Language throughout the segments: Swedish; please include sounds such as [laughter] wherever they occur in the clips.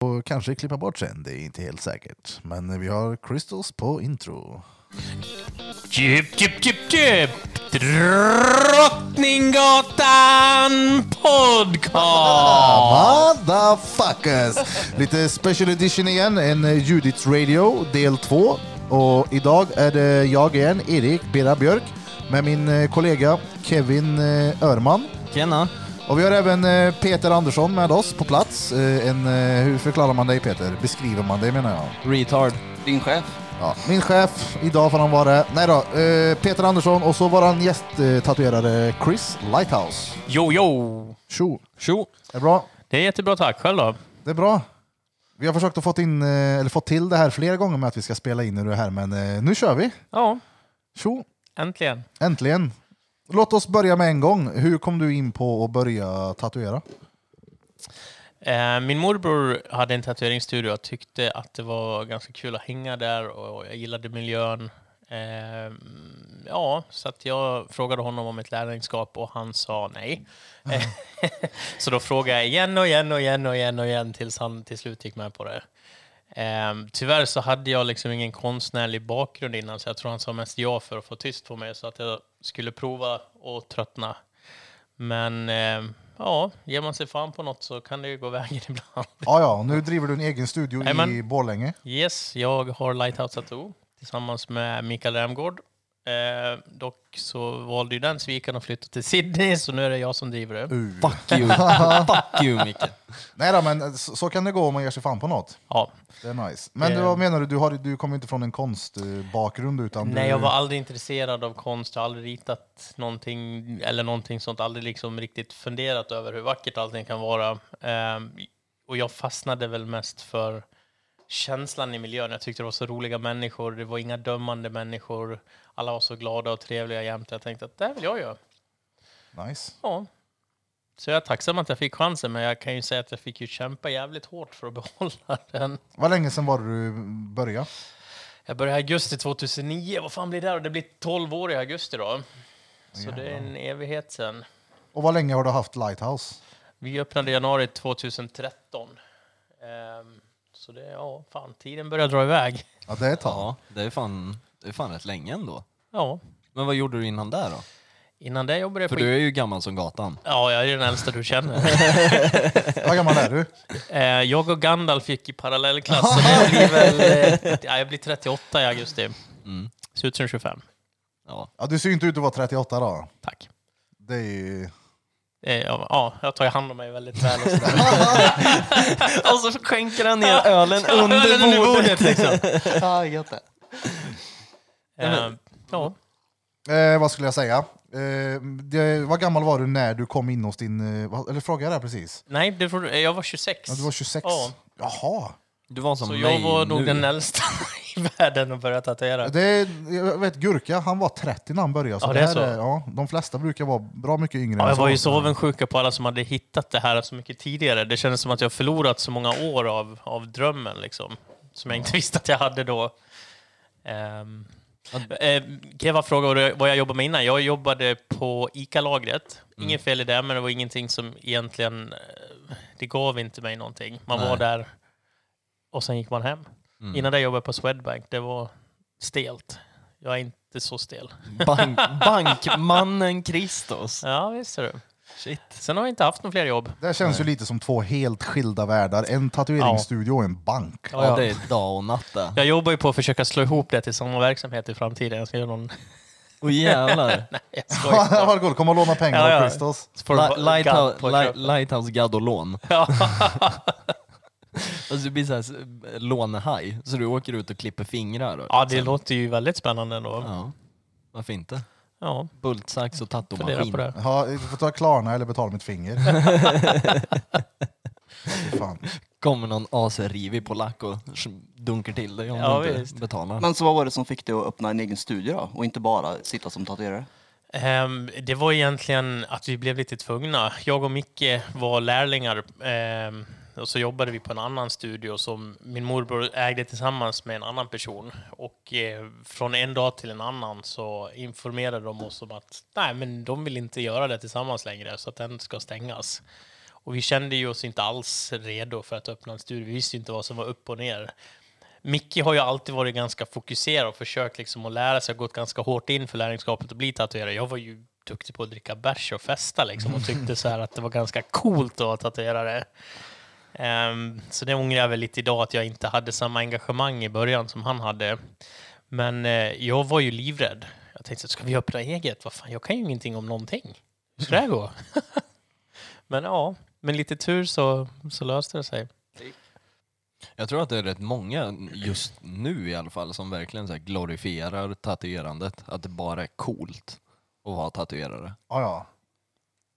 och kanske klippa bort sen. Det är inte helt säkert. Men vi har Crystals på intro. Djup, djup, djup, djup! Drottninggatan podcast! Motherfuckers! Lite special edition igen, en eh, Judiths Radio del 2. Och idag är det jag igen, Erik Bera Björk, med min eh, kollega Kevin eh, Örman. Tjena! Och vi har även eh, Peter Andersson med oss på plats. Eh, En, eh, hur förklarar man dig Peter? Beskriver man dig menar jag. Retard. Din chef? Ja, min chef, idag får han vara... Nej då, eh, Peter Andersson och så våran gästtatuerare Chris Lighthouse. Jo, jo! Tjo! Tjo! Det är bra. Det är jättebra, tack. Själv då? Det är bra. Vi har försökt att få in, eh, eller fått till det här flera gånger med att vi ska spela in när du är här, men eh, nu kör vi. Ja, Tjo! äntligen. Äntligen! Låt oss börja med en gång. Hur kom du in på att börja tatuera? Eh, Min morbror hade en tatueringsstudio och tyckte att det var ganska kul att hänga där och jag gillade miljön. Eh, Ja, så att jag frågade honom om ett lärlingskap och han sa nej. Eh, [laughs] så då frågade jag igen och igen och igen och igen och igen tills han till slut gick med på det. Eh, Tyvärr så hade jag liksom ingen konstnärlig bakgrund innan så jag tror han sa mest ja för att få tyst på mig så att jag skulle prova och tröttna. Men eh, ja, ger man sig fan på något så kan det ju gå vägen [laughs] ibland. Ja, ja, nu driver du en egen studio i Jajamän. Borlänge. Yes, jag har Lighthouse Tattoo tillsammans med Mikael Remgård. Eh, dock så valde ju den svikan att flytta till Sydney, så nu är det jag som driver det. Uh. Fuck you. Fuck you, Micke. Nej då, men eh, så, så kan det gå om man ger sig fan på något. Ja. Det är nice. Men Eh. vad menar du? Du, har, du kommer inte från en konstbakgrund utan Nej, du... jag var aldrig intresserad av konst, jag har aldrig ritat någonting eller någonting sånt, aldrig liksom riktigt funderat över hur vackert allting kan vara. Ehm, och jag fastnade väl mest för känslan i miljön. Jag tyckte det var så roliga människor, det var inga dömande människor, alla var så glada och trevliga jämt. Jag tänkte att det här vill jag göra. Nice. Ja. Så jag är tacksam att jag fick chansen, men jag kan ju säga att jag fick ju kämpa jävligt hårt för att [laughs] behålla den. Vad länge sedan var det du började? Jag började i augusti 2009, vad fan blir det? här? Det blir 12 år i augusti då. Så det är en evighet sen. Och vad länge har du haft Lighthouse? Vi öppnade i januari 2013. Ehm, så det, ja, fan, tiden börjar dra iväg. Ja, det är ett tag. Ja, det är, fan, det är fan rätt länge ändå. Ja, Men vad gjorde du innan där då? innan det jobbade jag För på... du är ju gammal som gatan. Ja, jag är den äldsta [laughs] du känner. Vad gammal är du? Eh, jag och Gandalf gick [laughs] i parallellklass. så jag, blir väl, eh, ja, jag blir 38 i augusti. Mm. Ser ut som 25. Ja. Ja, du ser ju inte ut att vara 38 då. Tack. Det är ju... Eh, ja, ja, jag tar ju hand om mig [laughs] väldigt väl. Och sådär. Och så skänker [laughs] han ner ölen under Ölen i bordet. liksom. [laughs] Ja, gött det. Eh, ja. Eh, vad skulle jag säga? Eh, det, vad gammal var du när du kom in hos din... Eh, vad- eller frågade jag det här precis? Nej, det får, eh, jag var 26. Ja, du var 26? Ja. Jaha! Du var som så mig jag var nu. nog den äldsta [laughs] i världen att börja tatuera. Det, är- jag vet Gurka, han var 30 när han började. Så Ja, det det är här så. Är, ja, de flesta brukar vara bra mycket yngre Ja, än jag var ju så avundsjuka på alla som hade hittat det här så mycket tidigare. Det kändes som att jag förlorat så många år av, av drömmen, liksom, som jag inte visste att jag hade då. Um, Keva frågade vad jag jobbade med innan. Jag jobbade på ICA-lagret. Mm. Inget fel i det, men det var ingenting som egentligen... eh, Det gav inte mig någonting. Man var Nej. där och sen gick man hem. Mm. Innan det jobbade jag på Swedbank. Det var stelt. Jag är inte så stel. Bank, bankmannen Kristus. Ja, visst är du. Shit. Sen har jag inte haft några fler jobb. Det här känns ju lite som två helt skilda världar. En tatueringsstudio och en bank. Ja, ja. Ja, det är dag och natt det. Jag jobbar ju på att försöka slå ihop det till samma verksamhet i framtiden. Jag ska [laughs] göra någon... Åh jävlar. [laughs] Nej, jag [laughs] skojar. Vad gott, kom och låna pengar Ja, av ja. Christos. Så får du Li- bara- gadd Lighthouse, på li- köpet. lighthouse gadolån. Ja. Alltså du blir såhär s- lånehaj, så du åker ut och klipper fingrar. och- [laughs] liksom. ja, det låter ju väldigt spännande ändå. Ja, varför inte? Ja, Bultsax och fundera på tatomaskin. det. Ja, du får ta Klarna eller betala mitt [laughs] finger. Fy Fan. Kommer någon asrivig polack och sh- dunkar till dig om Ja, du inte visst. betalar. Men så vad var det som fick dig att öppna en egen studio då? Och inte bara sitta som tatuerare? Ehm, det var egentligen att vi blev lite tvungna. Jag och Micke var lärlingar ehm, och så jobbade vi på en annan studio som min morbror ägde tillsammans med en annan person. Och eh, från en dag till en annan så informerade de oss om att nej, men de vill inte göra det tillsammans längre så att den ska stängas. Och vi kände ju oss inte alls redo för att öppna en studio. Vi visste ju inte vad som var upp och ner. Micke har ju alltid varit ganska fokuserad och försökt liksom att lära sig, gått ganska hårt in för lärlingskapet att bli tatuerare. Jag var ju duktig på att dricka bärs och festa liksom och tyckte så här att det var ganska coolt att vara tatuerare. Ehm, så det ångrar jag väl lite idag, att jag inte hade samma engagemang i början som han hade. Men eh, jag var ju livrädd. Jag tänkte, ska vi öppna eget? Vad fan, jag kan ju ingenting om någonting. Hur ska det här gå? [laughs] men ja, med lite tur så, så löste det sig. Jag tror att det är rätt många just nu i alla fall som verkligen så här glorifierar tatuerandet. Att det bara är coolt att vara tatuerare. Ja, ja.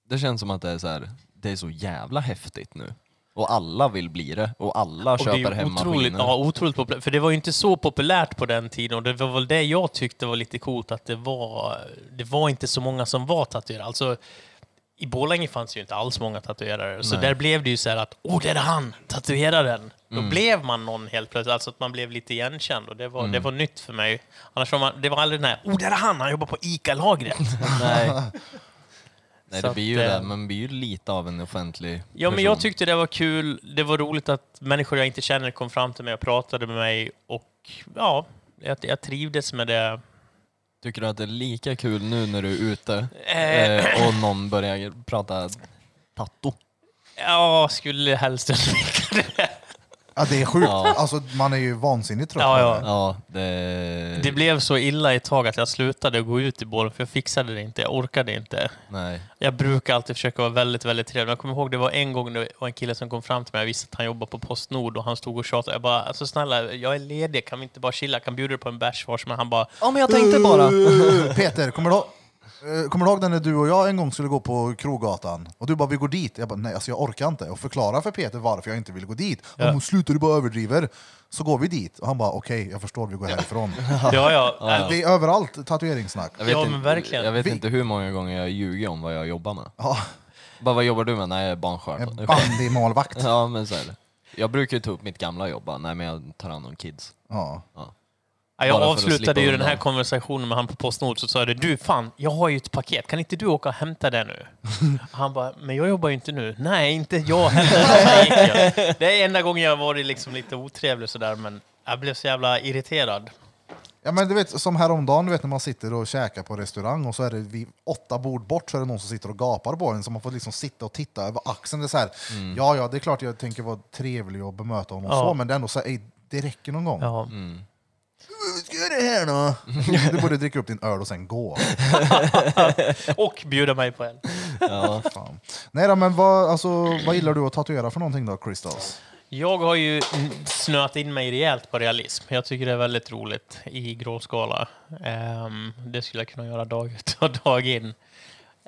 Det känns som att det är så här, det är så jävla häftigt nu. Och alla vill bli det och alla Och köper hem otroligt, maskiner. ja, otroligt populärt. För det var ju inte så populärt på den tiden och det var väl det jag tyckte var lite coolt att det var, det var inte så många som var tatuerare. Alltså, i Borlänge fanns ju inte alls många tatuerare, så Nej. där blev det ju så här att åh, där är han, tatueraren. Då Mm. blev man någon helt plötsligt, alltså att man blev lite igenkänd och det var, Mm. det var nytt för mig. Annars var man, det var aldrig den här, åh, där är han, han jobbar på ICA-lagret. [laughs] [laughs] Nej. Nej, Så det blir ju att, eh, det. Man blir ju lite av en offentlig Ja, men person. jag tyckte det var kul. Det var roligt att människor jag inte känner kom fram till mig och pratade med mig. Och ja, jag, jag trivdes med det. Tycker du att det är lika kul nu när du är ute Eh. eh, och någon börjar prata tatto? Ja, skulle helst undvika det. ja det är sjukt. Ja. Alltså, man är ju vansinnigt trött. Ja, på ja. det. Ja, det... Det blev så illa ett tag att jag slutade gå ut i bålen för jag fixade det inte. Jag orkade inte. Nej. Jag brukar alltid försöka vara väldigt, väldigt trevlig. Men Jag kommer ihåg det var en gång det var en kille som kom fram till mig. Jag visste att han jobbade på Postnord och han stod och tjatade. Jag bara, alltså snälla, jag är ledig. Kan vi inte bara chilla? Jag kan bjuda dig på en bärs var som helst." Han bara, Ja, men jag tänkte bara... Uh, Peter, kommer du, ihåg- eh, kommer du ihåg när du och jag en gång skulle gå på Krogatan? Och du bara, vi går dit. Jag bara, nej alltså jag orkar inte. Och förklara för Peter varför jag inte vill gå dit. Ja. Ja. Men slutar du bara överdriver. Så går vi dit. Och han bara, okej, jag förstår, vi går härifrån. ja, ja. Det är överallt tatueringssnack. Jag vet Ja, inte- men verkligen. Jag vet Vi- inte hur många gånger jag ljuger om vad jag jobbar med. Ja, Bara, vad jobbar du med? Nej, jag är en barnskötare. bandymålvakt. [laughs] Ja, men så är det. Jag brukar ju ta upp mitt gamla jobb bara. Nej, men jag tar hand om kids. Ja. Ja, jag Bara för att avslutade slippa ju den undan. här konversationen med han på Postnord så sa jag det, du fan, jag har ju ett paket, kan inte du åka och hämta [laughs] det nu? han bara, men jag jobbar ju inte nu. Nej, inte jag heller. Så [laughs] gick jag. Det är enda gången jag har varit liksom lite otrevlig sådär, men jag blev så jävla irriterad. Ja men du vet som häromdagen, du vet när man sitter och käkar på restaurang och så är det vid åtta bord bort så är det någon som sitter och gapar på en så man får liksom sitta och titta över axeln. Det är så här, ja ja det är klart jag tänker vara trevlig och bemöta honom Ja. så men det är ändå så här, ej, det räcker någon gång. Ja. Vad ska jag göra här då? [laughs] Du borde dricka upp din öl och sen gå. Och bjuda mig på en. Ja. Fan. Nej då, men vad, alltså, vad gillar du att tatuera för någonting då, Christos? Jag har ju mm, snöat in mig rejält på realism. Jag tycker det är väldigt roligt i gråskala. Ehm, det skulle jag kunna göra dag ut och dag in.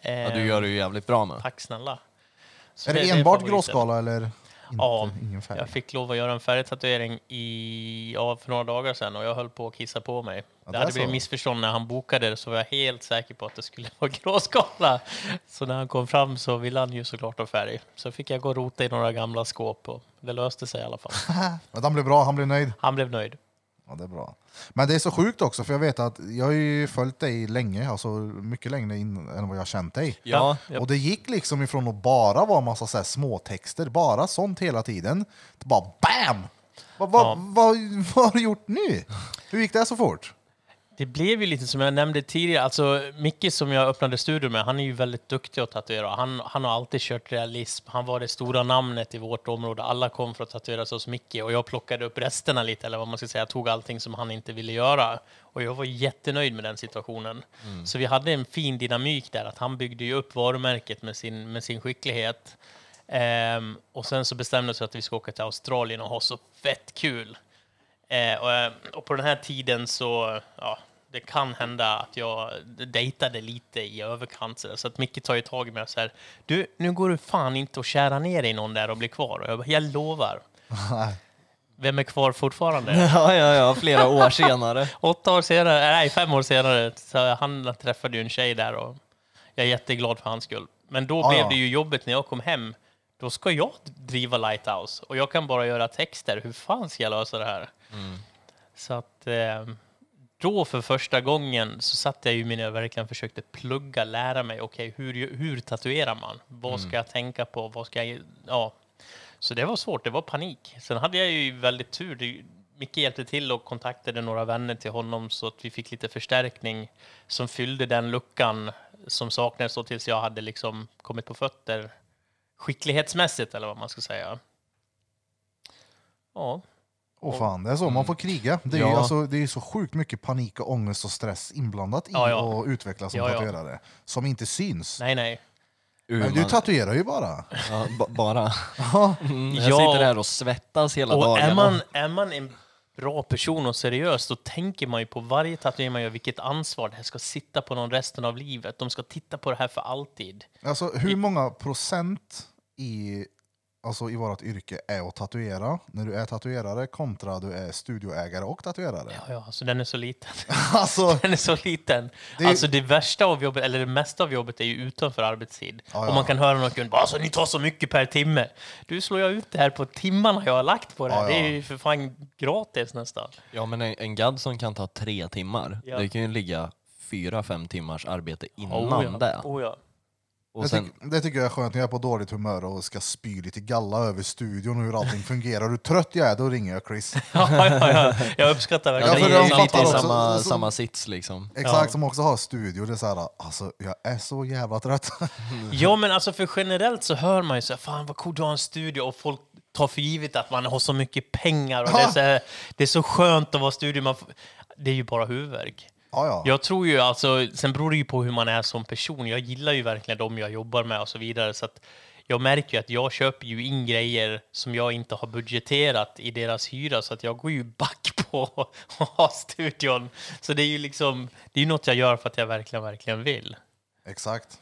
ja, du Ehm, gör det ju jävligt bra [laughs] med. Tack snälla. Så Är det- det det enbart favoriten. gråskala eller? Ja, Inte, ingen färg. Jag fick lov att göra en färgtatuering i, ja, för några dagar sedan och jag höll på att kissa på mig. Ja, det där hade så. blivit missförstånd när han bokade det så var jag helt säker på att det skulle [laughs] vara gråskala. Så när han kom fram så ville han ju såklart ha färg. Så fick jag gå och rota i några gamla skåp och det löste sig i alla fall. Men han blev bra, han blev nöjd. Han blev nöjd. Ja, det är bra. Men det är så sjukt också, för jag vet att jag har ju följt dig länge, alltså mycket längre in, än vad jag har känt dig. Ja, ja. Och det gick liksom ifrån att bara vara massa så här småtexter, bara sånt hela tiden, till bara BAM! Vad va, Ja. va, vad har du gjort nu? Hur gick det så fort? Det blev ju lite som jag nämnde tidigare, alltså Micke som jag öppnade studion med, han är ju väldigt duktig att tatuera. Han, han har alltid kört realism, han var det stora namnet i vårt område. Alla kom för att tatueras hos Micke och jag plockade upp resterna lite, eller vad man ska säga, jag tog allting som han inte ville göra. Och jag var jättenöjd med den situationen. Så vi hade en fin dynamik där, att han byggde ju upp varumärket med sin, med sin skicklighet. Ehm, och sen så bestämde vi oss för att vi ska åka till Australien och ha så fett kul. Eh, och, eh, och på den här tiden så, ja, det kan hända att jag dejtade lite i överkant. Så, där, så att Micke tar ju tag i mig och säger, du, nu går du fan inte att kära ner dig i någon där och bli kvar. Och jag bara, jag lovar. Vem är kvar fortfarande? ja, ja, ja flera år senare. [laughs] Åtta år senare, nej, fem år senare, så han träffade ju en tjej där och jag är jätteglad för hans skull. Men då Ah, blev ja. det ju jobbigt när jag kom hem. Då ska jag driva Lighthouse och Mm. jag kan bara göra texter. Hur fan ska jag lösa det här? Så att eh, då för första gången så satt jag ju mina och verkligen försökte plugga, lära mig, okej, hur, hur tatuerar man? Vad Mm. ska jag tänka på? Vad ska jag, ja. Så det var svårt, det var panik. Sen hade jag ju väldigt tur. Det- Micke hjälpte till och kontaktade några vänner till honom så att vi fick lite förstärkning som fyllde den luckan som saknades då tills jag hade liksom kommit på fötter skicklighetsmässigt eller vad man ska säga. Ja. Åh fan, det är så. Man får kriga. Det är, ju Ja. alltså, det är ju så sjukt mycket panik och ångest och stress inblandat i Ja, ja. att utvecklas som Ja, ja. tatuerare. Som inte syns. Nej, nej. Ur Men du man- tatuerar ju bara. ja, ba- bara. Ja. [laughs] Mm, jag Ja. sitter här och svettas hela Och dagen. är man, är man en bra person och seriös, då tänker man ju på varje tatuering man gör, vilket ansvar det här ska sitta på någon resten av livet. De ska titta på det här för alltid. Alltså, hur många procent i, alltså, i vårt yrke är att tatuera när du är tatuerare kontra du är studioägare och tatuerare? Ja, ja, alltså den är så liten. [laughs] Alltså, Den är så liten. Det är- Alltså det värsta av jobbet, eller det mesta av jobbet är ju utanför arbetstid. Ja, ja. Och man kan höra någon kund bara alltså, ni tar så mycket per timme. Du slår jag ut det här på timmarna jag har lagt på det här. Ja, Det ja. är ju för fan gratis nästan. Ja men en, en gadd som kan ta tre timmar, Ja. det kan ju ligga fyra, fem timmars arbete innan Oh, ja. det. Oh, ja. [laughs] Och det, sen, tycker, det tycker jag är skönt när jag är på dåligt humör och ska spy lite galla över studion och hur allting fungerar. Hur trött jag är, då ringer jag Chris. ja, ja, ja. Jag uppskattar ja, Ja, verkligen för det de är liksom lite fattar i också- Alltså- samma, så- samma sits liksom. Exakt, Ja. som också har studio. Det är så här, alltså jag är så jävla trött. [laughs] Ja, men alltså för generellt så hör man ju så här, fan vad coolt du har en studio och folk tar för givet att man har så mycket pengar och det, är så här, det är så skönt att vara studio. Man får, det är ju bara huvudvärk. Ja, ja. Jag tror ju alltså, sen beror det ju på hur man är som person. Jag gillar ju verkligen dem jag jobbar med och så vidare. Så att jag märker ju att jag köper ju in grejer som jag inte har budgeterat i deras hyra så att jag går ju back [laughs] på att ha studion. Så det är ju liksom, det är ju något jag gör för att jag verkligen, verligen vill. Exakt.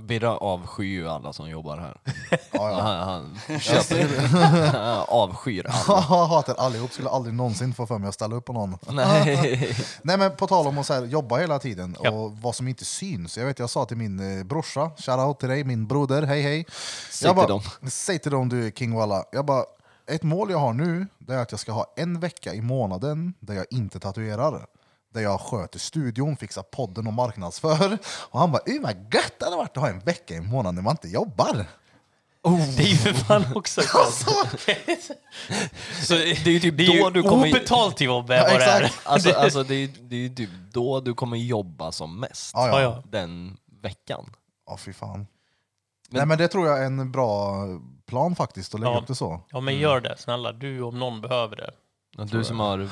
Birra avskyr ju alla som jobbar här. [laughs] Ja, ja. Han, han köper, Han [laughs] avskyr alla. [laughs] Jag hatar allihop, skulle aldrig någonsin få för mig att ställa upp på någon. [laughs] Nej. Nej men på tal om att så här, jobba hela tiden Ja. och vad som inte syns. Jag vet jag sa till min eh, brorsa, shoutout till dig, min broder, hej hej. Säg Jag till bara, [laughs] Säg till dem du King Walla. Jag bara, ett mål jag har nu det är att jag ska ha en vecka i månaden där jag inte tatuerar. Där jag sköter studion, fixar podden och marknadsför. Och han bara, "Uy, vad gött det hade varit att ha en vecka i månaden när man inte jobbar. Det är ju för fan också skönt. Så det är ju typ det är ju då du kommer- obetalt jobb är Ja, vad det är. exakt. Alltså, alltså det, är, det är ju typ då du kommer jobba som mest. Ja, ja. Ja, ja. Den veckan. Ja, fy fan. Nej men det tror jag är en bra plan faktiskt, att lägga Ja. upp det så. Ja men gör det snälla, du om någon behöver det. Du som har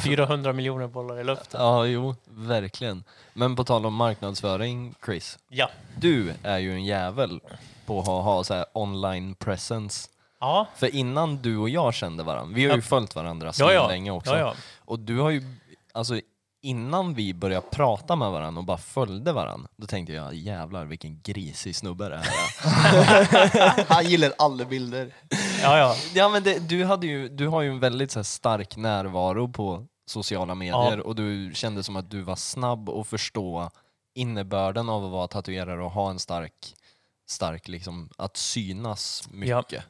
400 miljoner bollar i luften. Ja, jo, verkligen. Men på tal om marknadsföring, Chris. Ja. Du är ju en jävel på att ha, ha så här online presence. Ja, För innan du och jag kände varandra, vi har ju följt varandra så ja, ja. länge också. Ja, ja. Och du har ju, alltså innan vi började prata med varandra och bara följde varandra, då tänkte jag jävlar vilken grisig snubbe det här [laughs] är. Han gillar alla bilder. ja, ja. ja, men det, du, hade ju, du har ju en väldigt så här, stark närvaro på sociala medier och du kände som att du var snabb att förstå innebörden av att vara tatuerare och ha en stark, stark liksom, att synas mycket. Ja.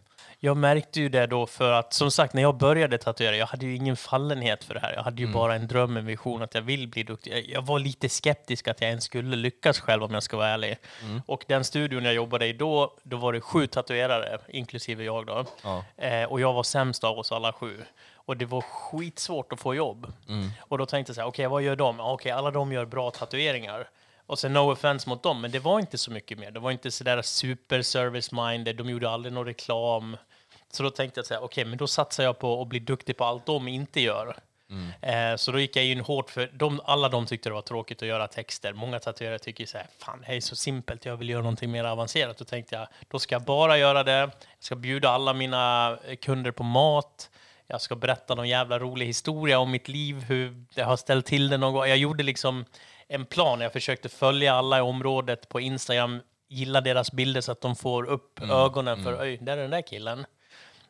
Jag märkte ju det då för att som sagt när jag började tatuera, jag hade ju ingen fallenhet för det här. Jag hade ju bara en dröm, en vision att jag vill bli duktig. Jag- Jag var lite skeptisk att jag ens skulle lyckas själv om jag ska vara ärlig. Och den studion jag jobbade i då, då var det sju tatuerare, inklusive jag då. Ja. Eh, och jag var sämst av oss alla sju. Och det var skitsvårt att få jobb. Och då tänkte jag så här, okej vad gör de? Ja, Okej, alla de gör bra tatueringar. Och sen no offense mot dem, men det var inte så mycket mer. Det var inte sådär super service-minded, de gjorde aldrig någon reklam. Så då tänkte jag så här, okej, men då satsar jag på att bli duktig på allt de inte gör. Eh, så då gick jag in hårt, för de, alla de tyckte det var tråkigt att göra texter. Många tatuerare tycker ju så här, fan det här är så simpelt, jag vill göra någonting mer avancerat. Då tänkte jag, då ska jag bara göra det, jag ska bjuda alla mina eh, kunder på mat, jag ska berätta någon jävla rolig historia om mitt liv, hur jag har ställt till det någon gång. Jag gjorde liksom en plan, jag försökte följa alla i området på Instagram, gilla deras bilder så att de får upp ögonen för, oj, där är den där killen.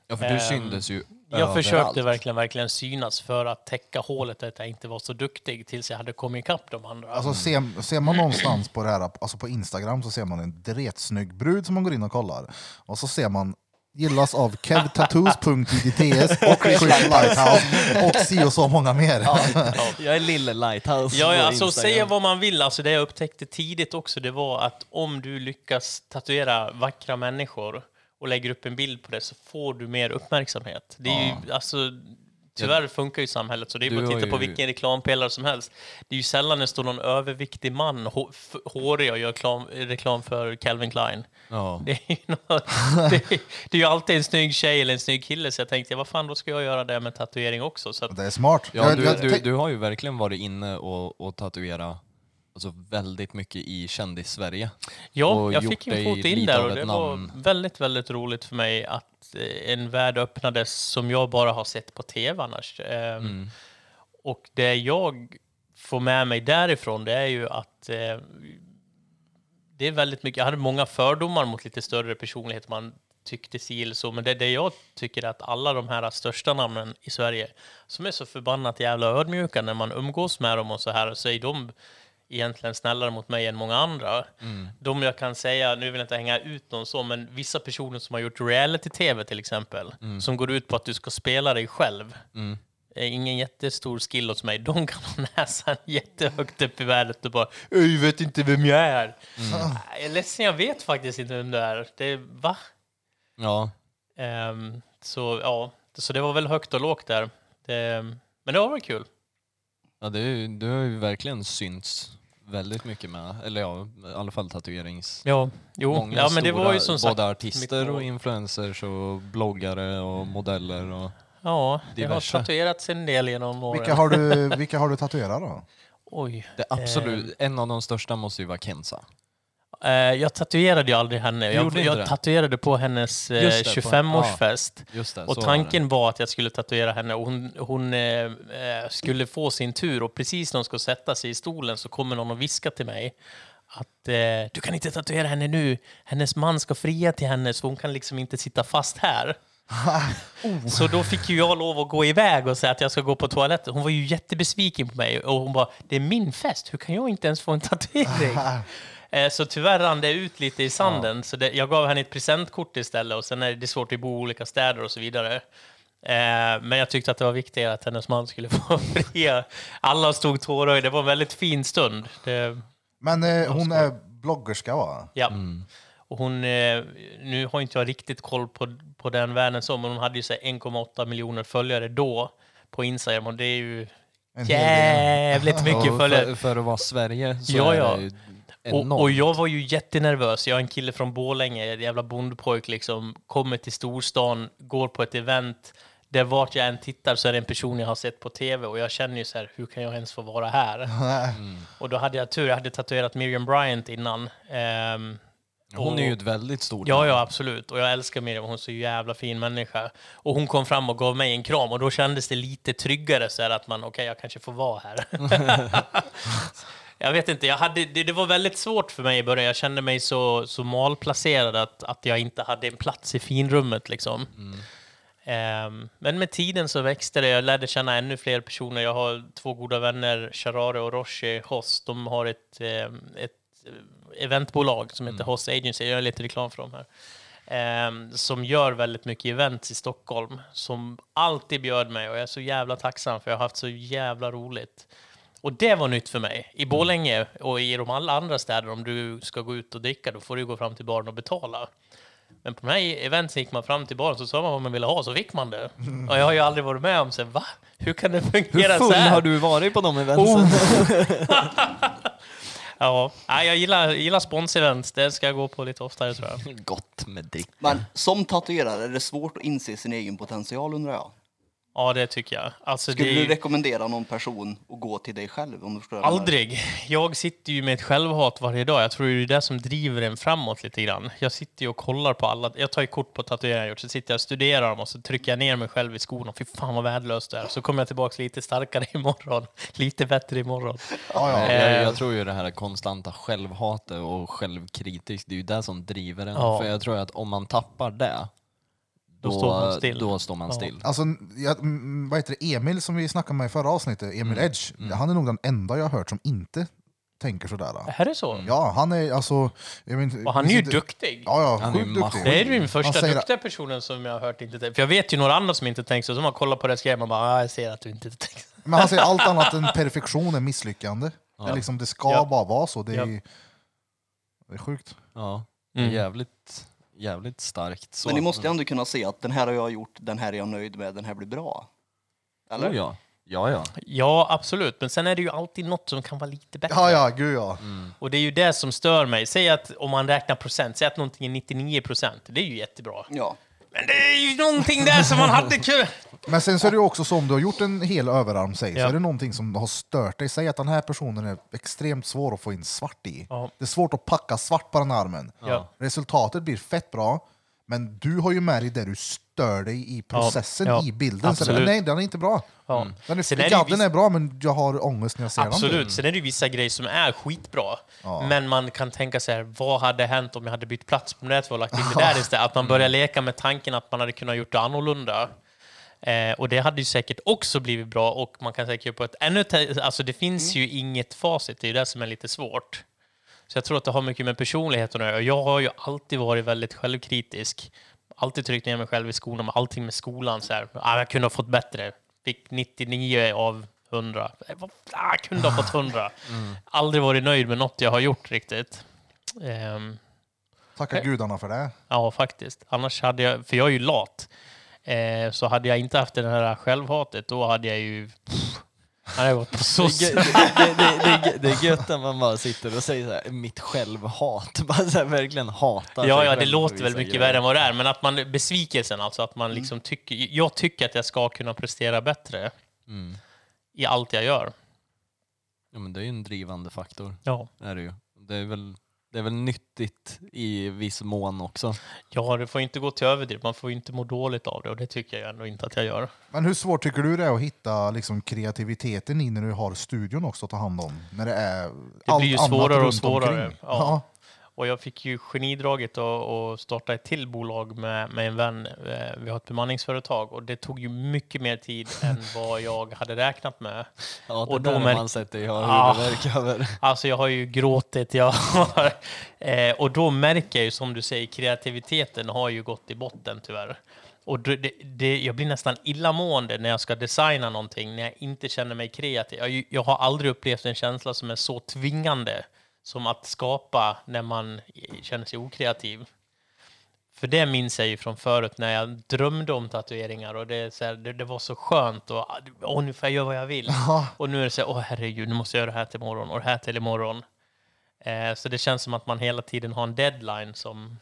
Ja, Ehm, för du syndes ju Jag överallt. försökte verkligen, verkligen synas för att täcka hålet att jag inte var så duktig tills jag hade kommit ikapp de andra. Alltså ser, ser man någonstans på det här, alltså på Instagram så ser man en dretsnygg brud som man går in och kollar. Och så ser man gillas av [laughs] kevtattoos.ids och Christian Lighthouse och si och så många mer. Jag är lille Lighthouse Ja, ja, på alltså Instagram. säga vad man vill, alltså det jag upptäckte tidigt också, det var att om du lyckas tatuera vackra människor och lägger upp en bild på det så får du mer uppmärksamhet. Det är ju, alltså, tyvärr funkar ju samhället så, det är Du bara att har titta på ju- vilken reklampelare som helst. Det är ju sällan det står någon överviktig man, hå- f- hårig, och gör reklam, reklam för Calvin Klein. Ja. Det är, ju [laughs] något, det, är, det är ju alltid en snygg tjej eller en snygg kille, så jag tänkte, vad fan, då ska jag göra det med tatuering också. Så att, Det är smart. Ja, Jag- du, jag du, tänk- du har ju verkligen varit inne och, och tatuera alltså väldigt mycket i kändis-Sverige. Ja, och jag gjort fick en dig fot in lite där av och ett det namn. var väldigt, väldigt roligt för mig att eh, en värld öppnades som jag bara har sett på tv annars. Ehm, Mm. Och det jag får med mig därifrån det är ju att eh, det är väldigt mycket, jag hade många fördomar mot lite större personligheter man tyckte si eller så, men det, det jag tycker är att alla de här största namnen i Sverige som är så förbannat jävla ödmjuka när man umgås med dem och så här, så är de egentligen snällare mot mig än många andra. De jag kan säga, nu vill jag inte hänga ut någon så, men vissa personer som har gjort reality-tv till exempel, som går ut på att du ska spela dig själv. Eh, Ingen jättestor skill hos mig. De kan [laughs] ha näsan jättehögt upp i värdet och bara Jag vet inte vem jag är. Nej, Jag är ledsen, jag vet faktiskt inte vem du är. Det, är- va? Ja, Ehm, så ja, så det var väl högt och lågt där. Det, men det var väl kul. ja du, du har ju verkligen synts väldigt mycket med, eller ja, i alla fall tatuerings... Ja, jo. Många ja, men det var stora- ju som sagt. både artister mycket- Mm. och influencers och bloggare och modeller och... Ja, det har diverse. tatuerats en del genom åren. vilka, har du, vilka har du tatuerat då? Oj. Det absolut, en av de största måste ju vara Kenza. Eh, jag tatuerade ju aldrig henne. Jag, Gjorde inte jag det? tatuerade på hennes eh, Just det, på- 25-årsfest. Just det, så Och var det. tanken var att jag skulle tatuera henne och hon, hon eh, eh, skulle få sin tur och precis när hon ska sätta sig i stolen så kommer någon och viska till mig att eh, du kan inte tatuera henne nu, hennes man ska fria till henne så hon kan liksom inte sitta fast här. Så då fick ju jag lov att gå iväg och säga att jag ska gå på toaletten. Hon var ju jättebesviken på mig och hon bara, det är min fest, hur kan jag inte ens få en tatuering? Eh, Så tyvärr rann det ut lite i sanden, så det, jag gav henne ett presentkort istället och sen är det svårt att bo i olika städer och så vidare. Eh, Men jag tyckte att det var viktigare att hennes man skulle [laughs] få fria. Alla stod tårögda, det var en väldigt fin stund. Det, Men eh, hon är bloggerska va? Ja. Mm. Och hon, eh, nu har inte jag riktigt koll på, på den världen så, men hon hade ju så här 1,8 miljoner följare då på Instagram och det är ju En hel del. [laughs] jävligt mycket Och följare. För, för att vara Sverige så Ja, är ja. det ju enormt. Och, och jag var ju jättenervös. Jag är en kille från Borlänge, en jävla bondpojk liksom, kommer till storstan, går på ett event, där vart jag än tittar så är det en person jag har sett på tv och jag känner ju så här, hur kan jag ens få [laughs] vara här? Mm. Och då hade jag tur, jag hade tatuerat Miriam Bryant innan. Ehm, Hon och- är ju ett väldigt stort Ja, namn. ja, absolut. Och jag älskar Miriam, hon är så jävla fin människa. Och hon kom fram och gav mig en kram och då kändes det lite tryggare så här att man, okej, jag kanske får vara här. jag vet inte, jag hade, det, det var väldigt svårt för mig i början. Jag kände mig så, så malplacerad att, att jag inte hade en plats i finrummet liksom. Ehm, men med tiden så växte det. Jag lärde känna ännu fler personer. Jag har två goda vänner, Charare och Roshi Hoss. De har ett, ehm, ett eh, eventbolag som heter Hoss Agency. Jag gör lite reklam för dem här. Ehm, som gör väldigt mycket events i Stockholm. Som alltid bjöd mig och jag är så jävla tacksam för jag har haft så jävla roligt. Och det var nytt för mig. I Borlänge och i de alla andra städer, om du ska gå ut och dricka, då får du gå fram till baren och betala. Men på de här eventen gick man fram till baren så sa man vad man ville ha, så fick man det. Och jag har ju aldrig varit med om så här, va? Hur kan det Mm. Hur fungera full så här? har du varit på de Oh. eventsen? Ja, nej, jag gillar, gillar sponsevent. Det ska jag gå på lite oftare tror [laughs] jag. Gott med drick. Men som tatuerare är det svårt att inse sin egen potential undrar jag. Ja, det tycker jag. Alltså, Skulle det är... du rekommendera någon person att gå till dig själv? Om du förstår vad jag menar? Aldrig. Jag sitter ju med ett självhat varje dag. Jag tror det är det som driver en framåt lite grann. Jag sitter ju och kollar på alla. Jag tar ju kort på tatueringar jag gjort, så sitter jag och studerar dem och så trycker jag ner mig själv i skon och fy fan vad värdelöst det är. Så kommer jag tillbaka lite starkare [laughs] imorgon. Lite bättre imorgon. Ja, ja. Nej, Jag, jag tror ju det här konstanta självhatet och självkritisk, det är ju det som driver en. Ja. För jag tror att om man tappar det, då, står man still. Då står man Ja. still. Alltså, jag, mm, vad heter det? Emil som vi snackade med i förra avsnittet, Emil Edge, han är nog den enda jag har hört som inte tänker sådär. då. Är det så? Ja, han är alltså... Jag men, Och han är ju inte- duktig. Ja, ja, Han är sjukt en duktig. maskin. Det är ju den Han första säger- duktiga personen som jag har hört inte tänka. För jag vet ju några andra som inte tänker så, som har kollat på det här skrevet man bara ah, jag ser att du inte tänker. Men han säger allt annat än perfektion är misslyckande. Det, är liksom, det ska Ja. bara vara så. Det är, Ja. det är sjukt. Ja, Mm. jävligt, jävligt starkt. Så. Men ni måste ju ändå kunna se att den här har jag gjort, den här är jag nöjd med, den här blir bra. Eller? Oh, ja. ja, ja. [laughs] Ja, absolut. Men sen är det ju alltid något som kan vara lite bättre. Ja, ja, gud ja. Och det är ju det som stör mig. Säg att om man räknar procent, säg att någonting är 99 procent. Det är ju jättebra. Ja. Men det är ju någonting där som man hade kul. Men sen så är det ju också så om du har gjort en hel överarm, säg, så Ja. är det någonting som har stört dig. Säg att den här personen är extremt svår att få in svart i. Ja. Det är svårt att packa svart på den armen. Ja. Resultatet blir fett bra, men du har ju med dig det du stör dig i processen, Ja. i bilden. Så Absolut. den, nej, den är inte bra. Ja. Den är, Sen är det ju gadden vissa- är bra, men jag har ångest när jag ser den. Absolut, sen är det ju vissa grejer som är skitbra. Men man kan tänka så här, vad hade hänt om jag hade bytt plats på nätet och lagt in det där istället? Att man börjar leka med tanken att man hade kunnat gjort det annorlunda. Eh, och det hade ju säkert också blivit bra och man kan säkert göra på ett ännu... te- Alltså det finns ju inget facit, det är ju det som är lite svårt. Så jag tror att det har mycket med personligheten att göra. Jag har ju alltid varit väldigt självkritisk. Alltid tryckt ner mig själv i skolan med allting med skolan. Så här. Ah, jag kunde ha fått bättre. Fick 99 av 100. Eh, vad- Ah, jag kunde ha fått 100. Aldrig varit nöjd med något jag har gjort riktigt. Ehm, Tacka Eh. gudarna för det. ja, faktiskt. Annars hade jag, för jag är ju lat, eh, så hade jag inte haft det här självhatet, då hade jag ju... Pff, hade jag gått på soc. Det, det, det, det, det är gött när man bara sitter och säger så här, mitt självhat. [laughs] Bara så här, verkligen hatar Ja, sig ja, själv det på låter vissa väl mycket grejer. värre än vad det är, men att man besvikelsen alltså, att man liksom tycker, jag tycker att jag ska kunna prestera bättre Mm. i allt jag gör. Ja, men det är ju en drivande faktor. Ja, Är det, ju. det är väl det är väl nyttigt i viss mån också. ja det får ju inte gå till överdrift, man får ju inte må dåligt av det och det tycker jag ändå inte att jag gör. Men hur svårt tycker du det är att hitta liksom, kreativiteten i när du har studion också att ta hand om? När det är Det blir ju svårare och runt omkring. svårare. Ja. Ja. Och jag fick ju genidraget att, att starta ett till bolag med, med en vän. Eh, Vi har ett bemanningsföretag och det tog ju mycket mer tid än vad jag hade räknat med. Ja, det Och och då där har märk- man sett det jag Ah. har huvudvärk över. Alltså jag har ju gråtit, jag har, eh, och då märker jag ju som du säger, kreativiteten har ju gått i botten tyvärr. Och det, det, det, jag blir nästan illamående när jag ska designa någonting, när jag inte känner mig kreativ. Jag, jag har aldrig upplevt en känsla som är så tvingande som att skapa när man i- känner sig okreativ. För det minns jag ju från förut när jag drömde om tatueringar och det, är så här, det, det var så skönt och ah, åh, nu får jag göra vad jag vill. Och nu är det så här, åh herregud, nu måste jag göra det här till imorgon och det här till imorgon. Eh, så det känns som att man hela tiden har en deadline som...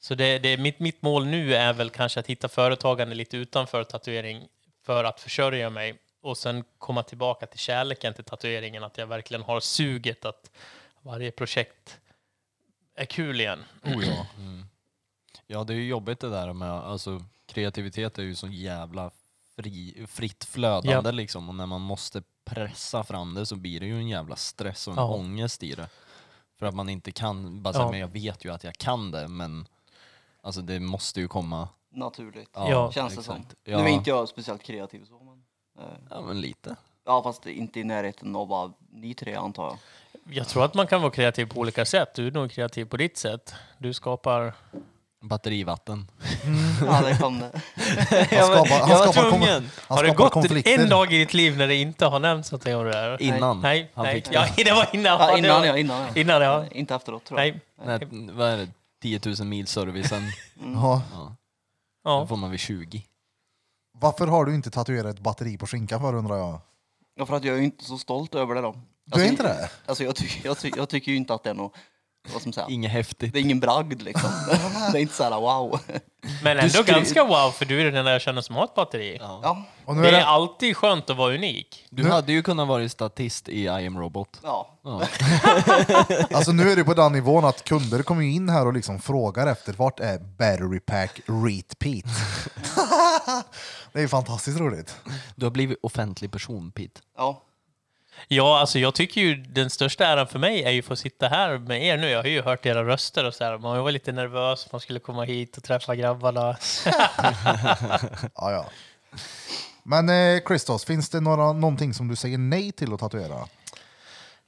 Så det, det, mitt, mitt mål nu är väl kanske att hitta företagande lite utanför tatuering för att försörja mig och sen komma tillbaka till kärleken till tatueringen, att jag verkligen har suget att varje projekt är kul igen. Mm. Ja, det är ju jobbigt det där med, alltså kreativitet är ju så jävla fri, fritt flödande Ja. liksom och när man måste pressa fram det så blir det ju en jävla stress och en Ja. ångest i det. För att man inte kan, bara så här, Ja. men jag vet ju att jag kan det men alltså det måste ju komma. Naturligt. Ja, Känns det som. exakt. Ja. Nu är inte jag speciellt kreativ så men. eh, Ja men lite. Ja fast inte i närheten av vad ni tre antar jag. Jag tror att man kan vara kreativ på olika sätt. Du är nog kreativ på ditt sätt. Du skapar... Batterivatten. Ja, det kom det. Han skapar, han jag var skapar, kom, tvungen. han har det skapar gått konflikter. en dag i ditt liv när det inte har nämnts någonting om det där? Innan. Nej, han nej. fick Ja, [laughs] det var innan. Ja, det var- innan jag, innan jag. Innan, ja. Inte efteråt tror jag. Nej. Nej, vad är det? 10 000 mil servicen. Ja. Ja, då Ja. får man vid 20. Varför har du inte tatuerat ett batteri på skinkan för undrar jag? Ja, för att jag är ju inte så stolt över det då. Du är inte det? Alltså jag, tycker- jag, ty, jag tycker ju inte att det är något, vad som säger, Inget häftigt. det är ingen bragd liksom. [laughs] det är inte såhär wow. Men ändå skulle- ganska wow, för du är den enda jag känner som har ett batteri. Ja, Och nu Det är är det, alltid skönt att vara unik. Du hade ju kunnat vara statist i I am robot. ja. alltså nu är det på den nivån att kunder kommer ju in här och liksom frågar efter vart är battery pack repeat? [laughs] det är ju fantastiskt roligt. Du har blivit offentlig person, Pete. ja. Ja, alltså jag tycker ju den största äran för mig är ju att få sitta här med er nu. Jag har ju hört era röster och så här. Man var lite nervös, man skulle komma hit och träffa grabbarna. Ja, ja. Men eh, Christos, finns det några, någonting som du säger nej till att tatuera?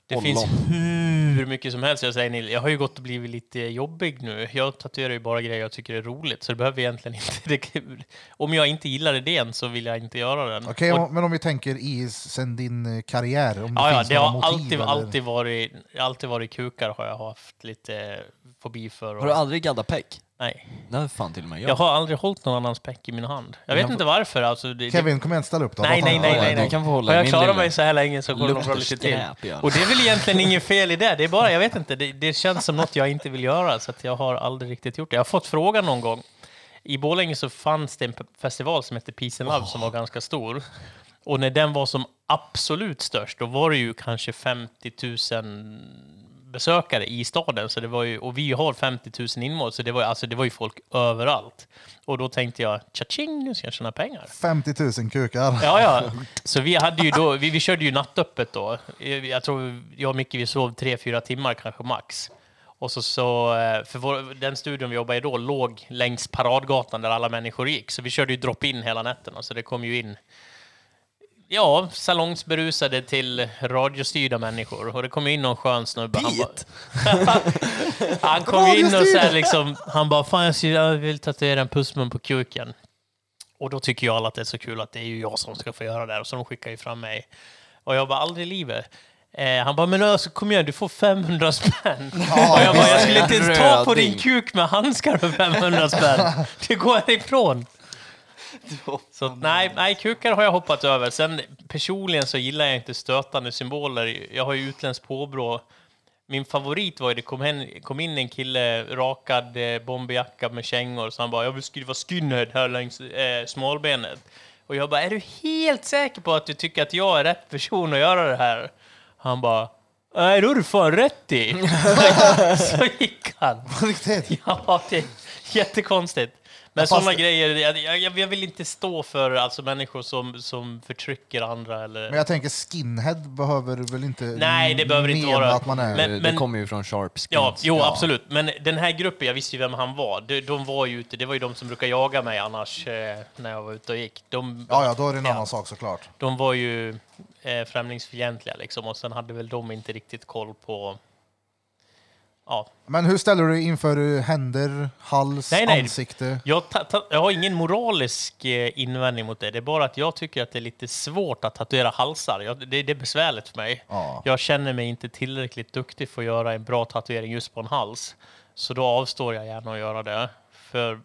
Det Ollon. finns hur mycket som helst. Jag säger Nil, jag har ju gått och blivit lite jobbig nu. Jag tatuerar ju bara grejer jag tycker är roligt, så det behöver egentligen inte... [laughs] Det, kan- om jag inte gillar idén så vill jag inte göra den. Okej, Och- men om vi tänker i sen din eh, karriär, om det Ja, ja, finns det några har motiv? alltid, eller? alltid, varit, alltid varit kukar har jag haft lite fobi för. Har du Och, aldrig gaddat peck? nej. Nej, fan till och med Jag har aldrig hållit någon annans peck i min hand. Jag vet Men- inte varför. Alltså, det, det, Kevin, kom igen, ställ upp då. Nej, Låt han- nej, nej, Ja, nej, ja, nej. Du kan få hålla har i jag min klarat lilla mig så här länge så kommer de Luktar bra lite till. skräp, gör det. Och det är väl egentligen inget fel i det. Det är bara, jag vet inte, det, det känns som något jag inte vill göra så att jag har aldrig riktigt gjort det. Jag har fått frågan någon gång. I Borlänge så fanns det en pe- festival som hette Peace and Love som var ganska stor. Och när den var som absolut störst, då var det ju kanske 50 000 besökare i staden. Så det var ju, och vi har 50 000 invånare, så det var, ju- alltså, det var ju folk överallt. Och då tänkte jag, tja-ching, nu ska jag tjäna pengar. 50 000 kukar. Ja, ja. Så vi, hade ju då, vi, vi körde ju nattöppet då. Jag jag tror jag och Micke vi sov tre, fyra timmar kanske max. Och så, så, eh, för vår, den studion vi jobbade i då låg längs paradgatan där alla människor gick. Så vi körde ju drop-in hela nätterna, så det kom ju in Ja, salongsberusade till radiostyrda människor. Och det kom in någon skön snubbe. Han, bara, han kom ju in och så här liksom, han bara, fan jag skulle- jag vill tatuera en pussmun på kuken. Och då tycker ju alla att det är så kul att det är ju jag som ska få göra det här. Och så de skickar ju fram mig. Och jag bara, aldrig i livet. Eh, han bara, men alltså, kom igen, du får 500 spänn. och jag bara, jag skulle inte ens ta på din Röding. kuk med handskar för 500 spänn. Det går jag ifrån. Så att, nej, nej, kukar har jag hoppat över. Sen personligen så gillar jag inte stötande symboler. Jag har ju utländskt påbrå. Min favorit var ju det kom, hen, kom in en kille rakad eh, bomberjacka med kängor så han bara jag vill skriva skinhead här längs eh, smalbenet. Och jag bara är du helt säker på att du tycker att jag är rätt person att göra det här? Han bara nej då har du fan rätt i. [laughs] så gick han. [laughs] På Riktigt. [laughs] Ja, det är jättekonstigt. Men sådana grejer, jag, jag, jag vill inte stå för alltså, människor som, som förtrycker andra. Eller... Men jag tänker skinhead behöver väl inte Nej, det behöver inte mena vara- att man är. Men- Det- men- det kommer ju från Sharp Skins. Ja, jo, absolut. Men den här gruppen, jag visste ju vem han var. De, de var ju ute, det var ju de som brukade jaga mig annars eh, när jag var ute och gick. De, Ja, ja, då är det en Ja. annan sak såklart. de var ju eh, främlingsfientliga liksom och sen hade väl de inte riktigt koll på... Ja, Men hur ställer du dig inför eh, händer, hals, Nej, nej. ansikte? Jag, ta, ta, jag har ingen moralisk eh, invändning mot det. Det är bara att jag tycker att det är lite svårt att tatuera halsar. Jag, det, det är besvärligt för mig. Ja. Jag känner mig inte tillräckligt duktig för att göra en bra tatuering just på en hals. Så då avstår jag gärna att göra det. För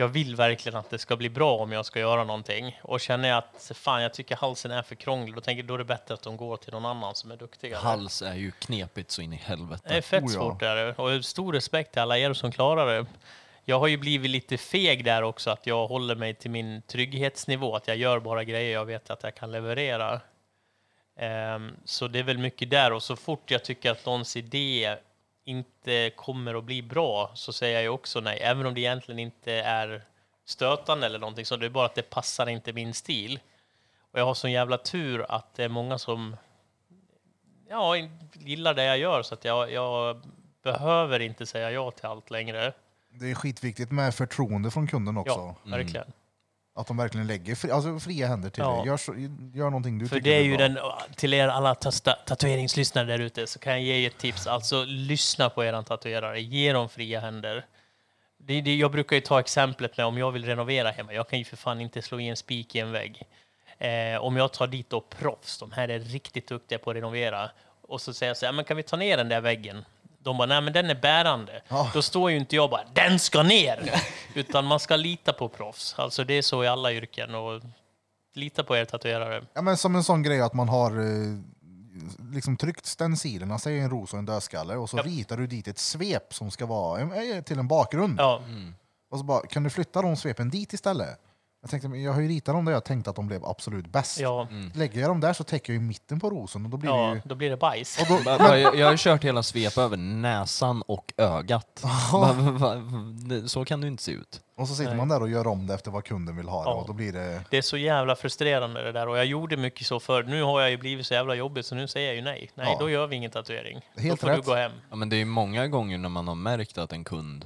jag vill verkligen att det ska bli bra om jag ska göra någonting. Och känner jag att fan, jag tycker halsen är för krånglig, då, tänker, jag, då är det bättre att de går till någon annan som är duktigare. Hals är ju knepigt så in i helvete. Det är fett Oh, ja. svårt där och stor respekt till alla er som klarar det. Jag har ju blivit lite feg där också, att jag håller mig till min trygghetsnivå, att jag gör bara grejer jag vet att jag kan leverera. Ehm, så det är väl mycket där och så fort jag tycker att någons idé inte kommer att bli bra så säger jag ju också nej, även om det egentligen inte är stötande eller någonting så det är bara att det passar inte min stil. Och jag har sån jävla tur att det är många som ja, gillar det jag gör så att jag, jag behöver inte säga ja till allt längre. Det är skitviktigt med förtroende från kunden också. Ja, verkligen. Att de verkligen lägger fri, alltså fria händer till Ja. dig. Gör, så, gör någonting du För tycker det är bra. ju den, till er alla tasta, tatueringslyssnare där ute så kan jag ge er ett tips. Alltså lyssna på eran tatuerare, ge dem fria händer. Det, det, jag brukar ju ta exemplet med om jag vill renovera hemma, jag kan ju för fan inte slå i en spik i en vägg. Eh, om jag tar dit då proffs, de här är riktigt duktiga på att renovera, och så säger jag så här, men kan vi ta ner den där väggen? De bara, nej men den är bärande. Ja. Då står ju inte jag bara, den ska ner! [laughs] Utan man ska lita på proffs. Alltså det är så i alla yrken. Och lita på er tatuerare. Ja, men som en sån grej att man har eh, liksom tryckt stencilerna, säg en ros och en dödskalle, och så Ja. ritar du dit ett svep som ska vara eh, till en bakgrund. Ja. Och så bara, kan du flytta de svepen dit istället? Jag tänkte, men jag har ju ritat dem där jag tänkte att de blev absolut bäst. Ja, Lägger jag dem där så täcker jag ju mitten på rosen och då blir det ja ju... då blir det bajs. Och då, Bara- bara- Jag jag har ju kört hela svep över näsan och ögat. Va- va- va- det- Så kan du inte se ut. och så sitter man där och gör om det efter vad kunden vill ha det, Ja. och då blir det... Det är så jävla frustrerande det där och jag gjorde mycket så förr. Nu har jag ju blivit så jävla jobbigt så nu säger jag ju nej. Nej, Ja. då gör vi ingen tatuering. Helt då får rätt. du gå hem. Ja, men det är ju många gånger när man har märkt att en kund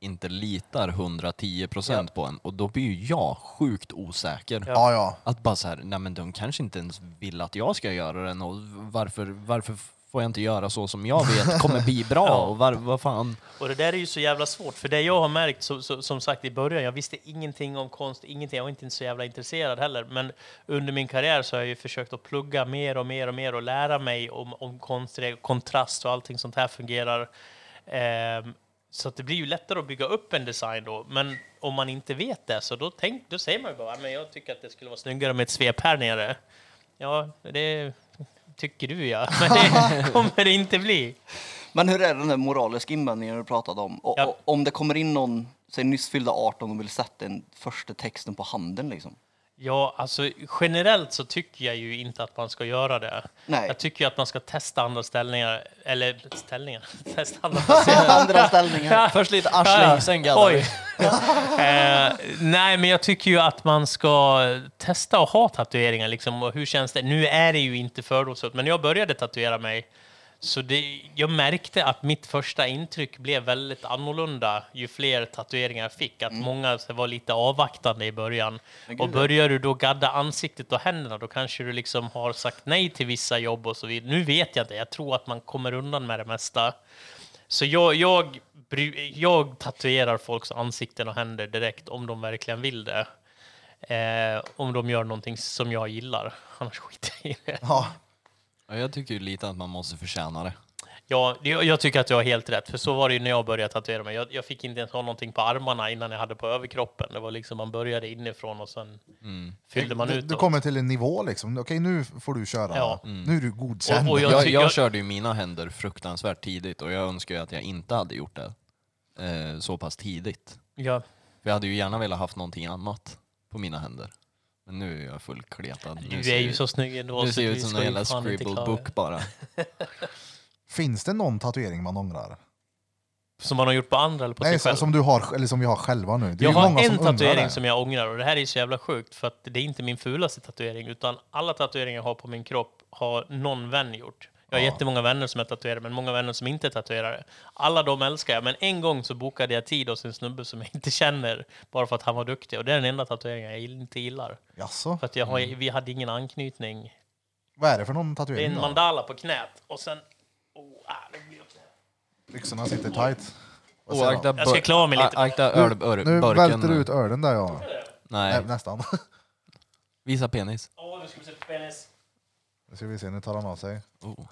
inte litar 110% på en och då blir ju jag sjukt osäker. Ja. Ja, ja. Att bara så här, nej men de kanske inte ens vill att jag ska göra den och varför, varför får jag inte göra så som jag vet kommer bli bra? Ja. Och var, vad fan? Och det där är ju så jävla svårt, för det jag har märkt, så, så, som sagt i början, jag visste ingenting om konst, ingenting, jag var inte så jävla intresserad heller, men under min karriär så har jag ju försökt att plugga mer och mer och mer och lära mig om, om konst, kontrast och allting sånt här fungerar. Ehm, så att det blir ju lättare att bygga upp en design då, men om man inte vet det så då, tänk, då säger man ju bara, "Ja, men jag tycker att det skulle vara snyggare med ett svep här nere. Ja, det tycker du ja, [laughs] men det kommer det inte bli. Men hur är den där moraliska invändningen du pratade om? Och, Ja. och, om det kommer in någon, säg nyss fyllda 18 och vill sätta den första texten på handen liksom. Ja, alltså generellt så tycker jag ju inte att man ska göra det. Nej. Jag tycker ju att man ska testa andra ställningar, eller ställningar, [laughs] testa andra placeringar. Andra ställningar. Först lite arsling, sen gaddar vi. Oj. [laughs] eh, nej, men jag tycker ju att man ska testa att ha tatueringar. Liksom, och hur känns det? Nu är det ju inte fördomsfullt, men jag började tatuera mig. Så det, jag märkte att mitt första intryck blev väldigt annorlunda ju fler tatueringar jag fick. Att många så var lite avvaktande i början. Mm. Men gud, Och börjar du då gadda ansiktet och händerna, då kanske du liksom har sagt nej till vissa jobb och så vidare. Nu vet jag det. Jag tror att man kommer undan med det mesta. Så jag, jag, bry- jag tatuerar folks ansikten och händer direkt om de verkligen vill det. Eh, om de gör någonting som jag gillar. Annars [laughs] skiter jag i det. Ja. Ja, Jag tycker ju lite att man måste förtjäna det. Ja, jag, jag tycker att jag har helt rätt, för så var det ju när jag började tatuera mig. Jag, jag fick inte ens ha någonting på armarna innan jag hade på överkroppen. Det var liksom man började inifrån och sen Mm. fyllde man Du, ut. du kommer till en nivå liksom. Okej, nu får du köra. Ja. Nu är du godkänd. Och- och Jag, Jag jag, ty- jag- körde ju mina händer fruktansvärt tidigt och jag önskar ju att jag inte hade gjort det eh, så pass tidigt. Ja. För jag hade ju gärna velat haft någonting annat på mina händer. Men nu är jag fullkletad. Nu Du ser är ju jag- så snygg ändå. Nu ser jag du ut som ska en ju jävla fan inte scribble klaga. book bara. Finns det någon tatuering man ångrar? Som man har gjort på andra eller på Nej, sig själv? som, som, du har, eller som vi har själva nu. Det är jag ju har många en som undrar tatuering det. som jag ångrar och det här är så jävla sjukt för att det är inte min fulaste tatuering utan alla tatueringar jag har på min kropp har någon vän gjort. Jag har jättemånga vänner som är tatuerare men många vänner som inte är tatuerare. Alla de älskar jag men en gång så bokade jag tid hos en snubbe som jag inte känner bara för att han var duktig och det är den enda tatueringen jag inte gillar. Jaså? För att jag har, Mm. vi hade ingen anknytning. Vad är det för någon Det är tatuering en då? mandala på knät och sen... Oh, ah, det blir Byxorna sitter tight. Vad säger Oakta man? Jag ska bör- klara mig a- lite. Akta nu ölburken. välter du ut ölen där ja. Nej, Nej, nästan. [laughs] visa penis. Åh, du skulle se penis. Nu ska vi se, nu tar han av sig. Oh.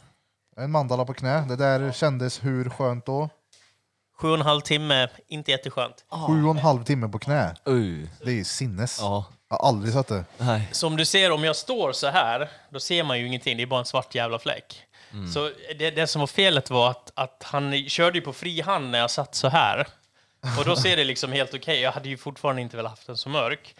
En mandala på knä. Det där kändes hur skönt då? Sju och en halv timme, inte jätteskönt. Sju och en halv timme på knä. Uh. Det är ju sinnes. Ja, Jag har aldrig sett det. [laughs] nej. Som du ser, om jag står så här, då ser man ju ingenting. Det är bara en svart jävla fläck. Så det, det som var felet var att, att han körde ju på fri hand när jag satt så här. Och då ser det liksom helt okej. Jag hade ju fortfarande inte velat haft den så mörk.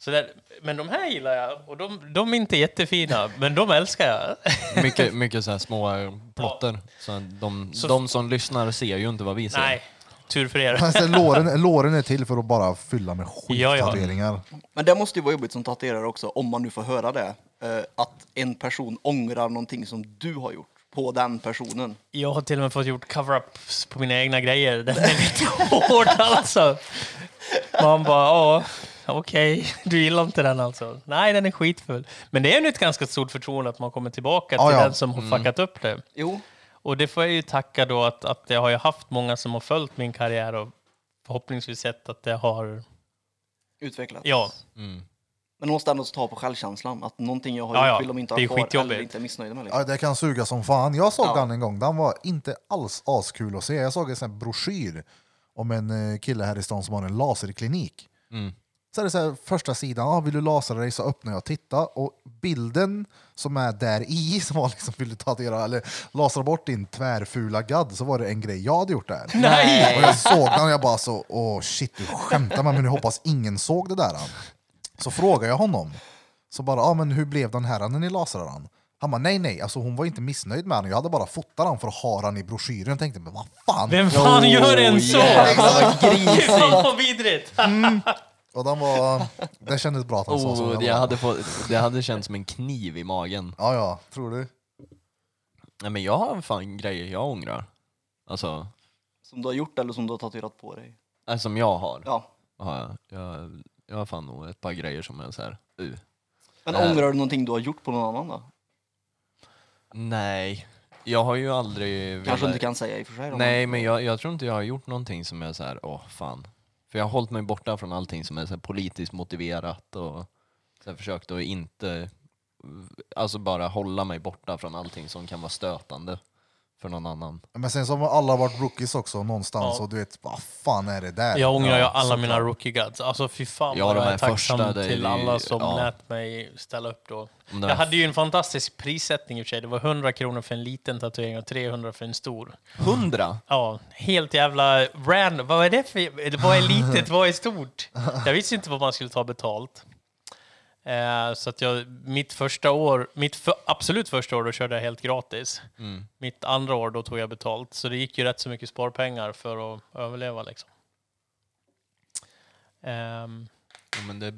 Så där, men de här gillar jag och de, de är inte jättefina, men de älskar jag. [laughs] Mycket, mycket så här små eh, plotter. Så de, de som lyssnar ser ju inte vad vi ser. Nej, tur för er. Men sen Alltså, låren, låren är till för att bara fylla med Ja, ja. skittatueringar. Men det måste ju vara jobbigt som tatuerare också, om man nu får höra det. eh, Att en person ångrar någonting som du har gjort på den personen. Jag har till och med fått gjort cover-ups på mina egna grejer. Det är lite [laughs] hårt alltså. Man bara, ja, okej, du gillar inte den alltså. Nej, den är skitfull. Men det är ju ett ganska stort förtroende att man kommer tillbaka till Ja, Mm. ja. den som har fuckat upp det. Jo, Och det får jag ju tacka då att, att jag har ju haft många som har följt min karriär och förhoppningsvis sett att det har, utvecklat. ja, Men de måste ändå ta på självkänslan, att någonting jag har Ja, gjort ja. vill de inte Det ha är kvar eller skitjobbigt. inte är missnöjda med. Liksom. Ja, det kan suga som fan. Jag såg Ja. den en gång. Den var inte alls askul att se. Jag såg en sån här broschyr om en eh, kille här i stan som har en laserklinik. Så är det så här, första sidan, ah, vill du lasera dig så öppnar jag och tittar. Och bilden som är där i, [laughs] som var liksom, vill du tatuera eller lasera bort din tvärfula gadd, så var det en grej jag hade gjort där. Nej! Och jag såg den och jag bara så, åh shit du skämtar med mig, nu hoppas ingen såg det där. Så frågade jag honom, så bara, ah, men hur blev den här när ni lasrade den? Han bara, nej nej, alltså hon var inte missnöjd med den. Jag hade bara fotat den för att ha den i broschyren. Jag tänkte, men vad fan? vem fan gör en så? Exakt. Fy [laughs] fan Oh, vad vidrigt! Och den var, det kändes bra att han sa så. Oh, Jag det, bara, hade fått, det hade känts som en kniv i magen. Ja, ja, tror du? Nej, men jag har fan grejer jag ångrar. Alltså, Som du har gjort eller som du har tatuerat på dig. äh, som jag har. Ja. har jag. Jag, jag har fan nog ett par grejer som är så här. Uh. Men Eh. ångrar du någonting du har gjort på någon annan då? Nej, jag har ju aldrig... Kanske du velat- inte kan säga i och för sig. då, men- Nej, men jag, jag tror inte jag har gjort någonting som jag är så här, åh fan. För jag har hållit mig borta från allting som är så här politiskt motiverat och så här försökt att inte, alltså bara hålla mig borta från allting som kan vara stötande för någon annan. Men sen så har alla varit rookies också någonstans Ja. och du vet, vad fan är det där? Jag ångrar ju Ja, alla såklart. mina rookie guards. Alltså fy fan Ja, vad de jag här är tacksam första, det är till ju- alla som ja. lät mig ställa upp då. Om det Jag här- hade ju en fantastisk prissättning i och för sig. Det var 100 kronor för en liten tatuering och 300 för en stor. Hundra! Ja, helt jävla random. Vad är det för... Vad är litet? Vad är stort? Jag visste inte vad man skulle ta betalt. Eh, så att jag, mitt första år, mitt för, absolut första år, då körde jag helt gratis. Mitt andra år, då tog jag betalt. Så det gick ju rätt så mycket sparpengar för att överleva liksom. Ehm, Ja, men det,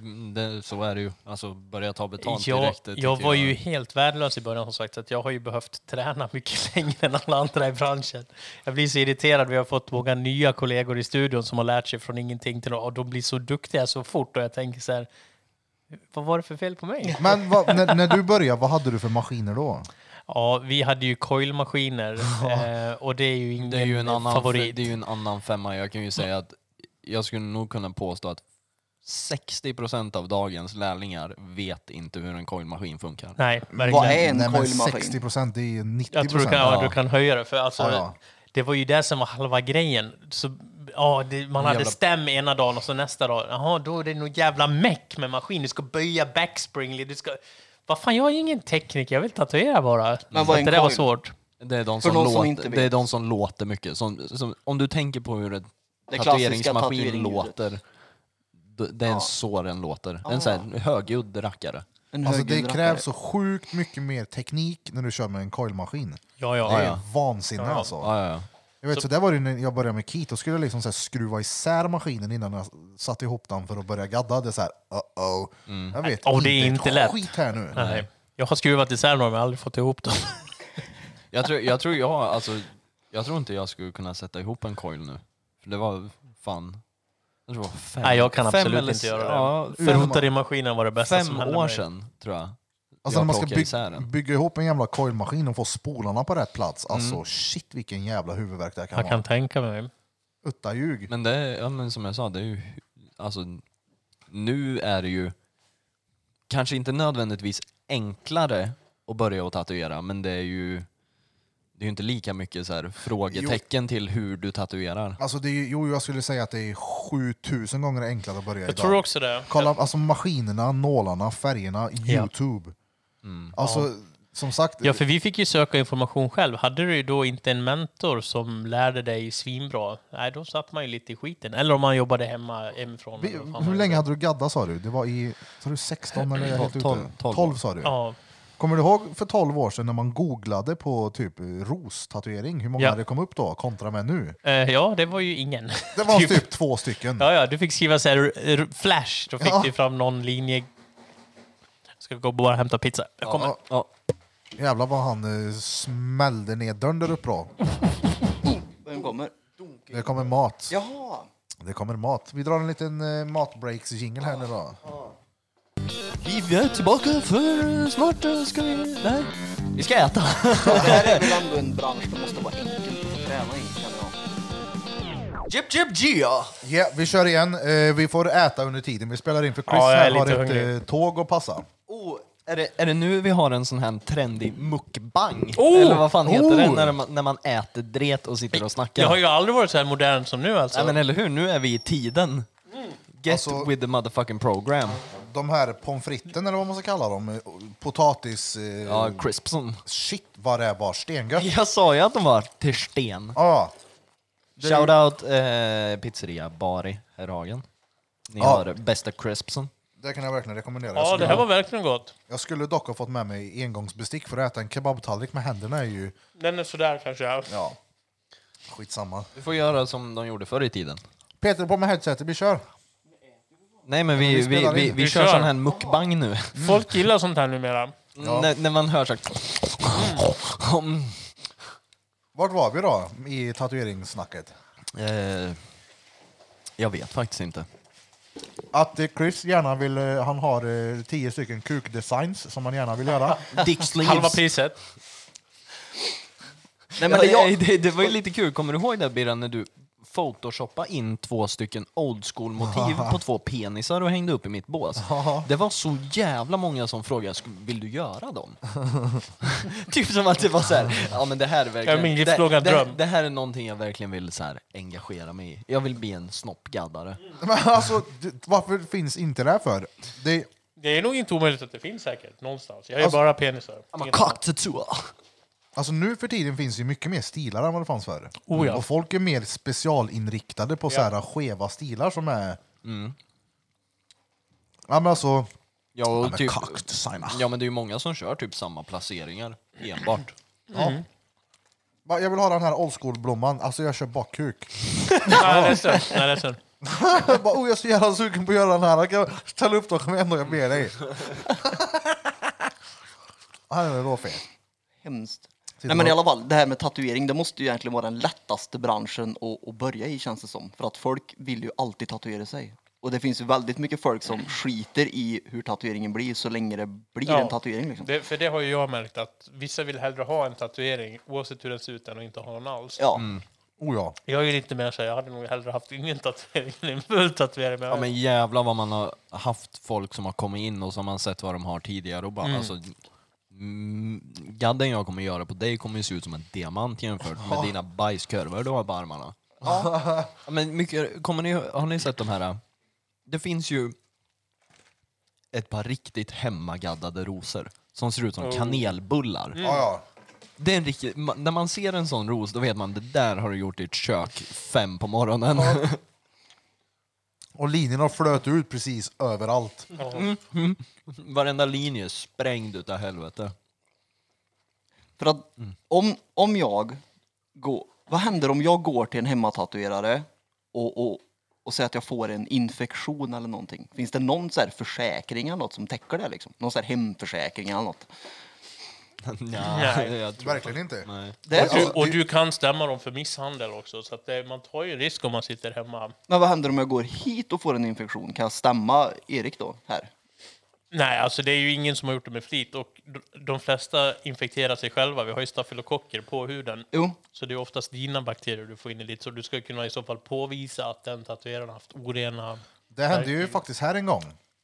det, så är det ju. Alltså börja ta betalt jag, direkt. det tycker jag var ju helt värdelös i början som sagt, så att jag har ju behövt träna mycket [laughs] längre än alla andra i branschen. Jag blir så irriterad, vi har fått många nya kollegor i studion som har lärt sig från ingenting till något, och de blir så duktiga så fort och jag tänker så här, vad var det för fel på mig? Men vad, när, när du började, vad hade du för maskiner då? Ja, vi hade ju coilmaskiner [laughs] eh, och det är ju ingen Det är ju en annan, favorit. Mm. Det är ju en annan femma. Jag kan ju säga att jag skulle nog kunna påstå att 60% av dagens lärlingar vet inte hur en coilmaskin funkar. Nej, Vad verkligen. är en Nej, men coilmaskin? 60 procent, det är 90 Jag tror du procent. kan, ja, du kan höja det, för alltså, Ja, ja. det var ju det som var halva grejen. Så, ja, det, man hade Jävla- stäm ena dagen och så nästa dag, jaha, då är det nog jävla meck med maskin. Du ska böja backspringly, du ska... Vad fan, jag är ju ingen tekniker, jag vill tatuera bara. Men vad Så är att en det där var coil? svårt. Det är de För som, någon som låter, inte vet. det är de som låter mycket. Som, som, om du tänker på hur en Det klassiska tatueringsmaskin tatueringsljudet. låter, d- det är så den låter. En sån här högljudd rackare. En Alltså, det högljudd krävs rackare. så sjukt mycket mer teknik när du kör med en coilmaskin. Ja, Det ja. är ja. vansinne alltså. Ja, ja, ja. Jag vet, så där var det när jag började med kit, då skulle jag liksom så här skruva isär maskinen innan jag satte ihop den för att börja gadda. Det är såhär, uh-oh. Jag vet Och Mm. det är ett inte lätt. skit här nu. Nej. Jag har skruvat isär några, men jag har aldrig fått ihop dem. Jag, tror, jag, tror jag, alltså, jag tror inte jag skulle kunna sätta ihop en coil nu. För det var fan... Jag tror det var fem, Nej, jag kan fem absolut eller inte göra det. ja, fem- Rotade i maskinen var det bästa som fem hände år mig. sedan, tror jag. Alltså när jag man ska plockar byg- isär den. bygga ihop en jävla coilmaskin och få spolarna på rätt plats. Alltså shit vilken jävla huvudvärk det här kan Mm. Jag vara. kan tänka mig. Utta ljug. Men, det, är- ja, men som jag sa, det är ju... Alltså, nu är det ju kanske inte nödvändigtvis enklare att börja att tatuera, men det är ju... Det är ju inte lika mycket så här, frågetecken till hur du tatuerar. Alltså det är, ju- jo, jag skulle säga att det är 7000 gånger enklare att börja Jag idag. tror också det. Kolla, alltså maskinerna, nålarna, färgerna, Youtube. Mm. Alltså, som sagt, Ja, för vi fick ju söka information själv. Hade du då inte en mentor som lärde dig svinbra, nej, då satt man ju lite i skiten. Eller om man jobbade hemma hemifrån. vi, eller vad fan hur man länge gjorde. hade du gadda sa du? Det var i, sa du 16 eller är jag helt ute? 12, 12. 12 sa du. Ja, Kommer du ihåg för 12 år sedan när man googlade på typ rostatuering, hur många Ja. det kom upp då kontra med nu? eh, ja, det var ju ingen. [laughs] Det var typ, två stycken. Ja, ja, du fick skriva så här, r- r- flash, då fick Ja. du fram någon linje. Jag ska gå och bara hämta pizza. Jag kommer. Ja, Ja, jävlar vad han eh, smällde ner dörren där uppe då. Vem kommer? Det kommer mat. Jaha! Det kommer mat. Vi drar en liten eh, matbreaks-jingle här nu då. vi är tillbaka för snart ska vi... Nej, vi ska [laughs] äta. Ja, det här är väl ändå en bransch som måste vara enkelt att få träna i, känner jag. Jip, jip, gia! Ja, vi kör igen. Eh, vi får äta under tiden. Vi spelar in för Chris Ja, jag är här har lite ett hungrig. eh, tåg att passa. Oh, är, det, är det nu vi har en sån här trendig mukbang? Oh! Eller vad fan heter det Oh! när man, när man äter dret och sitter och snackar? Jag har ju aldrig varit så här modern som nu alltså. Nej, men eller hur, nu är vi i tiden. Get Alltså- with the motherfucking program. De här pommes fritesen eller vad man ska kalla dem. eh, Potatis... Eh, Ja, Crispson. [laughs] Shit vad det var stengött. Ja. Jag sa ju att de var till sten. Ja. Shoutout eh, pizzeria Bari Herhagen. Ni Ja. har bästa Crispson. Det kan jag verkligen rekommendera. jag, ja, det skulle, här var verkligen gott. jag skulle dock ha fått med mig engångsbestick för att äta en kebabtallrik med händerna är ju... Den är sådär kanske. ja. Ja. Skitsamma. Du får göra som de gjorde förr i tiden. Peter på med headsetet, vi kör. Nej men vi vi, vi, Mm. vi, spelar vi, in. Vi kör kör. sån här mukbang nu. Folk gillar sånt här numera. När- när man hör så här... Mm. Vart var vi då i tatueringssnacket? Eh, jag vet faktiskt [laughs] inte. Att eh, Chris gärna vill, eh, han har eh, tio stycken kukdesigns som han gärna vill göra. Dick sleeves. Halva priset. Nej, men det ja, jag... det, det var ju lite kul, kommer du ihåg det Birran när du photoshoppade in två stycken old school motiv på två penisar och hängde upp i mitt bås? Det var så jävla många som frågade, "Sk- vill du göra dem? [laughs] typ som att det var så här, ja men det här är verkligen... Ja, min det, livslånga det, dröm." det här är någonting jag verkligen vill så här, engagera mig i. Jag vill bli en snoppgaddare. Men alltså, det- varför finns inte det här för? Det, Det är nog inte omöjligt att det finns säkert någonstans. Jag är Alltså- bara penisar. I'm a Inget annat. cock tattooer. alltså nu för tiden finns ju mycket mer stilar än vad det fanns förr. Oh ja. Och folk är mer specialinriktade på så här skeva stilar som är... Mm. Ja men alltså, Ja, och men typ, cock designer. ja men det är ju många som kör typ samma placeringar enbart. Mm. va, jag vill ha den här old school-blomman, alltså jag kör bakkuk. Nej, det är synd. Nej, det är synd. jag, [laughs] bara, oh, jag är så jävla sugen på att göra den här, kan jag ställa upp den? Kom igen då, jag ber [laughs] dig. Han är då fel. Hemskt. Sitter Nej men i och- alla fall, det här med tatuering, det måste ju egentligen vara den lättaste branschen att, att börja i känns det som. För att folk vill ju alltid tatuera sig. Och det finns ju väldigt mycket folk som skiter i hur tatueringen blir så länge det blir Ja. en tatuering liksom. Det, för det har ju jag märkt att vissa vill hellre ha en tatuering oavsett hur den ser ut än att inte ha någon alls. Ja, Oh ja. Jag är ju lite mer så här, jag hade nog hellre haft ingen tatuering än en full tatuering. Men Ja men jävlar vad man har haft folk som har kommit in och som man sett vad de har tidigare och bara alltså mm, Gadden jag kommer göra på dig kommer ju se ut som en diamant jämfört med dina bajskorvar du har på armarna. Ja, men mycket, kommer ni, har ni sett de här? Det finns ju ett par riktigt hemmagaddade rosor som ser ut som kanelbullar. Ja, ja. Det är en riktig, ma- när man ser en sån ros då vet man det där har du gjort i ett kök fem på morgonen. Och linjerna flöt ut precis överallt. [laughs] Mm. Varenda linje är sprängd utav helvete. för att om, om jag går... Vad händer om jag går till en hemmatatuerare och, och, och säger att jag får en infektion eller någonting? Finns det någon så här försäkring eller något som täcker det liksom? Någon så här hemförsäkring eller något? [laughs] Nej. jag tror- Verkligen inte. Nej. Det, och, du, och du kan stämma dem för misshandel också, så att det, man tar ju risk om man sitter hemma. Men vad händer om jag går hit och får en infektion? Kan jag stämma Erik då? Här? Nej, alltså det är ju ingen som har gjort det med flit och d- de flesta infekterar sig själva. Vi har ju stafylokocker på huden. Jo, Så det är oftast dina bakterier du får in i ditt, så du ska kunna i så fall påvisa att den tatueraren har haft Mm. orena... Det hände ju faktiskt här en gång.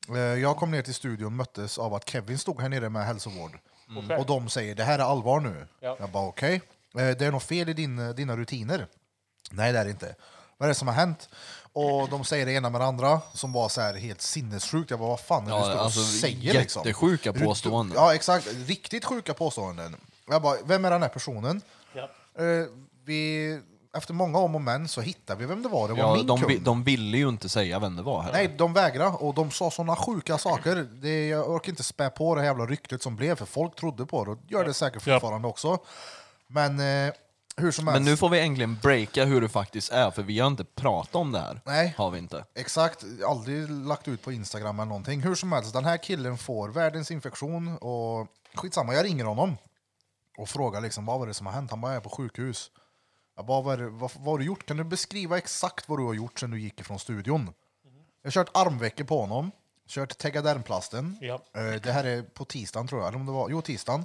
Eh, Jag kom ner till studion möttes av att Kevin stod här nere med hälsovård. Mm. Okej. Och de säger det här är allvar nu. Ja. Jag bara okej, Eh, det är något fel i din, dina rutiner. Nej det är det inte. Vad är det som har hänt? Och de säger det ena med det andra som var så här helt sinnessjukt. Jag bara vad fan är det Ja, du står alltså, och säger liksom? jättesjuka Är du- påståenden. Ja exakt, riktigt sjuka påståenden. Jag bara, vem är den här personen? Ja. Eh, Vi, efter många om och men så hittade vi vem det var. Det var Ja, min de, kund. vi- de ville ju inte säga vem det var heller. Nej, de vägrade och de sa såna sjuka saker. Det, jag orkar inte spä på det här jävla ryktet som blev, för folk trodde på det och gör det säkert Ja. fortfarande också. Men eh, hur som helst. Men nu får vi äntligen breaka hur det faktiskt är, för vi har inte pratat om det här. Nej. Har vi inte. Exakt, aldrig lagt ut på Instagram eller någonting. Hur som helst, den här killen får världens infektion och skitsamma, jag ringer honom och frågar liksom vad var det som har hänt? Han bara, jag är på sjukhus. Jag bara, vad, är det, vad, vad har du gjort? Kan du beskriva exakt vad du har gjort sedan du gick ifrån studion? Jag har kört armveckor på honom, kört tegadermplasten. Ja. Eh, Det här är på tisdagen tror jag, eller om det var, jo tisdagen.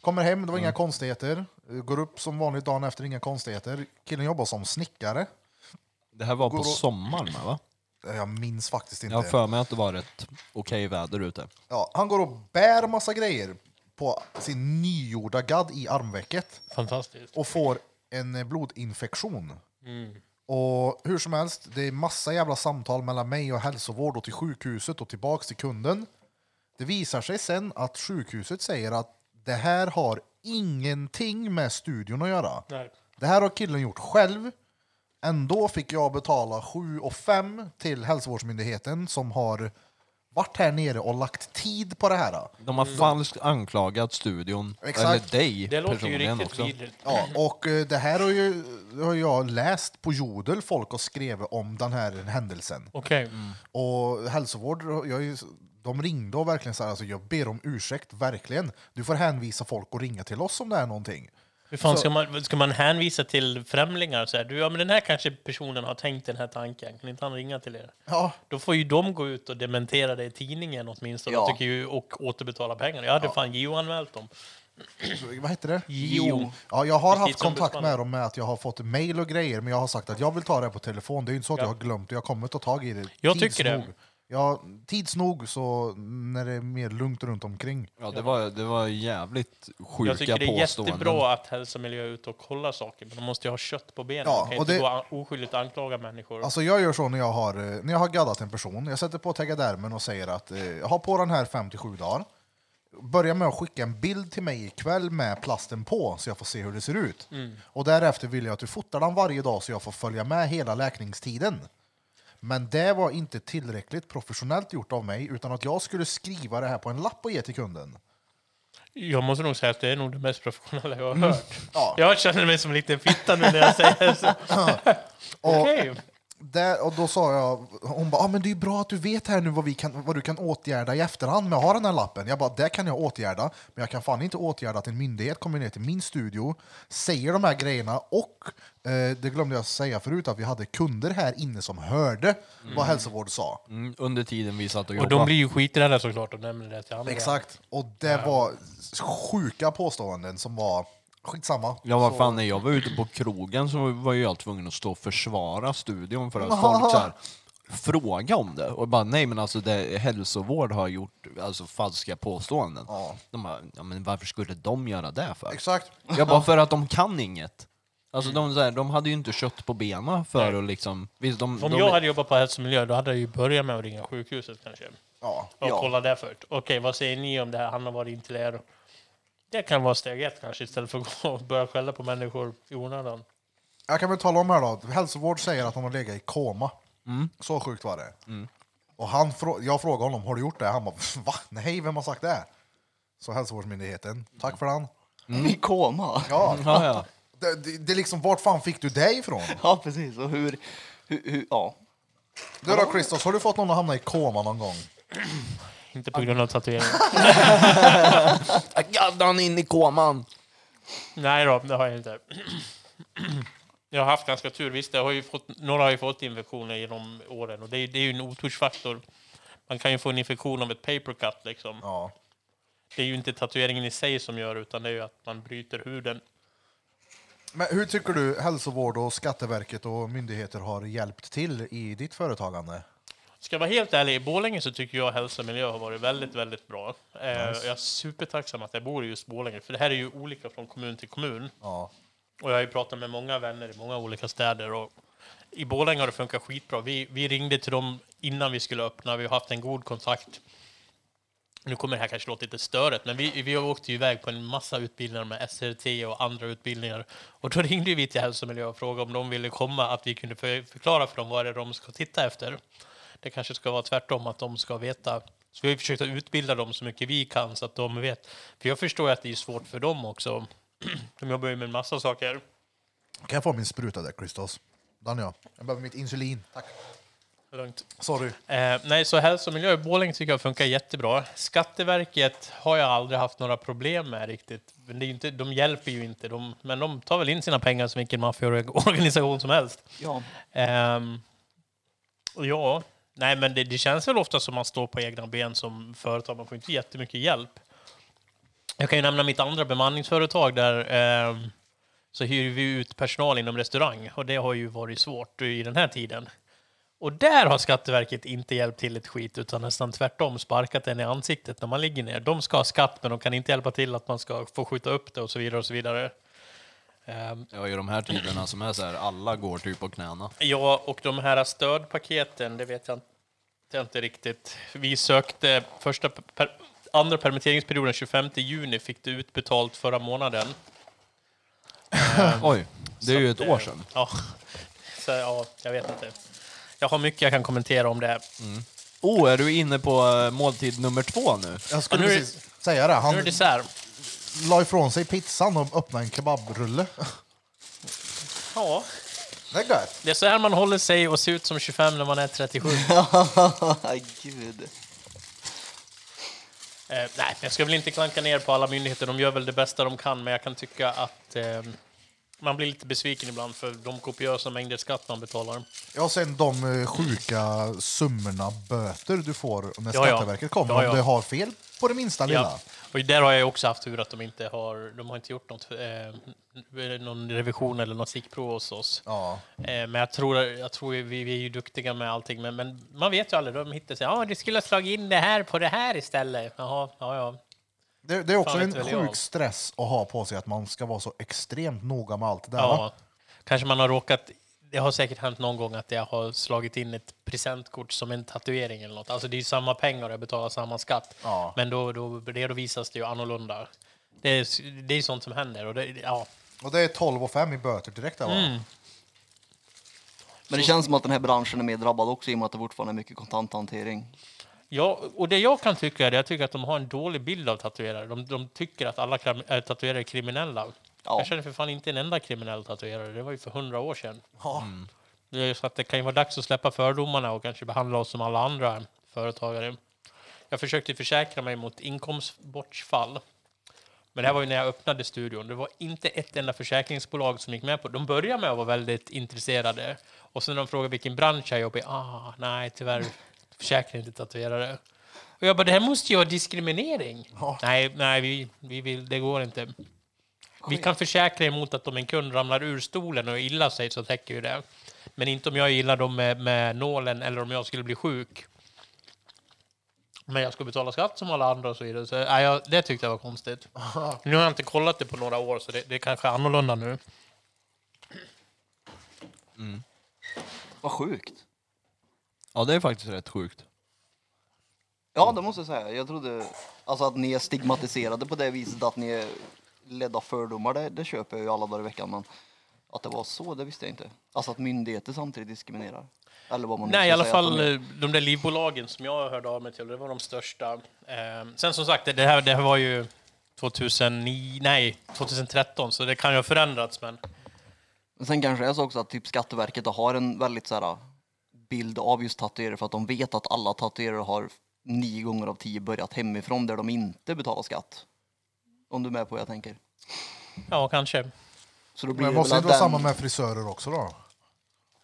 Kommer hem, det var inga konstigheter. Eh, Går upp som vanligt dagen efter, inga konstigheter. Killen jobbar som snickare. Det här var Går på och- sommaren va? va? Eh, Jag minns faktiskt inte. Jag har för mig att det var ett okej väder ute. Ja, han går och bär massa grejer på sin nygjorda gadd i armvecket Fantastiskt. och får en eh, blodinfektion. Och hur som helst, det är massa jävla samtal mellan mig och hälsovård och till sjukhuset och tillbaks till kunden. Det visar sig sen att sjukhuset säger att det här har ingenting med studion att göra. Nej. Det här har killen gjort själv. Ändå fick jag betala 7 och 5 till hälsovårdsmyndigheten som har varit här nere och lagt tid på det här. De har falskt anklagat studion, Exakt. eller dig Mm. Det låter ju personligen riktigt också. vidrigt. Ja, och eh, det här har ju det har jag läst på Jodel, folk har skrivit om den här händelsen. Okej. Och hälsovård, jag är ju, de ringde och verkligen så här, alltså jag ber om ursäkt, verkligen. Du får hänvisa folk och ringa till oss om det är någonting. Hur fan ska, man, ska man hänvisa till främlingar? Så här, du, ja, men den här kanske personen har tänkt den här tanken, kan inte han ringa till er? Ja, Då får ju de gå ut och dementera det i tidningen åtminstone Ja. tycker ju, och återbetala pengar. Jag hade fan JO-anmält dem. vad heter det? Jo. Ja, jag har haft Justitieombudsmannen. kontakt med dem med att jag har fått mail och grejer, men jag har sagt att jag vill ta det här på telefon. Det är ju inte så att jag har glömt det. Jag kommer ta tag i det. Jag tids tycker det. nog. Ja, tids nog så när det är mer lugnt runt omkring. Ja, det var, det var jävligt sjuka Jag tycker det är påståenden. jättebra att hälsa och miljö är ute och kollar saker, men de måste ju ha kött på benen. Ja, de kan ju och inte det- gå an- oskyldigt anklaga människor. Alltså jag gör så när jag har, eh, när jag har gaddat en person. Jag sätter på tegadermen och säger att eh, ha på den här 57 dagar. Börja med att skicka en bild till mig ikväll med plasten på så jag får se hur det ser ut. Och därefter vill jag att du fotar den varje dag så jag får följa med hela läkningstiden. Men det var inte tillräckligt professionellt gjort av mig utan att jag skulle skriva det här på en lapp och ge till kunden. Jag måste nog säga att det är nog det mest professionella jag har hört. Mm. Ja. Jag känner mig som en liten fitta nu när jag säger så. [laughs] Och- Okej. Där, och då sa jag, hon bara, ah, men det är ju bra att du vet här nu vad, vi kan, vad du kan åtgärda i efterhand med att ha den här lappen. Jag bara, det kan jag åtgärda, men jag kan fan inte åtgärda att en myndighet kommer ner till min studio, säger de här grejerna och, eh, det glömde jag säga förut, att vi hade kunder här inne som hörde vad hälsovård sa. Mm, under tiden vi satt och Och jobbade. de blir ju skiträdda såklart och nämner det till andra. Exakt, och det var sjuka påståenden som var, skitsamma. Ja, vad fan, när jag var ute på krogen så var ju jag tvungen att stå och försvara studion för att folk så här, fråga om det. Och bara, nej men alltså det, hälsovård har gjort alltså, falska påståenden. Ja. De bara, ja, men varför skulle de göra det för? Exakt. Jag bara, för att de kan inget. Alltså de, så här, de hade ju inte kött på benen för att liksom... Visst, de, Om de, jag hade jobbat på hälsomiljö då hade jag ju börjat med att ringa sjukhuset kanske. Ja. Och Ja. kolla där först. Okej, vad säger ni om det här? Han har varit in till er. Det kan vara steg ett kanske istället för att gå och börja skälla på människor i onödan. Jag kan väl tala om här då. Hälsovård säger att han har legat i koma. Mm. Så sjukt var det. Och han, frå- jag frågade honom, har du gjort det? Han bara, va? Nej, vem har sagt det? Så hälsovårdsmyndigheten, tack för den. Mm. I koma. Ja, Ja, ja. det, det, det är liksom, vart fan fick du det ifrån? [laughs] Ja, precis. Och hur... hur, hur ja. Du då Christos, har du fått någon att hamna i koma någon gång? Inte på grund av tatueringen. Jag gaddade han in i koman! Nej då, det har jag inte. [clears throat] Jag har haft ganska tur. Visst, jag har ju fått, några har ju fått infektioner genom åren och det är, det är ju en otursfaktor. Man kan ju få en infektion av ett paper cut liksom. Ja. Det är ju inte tatueringen i sig som gör utan det är ju att man bryter huden. Men hur tycker du hälsovård och Skatteverket och myndigheter har hjälpt till i ditt företagande? Ska jag vara helt ärlig, i Borlänge så tycker jag hälsa och miljö har varit väldigt, väldigt bra. Eh, Jag är supertacksam att jag bor i just Borlänge, för det här är ju olika från kommun till kommun. Ja. Och jag har ju pratat med många vänner i många olika städer. Och I Borlänge har det funkat skitbra. Vi, vi ringde till dem innan vi skulle öppna. Vi har haft en god kontakt. Nu kommer det här kanske låta lite störet, men vi, vi åkte ju iväg på en massa utbildningar med SRT och andra utbildningar. Och då ringde vi till hälsomiljö och frågade om de ville komma, att vi kunde för, förklara för dem vad det är de ska titta efter. Det kanske ska vara tvärtom, att de ska veta. Så vi har ju försökt att utbilda dem så mycket vi kan så att de vet. För jag förstår ju att det är svårt för dem också. De jobbar ju med en massa saker. Kan jag få min spruta där Christos? Den ja. Jag behöver mitt insulin. Tack. Lugnt. Sorry. Eh, nej, så hälso och miljö i Borlänge tycker jag funkar jättebra. Skatteverket har jag aldrig haft några problem med riktigt. Men det är ju inte, de hjälper ju inte, de, men de tar väl in sina pengar som vilken maffiaorganisation som helst. ja. [laughs] Ehm, och ja, nej men det, det känns väl ofta som man står på egna ben som företag, man får inte jättemycket hjälp. Jag kan ju nämna mitt andra bemanningsföretag där ehm, så hyr vi ut personal inom restaurang och det har ju varit svårt i den här tiden. Och där har Skatteverket inte hjälpt till ett skit utan nästan tvärtom sparkat en i ansiktet när man ligger ner. De ska ha skatt men de kan inte hjälpa till att man ska få skjuta upp det och så vidare och så vidare. Ehm, Ja, i de här tiderna som är så här, alla går typ på knäna. Ja, och de här stödpaketen, det vet jag inte- jag inte riktigt. Vi sökte första, per, andra permitteringsperioden 25 juni, fick det utbetalt förra månaden. Oj, det är ju ett Så att, år eh, sedan. Ja, så, ja, jag vet inte. Jag har mycket jag kan kommentera om det. Oh, är du inne på eh, måltid nummer två nu? Jag skulle Ja, nu är det- precis säga det. Han Nu är det dessert. la ifrån sig pizzan och öppnade en kebabrulle. Ja, Det är gött. det är så här man håller sig och ser ut som 25 när man är 37. Gud. Eh, nej, jag ska väl inte klanka ner på alla myndigheter. De gör väl det bästa de kan, men jag kan tycka att eh, Man blir lite besviken ibland för de kopiösa mängder skatt man betalar. Ja, sen de eh, sjuka summorna böter du får när Ja, ja. Skatteverket kommer Ja, ja. om du har fel på det minsta lilla. Ja. Och där har jag också haft tur att de inte har, de har inte gjort något, eh, någon revision eller något stickprov hos oss. Ja. Eh, men jag tror, jag tror ju- vi, vi är ju duktiga med allting, men, men man vet ju aldrig. De hittar sig, ja, du skulle ha slagit in det här på det här istället. Jaha, ja, ja. Det, det är också Fan, en vet väl jag. sjuk stress att ha på sig att man ska vara så extremt noga med allt det där. va? ja. Kanske man har råkat, det har säkert hänt någon gång att jag har slagit in ett presentkort som en tatuering eller något. Alltså det är ju samma pengar och jag betalar samma skatt. Ja. Men då, då redovisas det ju annorlunda. Det är, det är sånt som händer. Och det, ja. Och det är 12 och 5 i böter direkt. Där, va? Men det känns som att den här branschen är mer drabbad också i och med att det fortfarande är mycket kontanthantering. Ja, och det jag kan tycka är att jag tycker att de har en dålig bild av tatuerare. De, de tycker att alla kram- äh, tatuerare är kriminella. Ja. Jag känner för fan inte en enda kriminell tatuerare. Det var ju för hundra år sedan. Ja. Det är ju Så att det kan ju vara dags att släppa fördomarna och kanske behandla oss som alla andra företagare. Jag försökte försäkra mig mot inkomstbortfall. Men det här var ju när jag öppnade studion. Det var inte ett enda försäkringsbolag som gick med på det. De började med att vara väldigt intresserade. Och sen när de frågade vilken bransch jag jobbar i. Ah, nej, tyvärr. Försäkring inte tatuerare. Och jag bara, det här måste ju vara diskriminering. Ja. Nej, nej vi, vi vill, det går inte. Vi kan försäkra emot att om en kund ramlar ur stolen och illa sig så täcker ju det. Men inte om jag gillar dem med, med nålen eller om jag skulle bli sjuk. Men jag ska betala skatt som alla andra och så vidare. Så, nej, jag, det tyckte jag var konstigt. Nu har jag inte kollat det på några år så det, det kanske är annorlunda nu. Vad sjukt. Ja, det är faktiskt rätt sjukt. Ja, det måste jag säga. Jag trodde alltså att ni är stigmatiserade på det viset att ni är ledda av fördomar, det, det köper jag ju alla dagar i veckan. Men att det var så, det visste jag inte. Alltså att myndigheter samtidigt diskriminerar. Eller vad man nu Nej, i ska alla säga att fall de gör. eh, de där livbolagen som jag hörde av mig till, det var de största. Eh, Sen som sagt, det- det här, det här var ju 2009, nej, 2013, så det kan ju ha förändrats. Men Men sen kanske det är så också att typ Skatteverket har en väldigt så här ah, bild av just tatuerare för att de vet att alla tatuerare har nio gånger av tio börjat hemifrån där de inte betalar skatt. Om du är med på vad jag tänker. ja, Mm. kanske. Så då blir Men det måste väl det att inte vara den- samma med frisörer också då?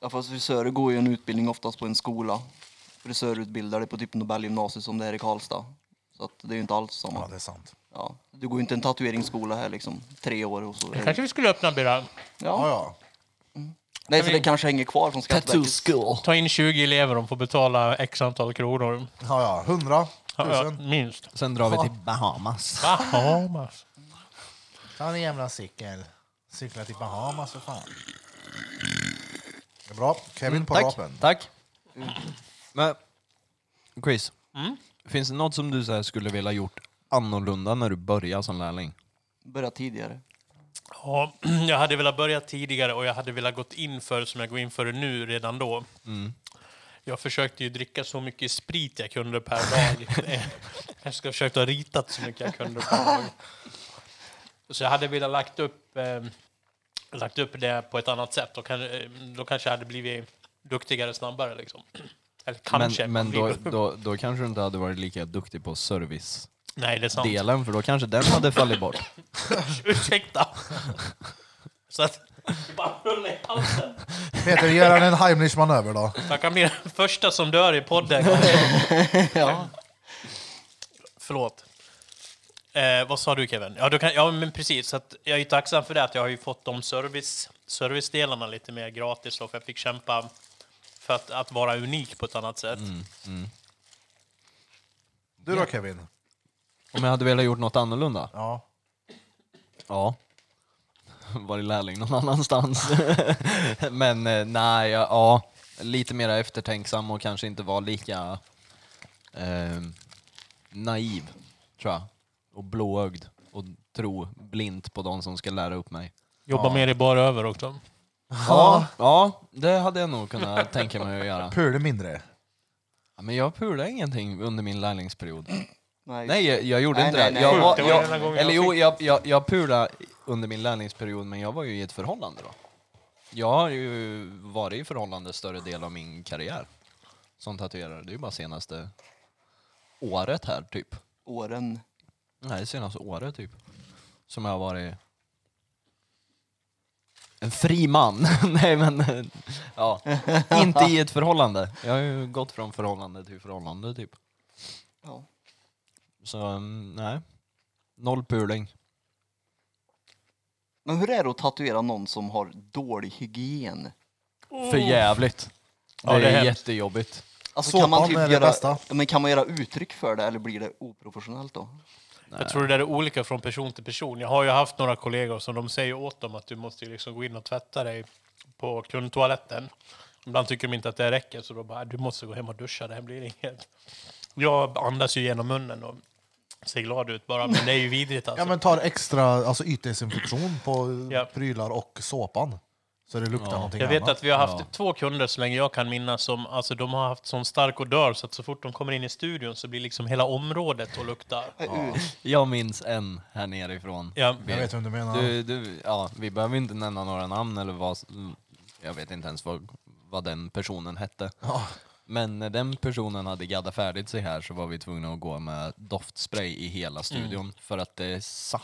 Ja, fast frisörer går ju en utbildning oftast på en skola. Frisörutbildare på typ Nobelgymnasiet som det är i Karlstad. Så att det är ju inte alls Ja, samma. det är sant. Ja. Du går ju inte en tatueringsskola här liksom, tre år och så. Kanske vi skulle öppna Birra. Ja, Ja. ja. Nej, för det kanske hänger kvar från Skatteverket. school. Ta in 20 elever, de får betala x antal kronor. ja, ja. 100 Ja, ja, 000. minst. Sen drar vi till Bahamas. Bahamas. Ta en jävla cykel. Cykla till Bahamas för fan. Det är bra. Kevin på Mm, Tack. rapen. Tack. Men, Chris. Mm? Finns det något som du så här skulle vilja gjort annorlunda när du började som lärling? Börja tidigare. Ja, jag hade velat börja tidigare och jag hade velat gått in för som jag går in för nu redan då. Mm. Jag försökte ju dricka så mycket sprit jag kunde [laughs] per dag. Eh, jag ska ha försökt ha ritat så mycket jag kunde per dag. Så jag hade velat lagt upp, eh, lagt upp det på ett annat sätt. Då, kan, eh, då kanske jag hade blivit duktigare snabbare. Liksom. Eller kanske. Men, men då, då, då kanske du inte hade varit lika duktig på servicedelen, Nej, det är sant. för då kanske den hade fallit bort. Ursäkta. Så att det bara rullade i halsen. Peter, gör han en Heimlich-manöver då? Så jag kan bli den första som dör i podden. Ja. Förlåt. Eh, vad sa du Kevin? Ja, du kan, ja men precis. Så att jag är ju tacksam för det att jag har ju fått de service, servicedelarna lite mer gratis då, för jag fick kämpa för att, att vara unik på ett annat sätt. Du då Kevin? Om jag hade velat gjort något annorlunda? Ja. [laughs] Ja. Varit lärling någon annanstans. [laughs] Men eh, nej, ja, ja. Lite mer eftertänksam och kanske inte vara lika eh, naiv, tror jag. Och blåögd. Och tro blint på de som ska lära upp mig. Jobba mer i bara över också. Ja, ja det hade jag nog kunnat tänka mig att göra. Pöler mindre. Ja, Men jag pulade ingenting under min lärlingsperiod. Nej. Nej, jag, jag gjorde Nej, inte nej, det. nej. Jag, Sjukt, var- det var den enda gången jag, eller jag jo, jag, jag, jag pulade under min lärlingsperiod, men jag var ju i ett förhållande då. Jag har ju varit i förhållande större del av min karriär som tatuerare. Det är ju bara senaste året här, typ. Åren. Nej, senaste året, typ. Som jag har varit en fri man. [laughs] Nej men, eh, ja. Inte i ett förhållande. Jag har ju gått från förhållande till förhållande typ. Ja. Så mm, nej. Noll puling. Men hur är det att tatuera någon som har dålig hygien? För jävligt. Ja, det, det är är hemskt. jättejobbigt. Alltså, Såpan kan man typ är det göra, bästa. Ja, Men kan man göra uttryck för det eller blir det oprofessionellt då? Jag tror det där är olika från person till person. Jag har ju haft några kollegor som de säger åt dem att du måste ju liksom gå in och tvätta dig på kundtoaletten. Ibland tycker de inte att det räcker, så då bara du måste gå hem och duscha, det här blir inget. Jag andas ju genom munnen och ser glad ut bara, men det är ju vidrigt alltså. [laughs] Ja, men tar extra alltså, ytdesinfektion på Ja. prylar och såpan. Så det luktar någonting Jag vet annat. att vi har haft två kunder så länge jag kan minnas som alltså, de har haft sån stark odör så att så fort de kommer in i studion så blir liksom hela området och luktar. Ja. Jag minns en här nerifrån. Ja. Jag vet vem du menar. Du, du, ja, vi behöver inte nämna några namn eller vad... Jag vet inte ens vad, vad den personen hette. Men när den personen hade gaddat färdigt sig här så var vi tvungna att gå med doftspray i hela studion för att det satt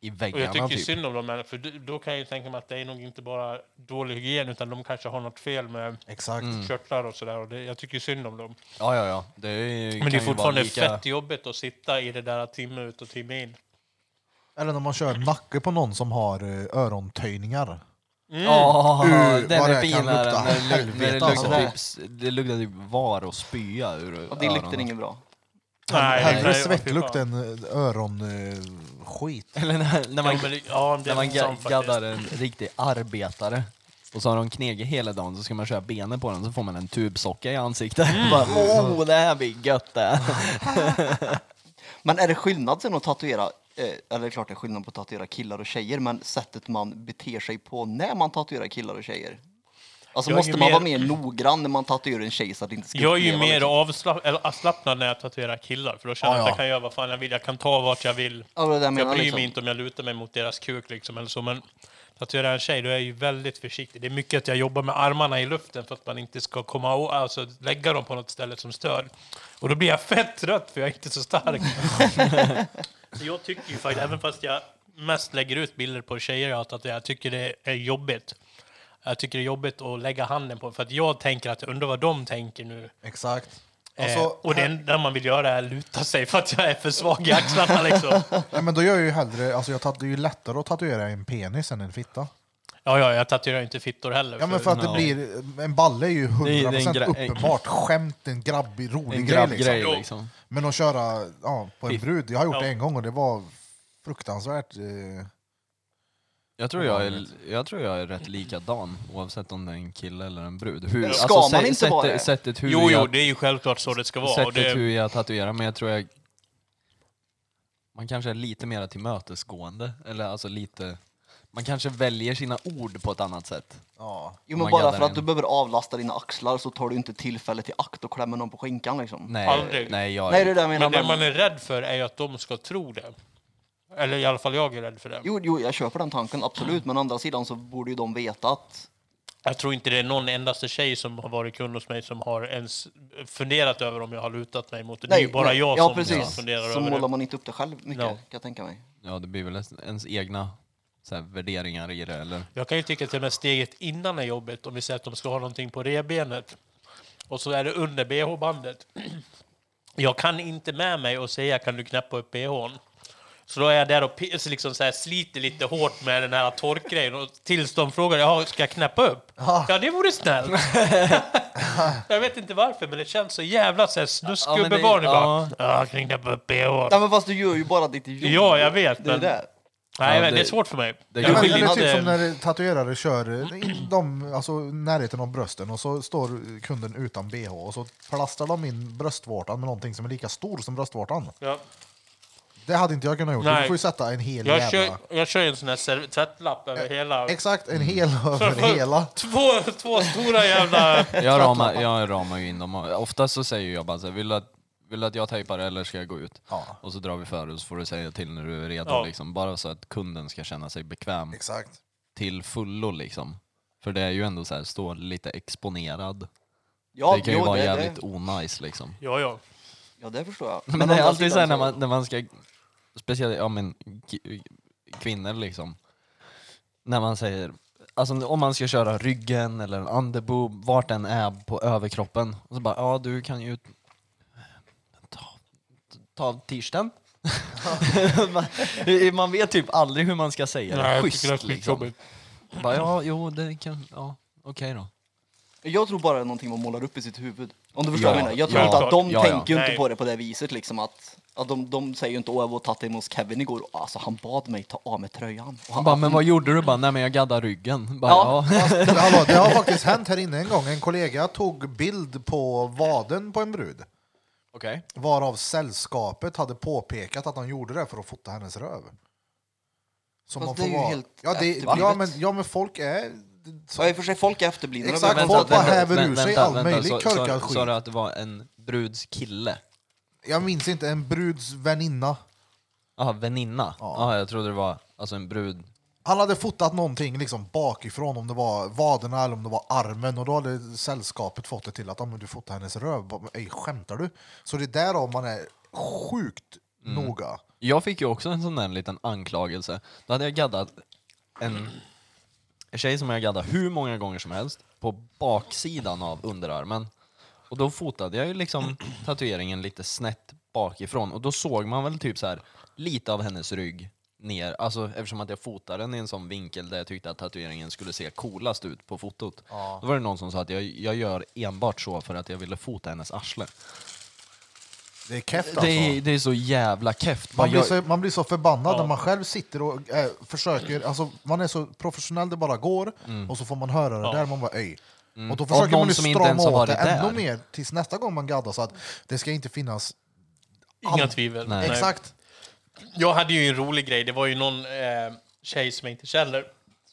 i Mm. Och jag väggarna tycker ju typ. synd om de människorna, för d- då kan jag ju tänka mig att det är nog inte bara dålig hygien utan de kanske har något fel med Exakt. Mm. körtlar och sådär. Och det, jag tycker ju synd om dem. Ja, ja, ja. Det är, kan Men det ju är vara fortfarande lika... fett jobbigt att sitta i det där timme ut och timme in. Eller när man kör nacke på någon som har eh, örontöjningar. Mm. Ja, Uh, den vad det är kan finare lukta. än när det, luk- när det, Helvete, alltså. luktar typ, s- det luktar typ var och spya ur Ja, det luktar öronen. inget bra. Hellre nej, svettlukt fy fan. än eh, öronskit. Eller när, när man Ja, men, det- ja, det När man är man ga- sant, gaddar faktiskt. en riktig arbetare och så har de knegit hela dagen så ska man köra benen på den så får man en tubsocka i ansiktet. [laughs] Bara, Åh, det här blir gött det! Men är det skillnad sen att tatuera, eh, eller det är klart det är skillnad på att tatuera killar och tjejer, men sättet man beter sig på när man tatuerar killar och tjejer? Alltså Jag är måste ju man mer- vara mer noggrann när man tatuerar en tjej så att det inte ska Jag är ju uppleva, mer liksom. avsla- eller avslappnad när jag tatuerar killar, för då känner jag Ja, att ja. jag kan göra vad fan jag vill. Jag kan ta vart jag vill. Ja, det där jag menar bryr jag liksom. mig inte om jag lutar mig mot deras kuk liksom, eller så, men tatuerar jag en tjej, då är jag ju väldigt försiktig. Det är mycket att jag jobbar med armarna i luften för att man inte ska komma och, alltså, lägga dem på något ställe som stör. Och då blir jag fett trött, för jag är inte så stark. så jag tycker ju faktiskt, även fast jag mest lägger ut bilder på tjejer jag har tatuerat, jag tycker det är jobbigt. Jag tycker det är jobbigt att lägga handen på, för att jag tänker att jag undrar vad de tänker nu. Exakt. Alltså, Alltså, eh, och det enda man vill göra är att luta sig för att jag är för svag i axlarna liksom. Nej, men då gör jag ju hellre, alltså jag tat- det är ju lättare att tatuera en penis än en fitta. Ja, ja, jag tatuerar inte fittor heller. Ja men för att det Ja. blir, en balle är ju 100% Det är- det är en gra- uppenbart skämt, en grabbig, rolig En grej, grabbgrej liksom. Jo. liksom. Men att köra ja, på en Fiff. brud, jag har gjort Ja. det en gång och det var fruktansvärt. eh, Jag, tror jag, är, jag tror jag är rätt likadan oavsett om det är en kille eller en brud. Hur, alltså, Ska man sä- inte sättet, vara det? Sättet hur Jo, jo, jag, det är ju självklart så det ska vara. Och sättet det, hur jag tatuerar men jag tror jag... Man kanske är lite mer tillmötesgående. Eller alltså lite... Man kanske väljer sina ord på ett annat sätt. Ja. Jo, man men bara gaddar för att en. du behöver avlasta dina axlar så tar du inte tillfället i akt och klämmer någon på skinkan liksom. Nej, Aldrig. nej, jag Nej, det är det jag menar. men det Men man är rädd för är ju att de ska tro det. Eller i alla fall jag är rädd för det. Jo, jo, jag köper den tanken, absolut. Men å andra sidan så borde ju de veta att... Jag tror inte det är någon endaste tjej som har varit kund hos mig som har ens funderat över om jag har lutat mig mot det. det är ju bara nej. jag ja, som precis. funderar Så över målar det. man inte upp det själv mycket, Ja. kan jag tänka mig. Ja, det blir väl ens- ens egna så här, värderingar i det, eller? Jag kan ju tycka att det med steget innan är jobbigt, om vi säger att de ska ha någonting på revbenet och så är det under bh-bandet. Jag kan inte med mig och säga kan du knäppa upp bhn? Så då är jag där och pi- så liksom så här sliter lite hårt med den här torkgrejen och tills de frågar Jaha, ska jag knäppa upp? Ja, det vore snällt. jag vet inte varför, men det känns så jävla så här Ja, men det- snuskgubbebarn. Ja, ja. ja, kan jag knäppa upp bhn? Ja, men fast du gör ju bara ditt jobb. Ja, jag vet, Det är men- det. Nej, Ja, men det är det- svårt för mig. det Jag Ja, men, vill eller inte- typ som när tatuerare kör eh, in dem, alltså, närheten av brösten och så står kunden utan bh och så plastar de in bröstvårtan med någonting som är lika stor som bröstvårtan. Ja. Det hade inte jag kunnat gjort. Nej. Du får ju sätta en hel Jag jävla... kör, jag kör ju en sån här serv- tvättlapp över hela... Exakt, Mm. en hel över hela. [laughs] Två, två stora jävla... Jag ramar, jag ramar ju in dem. Oftast så säger jag bara så här, vill du att, vill du att jag tejpar eller ska jag gå ut? Ja. Och så drar vi för och så får du säga till när du är redo, Ja. liksom. Bara så att kunden ska känna sig bekväm Exakt. till fullo, liksom. För det är ju ändå så här, stå lite exponerad. Ja, det kan ju jo, vara det, jävligt Det, onajs, liksom. Ja, ja. ja, det förstår jag. Men, å det är andra alltid så här sidan när man, när man ska, speciellt ja, men, k- kvinnor liksom, när man säger alltså, om man ska köra ryggen eller en underboob, vart den är på överkroppen. Och så bara, ja du kan ju ta, ta av t-shirten. [laughs] man, man vet typ aldrig hur man ska säga det. Schysst liksom. Bara, ja, jo, det kan, ja, okej då. Jag tror bara det är någonting man målar upp i sitt huvud. Om du förstår Ja, vad jag menar. Jag tror ja. inte att de Ja, ja. tänker ju inte Nej. på det på det viset liksom att, att de, de säger ju inte åh jag var och tattade hemma hos Kevin igår och alltså han bad mig ta av mig tröjan. Han Och han, bara, men vad gjorde du? Bara, nej men jag gaddade ryggen. Bara, Ja. ja. [laughs] Men Hallå, det har faktiskt hänt här inne en gång. En kollega tog bild på vaden på en brud. Okej. Varav sällskapet hade påpekat att de gjorde det för att fota hennes röv. Som Fast man det är ju helt ja, det, efterblivet. ja, men, ja, men folk är... ja, i och för sig folk är efterblivna. Exakt, De har folk väntat bara en- här- häver ur sig all möjlig så- korkad sa- skit. Sa du att det var en bruds kille? Jag minns inte, en bruds väninna. Jaha, väninna? Ja. Ja. jag trodde det var alltså en brud. Han hade fotat någonting liksom bakifrån, om det var vaderna eller om det var armen. Och då hade sällskapet fått det till att "Ah, men du fotade hennes röv. Bara, "Ey, skämtar du? Så det är därav man är sjukt Mm. noga. Jag fick ju också en sån där liten anklagelse. Då hade jag gaddat en, en tjej som jag gaddade hur många gånger som helst på baksidan av underarmen. Och då fotade jag ju liksom [clears throat] tatueringen lite snett bakifrån och då såg man väl typ så här lite av hennes rygg ner, alltså eftersom att jag fotade den i en sån vinkel där jag tyckte att tatueringen skulle se coolast ut på fotot. Då var det någon som sa att jag, jag gör enbart så för att jag ville fota hennes arsle. Det är keft alltså. Det är, det är så jävla keft. Man Bara blir, jag- så, man blir så förbannad Ja. när man själv sitter och eh, försöker, alltså man är så professionell det bara går och så får man höra det Ja. där man bara öj. Och då Mm. Av försöker någon man ju som inte ens strama har åt det varit där. ännu mer tills nästa gång man gaddar så att det ska inte finnas... Inga tvivel. Nej. liksom. Exakt. Jag hade ju en rolig grej. Det var ju någon eh, tjej som jag inte känner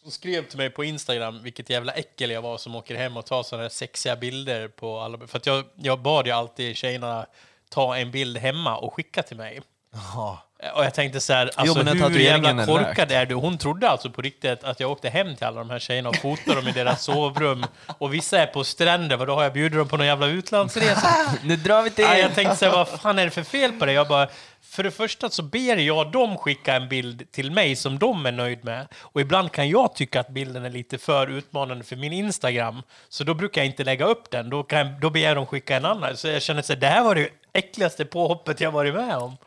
som skrev till mig på Instagram vilket jävla äckel jag var som åker hem och tar sådana här sexiga bilder på alla. För att jag, jag bad ju alltid tjejerna ta en bild hemma och skicka till mig. Jaha. Och jag tänkte så här, alltså, men när hur tatueringen jävla är korkad är du? Hon trodde alltså på riktigt att jag åkte hem till alla de här tjejerna och fotade dem i deras sovrum. Och vissa är på stränder, vadå har jag bjudit dem på någon jävla utlandsresa? [laughs] Nu drar vi till... Nej, jag tänkte såhär, vad fan är det för fel på det? Jag bara, för det första så ber jag dem skicka en bild till mig som de är nöjd med. Och ibland kan jag tycka att bilden är lite för utmanande för min Instagram. Så då brukar jag inte lägga upp den. Då, kan, då ber jag dem skicka en annan. Så jag känner att det här var det äckligaste påhoppet jag varit med om.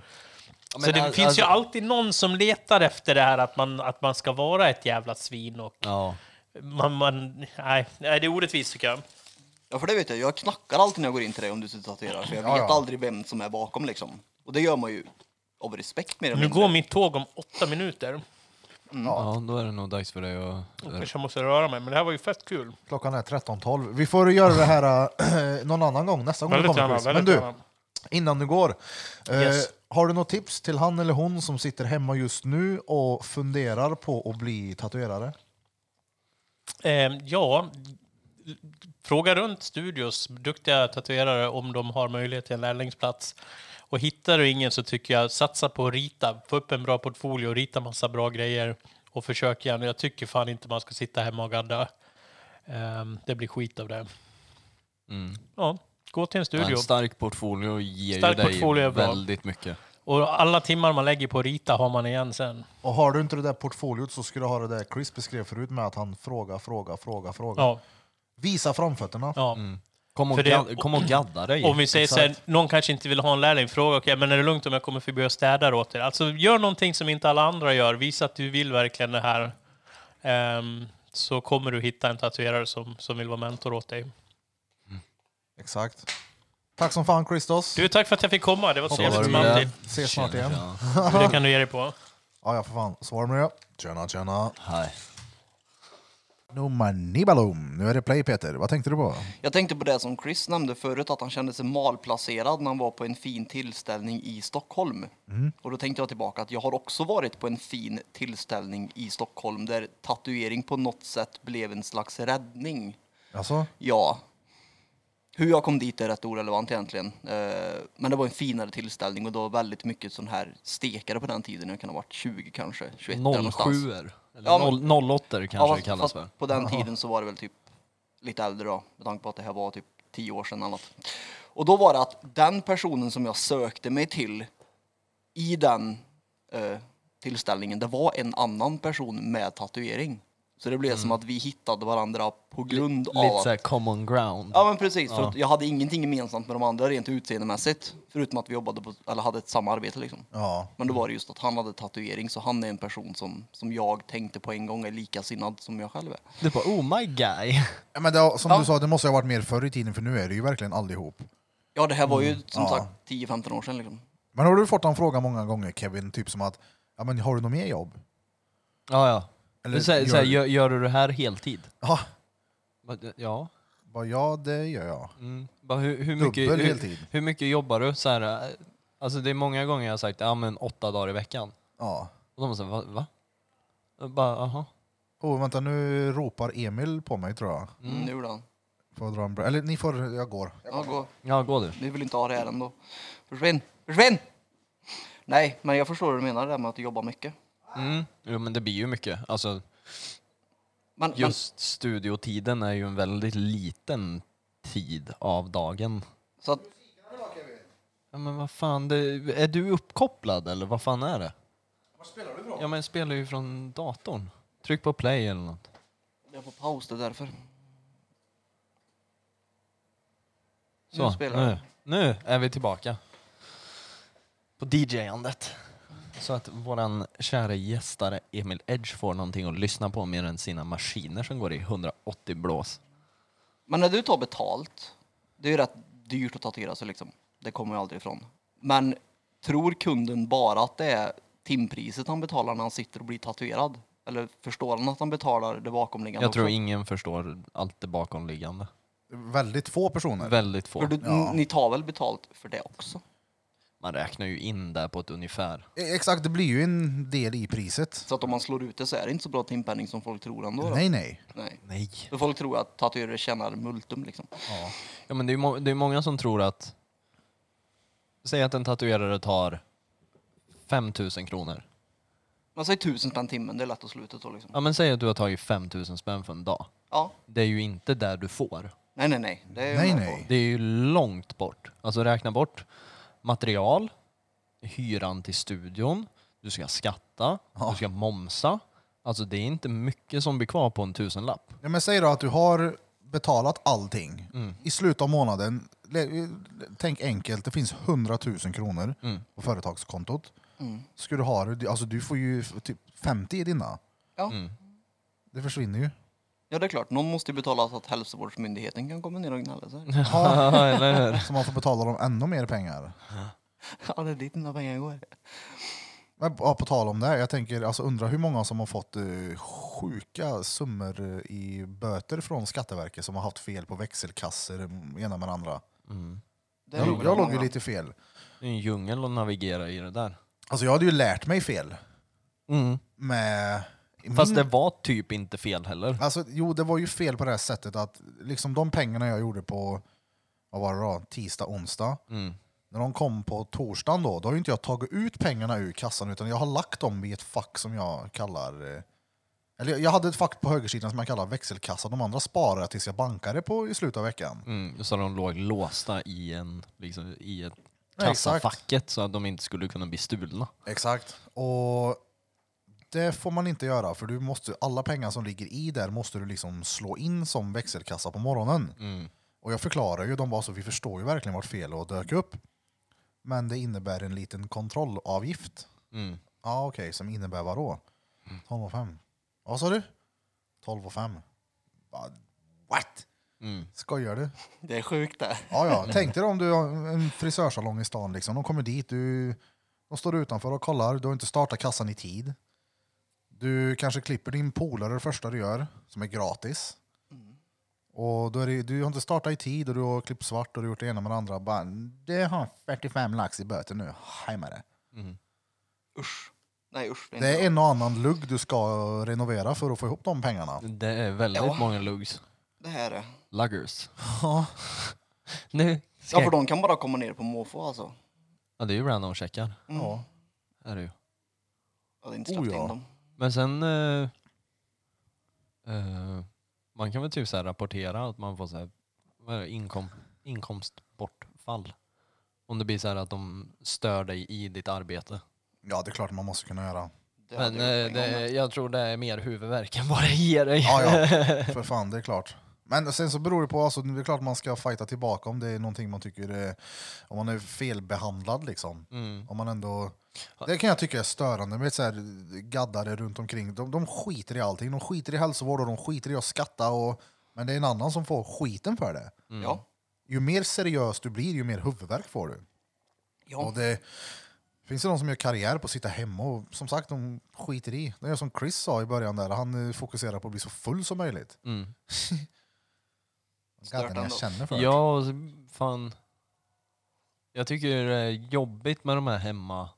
Ja, så men det al- finns ju alltså- alltid någon som letar efter det här att man, att man ska vara ett jävla svin och Ja. man, man, nej, nej, det är orättvist tycker jag. Ja för det vet jag, jag knackar alltid när jag går in till dig om du sitter och tatuerar för jag Ja, vet ja. aldrig vem som är bakom liksom. Och det gör man ju av respekt mer eller Nu mindre. går mitt tåg om åtta minuter. ja, då är det nog dags för dig att... Kanske jag måste röra mig, men det här var ju fett kul. Klockan är 13.12. Vi får göra det här äh, [clears throat] någon annan gång, nästa gång du Väldigt kommer gärna, Chris. väldigt Men du, gärna. innan du går. eh, Yes. Har du något tips till han eller hon som sitter hemma just nu och funderar på att bli tatuerare? Ehm, ja, fråga runt studios duktiga tatuerare om de har möjlighet till en lärlingsplats. Och hittar du ingen så tycker jag satsa på att rita. Få upp en bra portfolio, rita massa bra grejer och försök igen. Jag tycker fan inte man ska sitta hemma och gadda. Ehm, det blir skit av det. Mm. Ja, gå till en Ja, studio. En stark portfolio ger Stark ju dig portfolio är bra. väldigt mycket. Och alla timmar man lägger på att rita har man igen sen. Och har du inte det där portfoliot så ska du ha det där Chris beskrev förut med att han frågar, frågar, frågar, frågar. Ja, Visa framfötterna. ja. Kom och, För det- gad- kom och gadda dig. Om vi säger så här, någon kanske inte vill ha en lärling, fråga okej, men är det lugnt om jag kommer förbi och städar åt er? Alltså gör någonting som inte alla andra gör, visa att du vill verkligen det här. Ehm, så kommer du hitta en tatuerare som, som vill vara mentor åt dig. Exakt. Tack som fan Christos. Du, tack för att jag fick komma, det var så Hoppas jävligt du gillar [laughs] manligt. Ses snart igen. Ja. Det kan du ge dig på. Ja, ja för fan. Så var det med det. Tjena, tjena. Hej. Nummer nibalum. Nu är det play Peter. Vad tänkte du på? Jag tänkte på det som Chris nämnde förut, att han kände sig malplacerad när han var på en fin tillställning i Stockholm. Och då tänkte jag tillbaka att jag har också varit på en fin tillställning i Stockholm där tatuering på något sätt blev en slags räddning. Alltså? Ja. Hur jag kom dit är rätt orelevant egentligen. Eh, Men det var en finare tillställning och det var väldigt mycket sån här stekare på den tiden. Jag kan ha varit 20 kanske, 21 där någonstans. 07 eller Ja, men- noll- 08 kanske Ja, det fast- kallas fast för. På den tiden så var det väl typ lite äldre då, med tanke på att det här var typ tio år sedan eller något. Och då var det att den personen som jag sökte mig till i den eh, tillställningen, det var en annan person med tatuering. Så det blev som att vi hittade varandra på grund av Mm. Lite att såhär common ground. Ja men precis, för att jag hade ingenting gemensamt med de andra rent utseendemässigt. Förutom att vi jobbade på, eller hade ett samarbete liksom. Ja. Men då var det just att han hade tatuering så han är en person som, som jag tänkte på en gång är likasinnad som jag själv är. Du bara oh my guy. [laughs] Ja, Men det, har- som du sa, det måste ha varit mer förr i tiden för nu är det ju verkligen allihop. Ja det här var ju som ja. sagt 10-15 år sedan liksom. Men har du fått den frågan många gånger Kevin, typ som att ja, men har du något mer jobb? Ja ja. Eller så, gör... gör- Så här, gör, gör du det här heltid? Ja, Bara, Ja. bara, ja det gör jag. Mm. Bara, hur, hur, mycket, Dubbel hur, heltid. hur mycket jobbar du? Så här, eh, alltså det är många gånger jag har sagt ja men åtta dagar i veckan. Ja. Och de har sagt va? va? Jag Bara aha. Oh, vänta, nu ropar Emil på mig tror jag. Mm. Nu då. Får jag dra en bra- Eller ni får, jag går. Ja, gå. Ja gå du. Vi vill inte ha det här ändå. Försvinn! Försvinn! Nej, men jag förstår vad du menar det där med att du jobbar mycket. Mm. Jo men det blir ju mycket. Alltså Men, men just studiotiden är ju en väldigt liten tid av dagen. så att, Ja, men vad fan, det, är du uppkopplad eller vad fan är det? Var spelar du Ja men jag spelar ju från datorn. Tryck på play eller något. jag får paus det är därför. Så, Nu spelar nu, nu är vi tillbaka. På DJ-andet. Så att våran kära gästare Emil Edge får någonting att lyssna på mer än sina maskiner som går i 180 blås. Men när du tar betalt, det är ju rätt dyrt att tatuera sig liksom. Det kommer ju aldrig ifrån. Men tror kunden bara att det är timpriset han betalar när han sitter och blir tatuerad? Eller förstår han att han betalar det bakomliggande Jag tror också? ingen förstår allt det bakomliggande. Väldigt få personer. Väldigt få. För du, Ja. ni tar väl betalt för det också? Man räknar ju in där på ett ungefär. E- Exakt, det blir ju en del i priset. Så att om man slår ut det så är det inte så bra timpenning som folk tror ändå? Då? Nej, nej. Nej. Nej. För folk tror att tatuerare tjänar multum liksom. Ja. Ja, men det, är må- det är många som tror att... Säg att en tatuerare tar 5000 kronor. Man säger tusen spänn timmen, det är lätt att slå ut det då liksom. Ja, men säg att du har tagit 5000 spänn för en dag. Ja. Det är ju inte där du får. Nej, nej, nej. Det är jag Nej, med nej. Det är ju långt bort. Alltså räkna bort material, hyran till studion, du ska skatta, du ska momsa. Alltså det är inte mycket som blir kvar på en tusenlapp. Ja, men säg då att du har betalat allting. Mm. I slutet av månaden, le- eh, tänk enkelt, det finns 100 000 kronor Mm. på företagskontot. Ska du ha det, alltså du får ju f- typ 50 i dina. Ja. Det försvinner [laughs] ju. Ja, det är klart. Någon måste ju betala så att hälsovårdsmyndigheten kan komma ner och gnälla så här. Eller hur? Så man får betala dem ännu mer pengar. [laughs] Ja, det är dit mina pengar går. Men ja, på tal om det, här, jag tänker, alltså undra hur många som har fått eh, sjuka summor eh, i böter från Skatteverket som har haft fel på växelkasser, mm, ena med den andra. Det är Jag, nog jag bra låg ju många. lite fel. Det är en djungel att navigera i det där. Alltså jag hade ju lärt mig fel. Mm. Med Fast det var typ inte fel heller. Alltså, jo, det var ju fel på det här sättet att liksom de pengarna jag gjorde på vad var det då? tisdag, onsdag. När de kom på torsdagen då, då har ju inte jag tagit ut pengarna ur kassan utan jag har lagt dem i ett fack som jag kallar... eh, Eller jag hade ett fack på högersidan som jag kallar växelkassa. De andra sparar jag tills jag bankar det på i slutet av veckan. Mm. Så de låg låsta i, en, liksom, i ett Ja, exakt. kassafacket så att de inte skulle kunna bli stulna. Exakt. Och det får man inte göra för du måste, alla pengar som ligger i där måste du liksom slå in som växelkassa på morgonen. Mm. Och jag förklarar ju, de bara så vi förstår ju verkligen vart fel och dök upp. Men det innebär en liten kontrollavgift. Mm. Ja ah, okej, som innebär vad då? 12 och 5. Vad sa du? 12 och 5. What? Mm. Skojar du? Det är sjukt det. Ja, ja. Tänk dig om du har en frisörsalong i stan. Liksom. De kommer dit, du, de står utanför och kollar. Du har inte startat kassan i tid. Du kanske klipper din polare det första du gör, som är gratis. Mm. Och då är det, du har inte startat i tid och du har klippt svart och du har gjort det ena med det andra. Bara, det har 45 lax i böter nu. Hej med det. Usch. Nej usch. Det är, Det inte är bra. en och annan lugg du ska renovera för att få ihop de pengarna. Det är väldigt Ja. många lugs. det här är... Luggers. nu ska Ja för de kan bara komma ner på måfå alltså. Ja, det är ju random-checkar. Ja. Är det ju. Jag hade inte släppt Oh, ja. in dem. Men sen... eh, eh, man kan väl typ så här rapportera att man får så här, vad är det, inkom, inkomstbortfall. Om det blir så här att de stör dig i ditt arbete. ja, det är klart man måste kunna göra. Det Men hade jag, jag gjort på en gång. det, jag tror det är mer huvudvärk än vad det ger dig. Ja, [laughs] ja, för fan, det är klart. Men sen så beror det på, alltså, det är klart man ska fighta tillbaka om det är någonting man tycker är, om man är felbehandlad liksom. Mm. Om man ändå, det kan jag tycka är störande med så här, gaddare runt omkring. De, de skiter i allting, de skiter i hälsovård och de skiter i att skatta. Och, men det är en annan som får skiten för det. Ja. Ju mer seriös du blir, ju mer huvudvärk får du. Ja. Och det finns det någon som gör karriär på att sitta hemma och som sagt, de skiter i. De gör som Chris sa i början där, han eh, fokuserar på att bli så full som möjligt. [laughs] Mm. Gadden jag ändå. känner för. Ja. Ja, och så- fan. Jag tycker det är jobbigt med de här hemma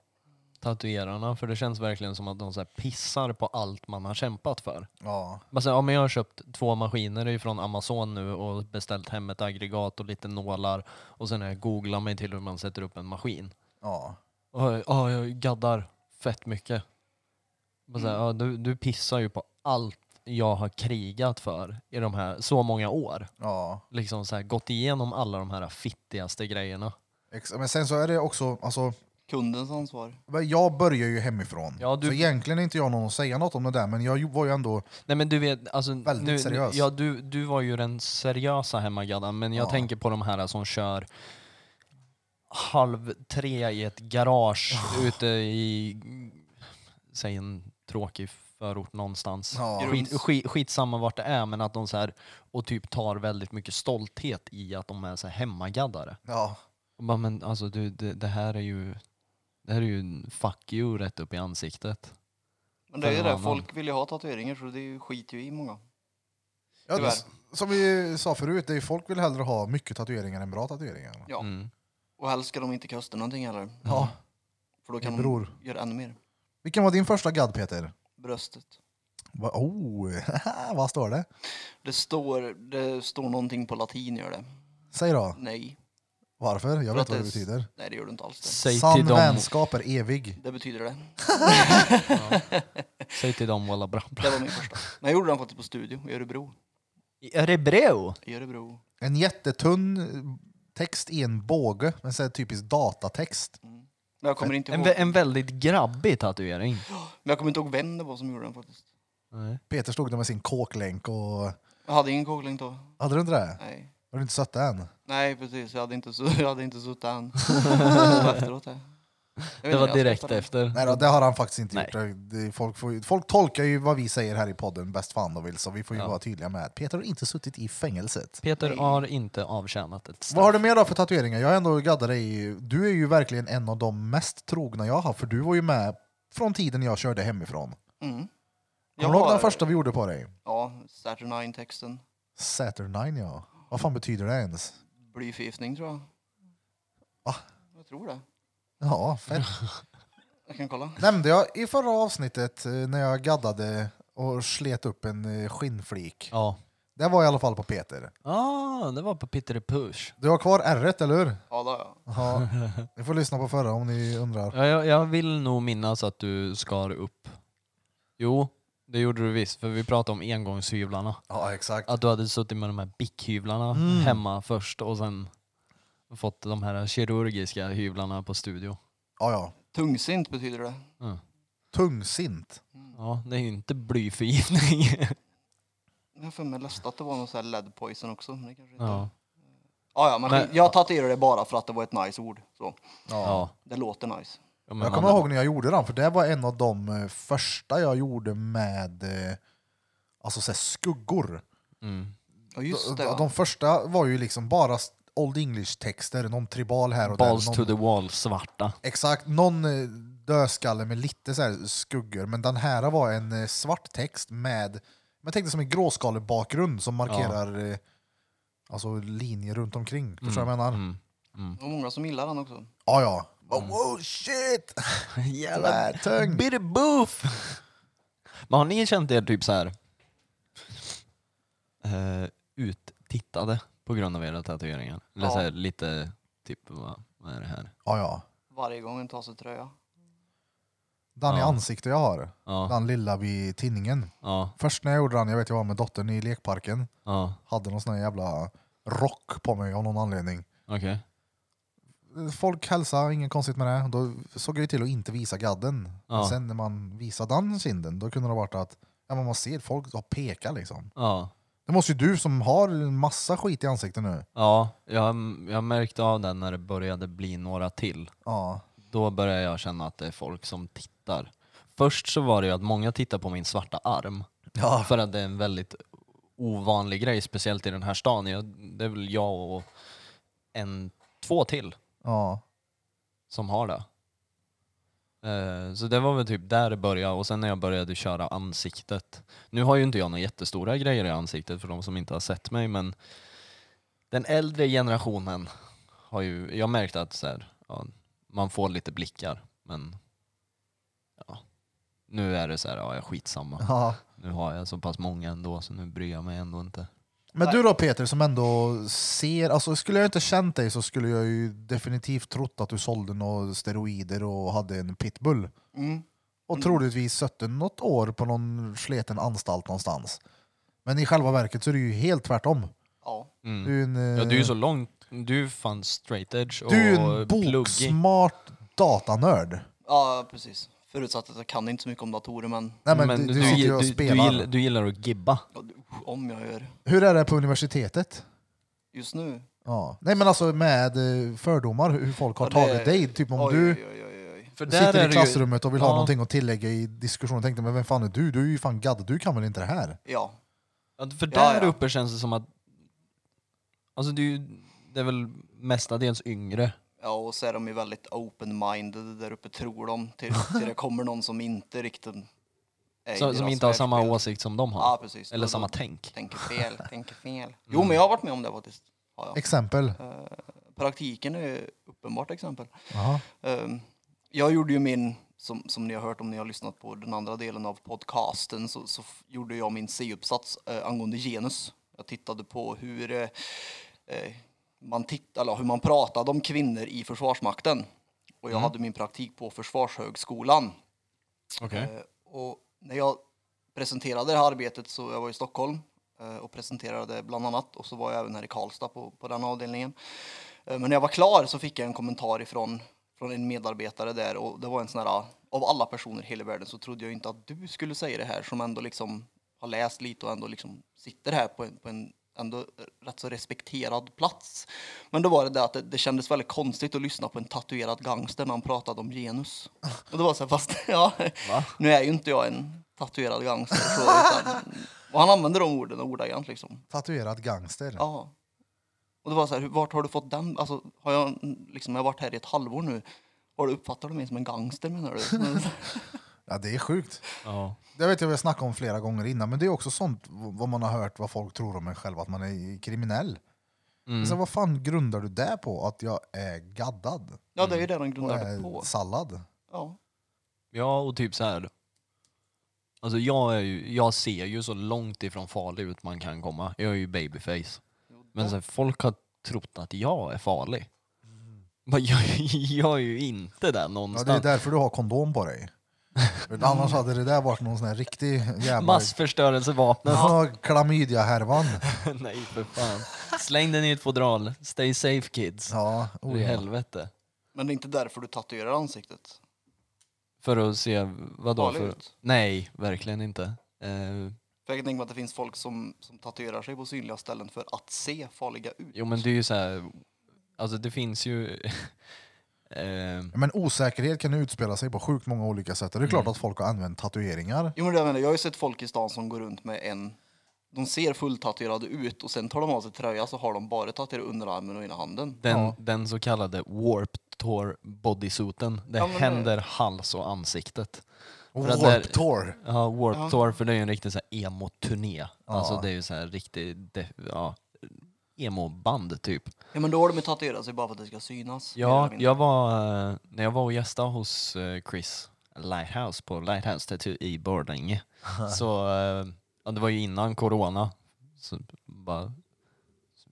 tatuerarna för det känns verkligen som att de så här pissar på allt man har kämpat för. Ja. Man säger, ja, men jag har köpt två maskiner från Amazon nu och beställt hem ett aggregat och lite nålar och sen har jag googlat mig till hur man sätter upp en maskin. ja. Ja, ja, jag gaddar fett mycket. Bara så här, Mm. ja, du, du pissar ju på allt jag har krigat för i de här så många år. Liksom så här, gått igenom alla de här fittigaste grejerna. Ex- Men sen så är det också, alltså, Kundens ansvar. jag börjar ju hemifrån. Ja, du- Så egentligen är inte jag någon att säga något om det där, men jag ju- var ju ändå, Nej men du vet, alltså, Väldigt nu, seriös. Ja, du, du var ju den seriösa hemmagaddan, men jag Ja. tänker på de här som kör halv tre i ett garage ute i, säg en tråkig förort någonstans. Ja. Skit, skit, skitsamma vart det är, men att de så här, och typ tar väldigt mycket stolthet i att de är så här hemmagaddare. ja, Och bara, men alltså du, det, det här är ju, det här är ju en fuck you rätt upp i ansiktet. Men det är ju För det, någon annan. folk vill ju ha tatueringar så det är ju- skiter ju i många. ja Tyvärr. det- som vi sa förut, det är, ju- folk vill hellre ha mycket tatueringar än bra tatueringar. Ja. Mm. Och helst ska de inte kosta någonting heller. Ja. För då Det kan beror. de göra ännu mer. Vilken var din första gadd Peter? Bröstet. Va- Oh, [laughs] vad står det? Det står, det står någonting på latin gör det. Säg då, Nej. varför? Jag För vet att vad det är s- betyder. Nej det gör det inte alls Säg Sann till dem, vänskap är evig. det. Det betyder det. säg till dem walla bra. bra. Det var min första. Men jag gjorde den faktiskt på studio i Örebro. I Örebro? I Örebro. En jättetunn eh, text i en båge, men så här typisk datatext. Men jag kommer inte En, ihåg, vä- en väldigt grabbig tatuering. men jag kommer inte ihåg vem det var som gjorde den faktiskt. Nej. Peter stod där med sin kåklänk och... Jag hade ingen kåklängd då. Hade du inte det? Nej. Har du inte sett det än? Nej precis, jag hade inte, su- jag hade inte [laughs] suttit än. Det var Efteråt, ja. Jag vet Det inte, var jag direkt skrattade. efter. Nej då, det har han faktiskt inte Nej. gjort. Det- Det, folk, får, ju- folk tolkar ju vad vi säger här i podden bäst fan de vill, så vi får ju Ja. vara tydliga med att Peter har inte suttit i fängelset. Peter har inte avtjänat ett straff. Vad har du mer då för tatueringar? Jag har ändå gaddat dig. Du är ju verkligen en av de mest trogna jag har, för du var ju med från tiden jag körde hemifrån. Mm. Kommer du ihåg den första vi gjorde på dig? Ja, Saturn 9-texten. Saturnine ja. Vad fan betyder det ens? Blyförgiftning tror jag. Va? Jag tror det. Ja, fett. [laughs] Jag kan kolla. Nämnde jag i förra avsnittet eh, när jag gaddade och slet upp en eh, skinnflik. Ja. Det var i alla fall på Peter. Ah, det var på Peter Push. Du har kvar ärret, eller hur? Ja, det har jag. [laughs] Ja. Ni får lyssna på förra om ni undrar. Ja, jag, jag vill nog minnas att du skar upp. Jo, det gjorde du visst, för vi pratade om engångshyvlarna. Ja, exakt. Att du hade suttit med de här bickhyvlarna hemma först och sen fått de här kirurgiska hyvlarna på studio. Ja, ja. Tungsint betyder det. Mm. Tungsint. Ja, det är ju inte blyförgiftning. Jag har för mig läste att det var någon sån här lead poison också. Men det kanske inte... ja. ja. Ja, men, Men- jag tatuerade det bara för att det var ett nice ord. Så. Ja. Det låter nice. Ja, men Jag man- kommer ihåg när jag gjorde den, för det var en av de eh, första jag gjorde med eh, alltså så här, skuggor. Mm. Ja, just det. de, va? de första var ju liksom bara st- Old English-texter, någon tribal här och Balls där. någon- to the wall svarta. Exakt, någon eh, dödskalle med lite så här skuggor, men den här var en eh, svart text med, jag tänkte som en gråskalig bakgrund som markerar eh, alltså linjer runt omkring. Förstår du vad jag menar? Mm. Det var många som gillar den också. Ja, ja. Oh, wow, shit! Jävla [laughs] tung! Bitter boof! Men har ni känt er typ så här eh, uttittade på grund av era tatueringar? Eller Ja. så här, lite typ, vad, vad är det här? Ja, ja. Varje gång en tar sig tröja. Den i Ja. ansikte jag har. Ja, Den lilla vid tinningen. ja, Först när jag gjorde den, jag vet jag var med dottern i lekparken, ja, hade någon sån här jävla rock på mig av någon anledning. okej. folk hälsar, inget konstigt med det. Då såg jag ju till att inte visa gadden. Ja. Men sen när man visade den kinden, då kunde det ha varit att ja, men man ser folk har pekar liksom. Ja. Det måste ju du som har en massa skit i ansiktet nu. Ja, jag, jag märkte av den när det började bli några till. Ja. Då började jag känna att det är folk som tittar. Först så var det ju att många tittar på min svarta arm. Ja. För att det är en väldigt ovanlig grej, speciellt i den här stan. Jag, det är väl jag och en, två till ja. [laughs] som har det. Eh, Så det var väl typ där det började och sen när jag började köra ansiktet. Nu har ju inte jag några jättestora grejer i ansiktet för de som inte har sett mig men den äldre generationen har ju, jag märkte att så här, ja, man får lite blickar men ja, nu är det så här, ja jag skitsamma. ja. Nu har jag så pass många ändå så nu bryr jag mig ändå inte. Men du då Peter som ändå ser, alltså skulle jag inte känt dig så skulle jag ju definitivt trott att du sålde några steroider och hade en pitbull. Mm. Och troligtvis sötte något år på någon sleten anstalt någonstans. Men i själva verket så är det ju helt tvärtom. Ja. Mm. Du är en, eh, Ja du är ju så långt, du är ju fan straight edge och du är ju en pluggig. boksmart datanörd. ja, precis. Förutsatt att jag kan inte så mycket om datorer, men Nej men, du, du sitter ju och du, du, spelar. gillar, du gillar att gibba. ja, det- om jag gör Hur är det på universitetet? just nu. Ja. Nej men alltså med eh, fördomar, hur folk har Ja, det- tagit dig. Typ om oj, du oj, oj, oj, oj. För sitter i klassrummet och vill ha Ja. någonting att tillägga i diskussionen. Tänkte men vem fan är du? Du är ju fan gadd, du kan väl inte det här? Ja. Ju, för Ja, där ja. uppe känns det som att... Alltså det är, ju, det är väl mestadels yngre. ja, och så är de ju väldigt open-minded där uppe, tror de, till, [laughs] till det kommer någon som inte riktigt är i Som, som deras inte har samma världsbild. åsikt som de har. Ja, precis. Eller Då- då samma tänk. Mm. Tänker fel, [laughs] tänker fel. Jo, men jag har varit med om det faktiskt. Har jag. Exempel. Eh, praktiken är ju uppenbart exempel. Jaha. Ehm, Jag gjorde ju min, som, som ni har hört om ni har lyssnat på den andra delen av podcasten, så, så f- gjorde jag min C-uppsats eh, angående genus. Jag tittade på hur, eh, eh, man titt, eller hur man pratade om kvinnor i Försvarsmakten. Och jag hade min praktik på Försvarshögskolan. Eh, Och när jag presenterade det här arbetet så jag var i Stockholm eh, och presenterade bland annat och så var jag även här i Karlstad på, på den avdelningen. Eh, Men när jag var klar så fick jag en kommentar ifrån från en medarbetare där och det var en sån här av alla personer i hela världen så trodde jag inte att du skulle säga det här som ändå liksom har läst lite och ändå liksom sitter här på en, på en ändå rätt så respekterad plats. Men då var det det att det, det kändes väldigt konstigt att lyssna på en tatuerad gangster när han pratade om genus. Och det var så här, fast [laughs] ja, nu är ju inte jag en tatuerad gangster så, utan, och han använde de orden ordagrant liksom. Tatuerad gangster. Ja. Och det var så här, hur- vart har du fått den? Alltså, har jag, liksom, jag har varit här i ett halvår nu. Har du uppfattat mig som en gangster menar du? Men- Ja, det är sjukt. Ja. Det vet jag vi har snackat om flera gånger innan, men det är också sånt v- vad man har hört vad folk tror om en själv, att man är kriminell. Mm. Men sen, vad fan grundar du det på? Att jag är gaddad? ja, det är ju det de Och grundar det är på. sallad? Ja. ja, och typ så här. Alltså jag, är ju, jag ser ju så långt ifrån farlig ut man kan komma. Jag är ju babyface. Men sen, folk har trott att jag är farlig. Men jag, jag är ju inte där Ja, det är någonstans. därför du har kondom på dig. För Annars hade det där varit någon sån här riktig jävla... Massförstörelsevapnet. Ja, Klamydia-härvan. [laughs] Nej för fan. Släng den i ett fodral. Stay safe kids. Ja, För oh i ja. helvete. Men det är inte därför du tatuerar ansiktet. För att se, vadå? Farlig För... ut. Nej, verkligen inte. Eh, För jag kan tänka mig att det finns folk som, som tatuerar sig på synliga ställen för att se farliga ut. jo men det är ju så här, alltså det finns ju... [laughs] eh, Men osäkerhet kan ju utspela sig på sjukt många olika sätt. Och det är klart att folk har använt tatueringar. Jo, men det jag, menar, jag har ju sett folk i stan som går runt med en... De ser fulltatuerade ut och sen tar de av sig tröja så har de bara tatuerat underarmen och ena handen. den, Ja. den så kallade warp tour bodysuiten, det Ja, men det- händer hals och ansiktet. Och För att det är- Warp Tour. Ja, Warp Ja. Tour, för det är ju en riktig så här emo-turné. Alltså Ja. det är ju så här riktig, de, ja, emo-band typ. Ja, men då har de ju tatuerat sig bara för att det ska synas. mer eller Ja, mindre. jag var, eh, när jag var och gästade hos eh, Chris Lighthouse på Lighthouse Tattoo i Borlänge. så eh, ja, det var ju innan corona. Så bara,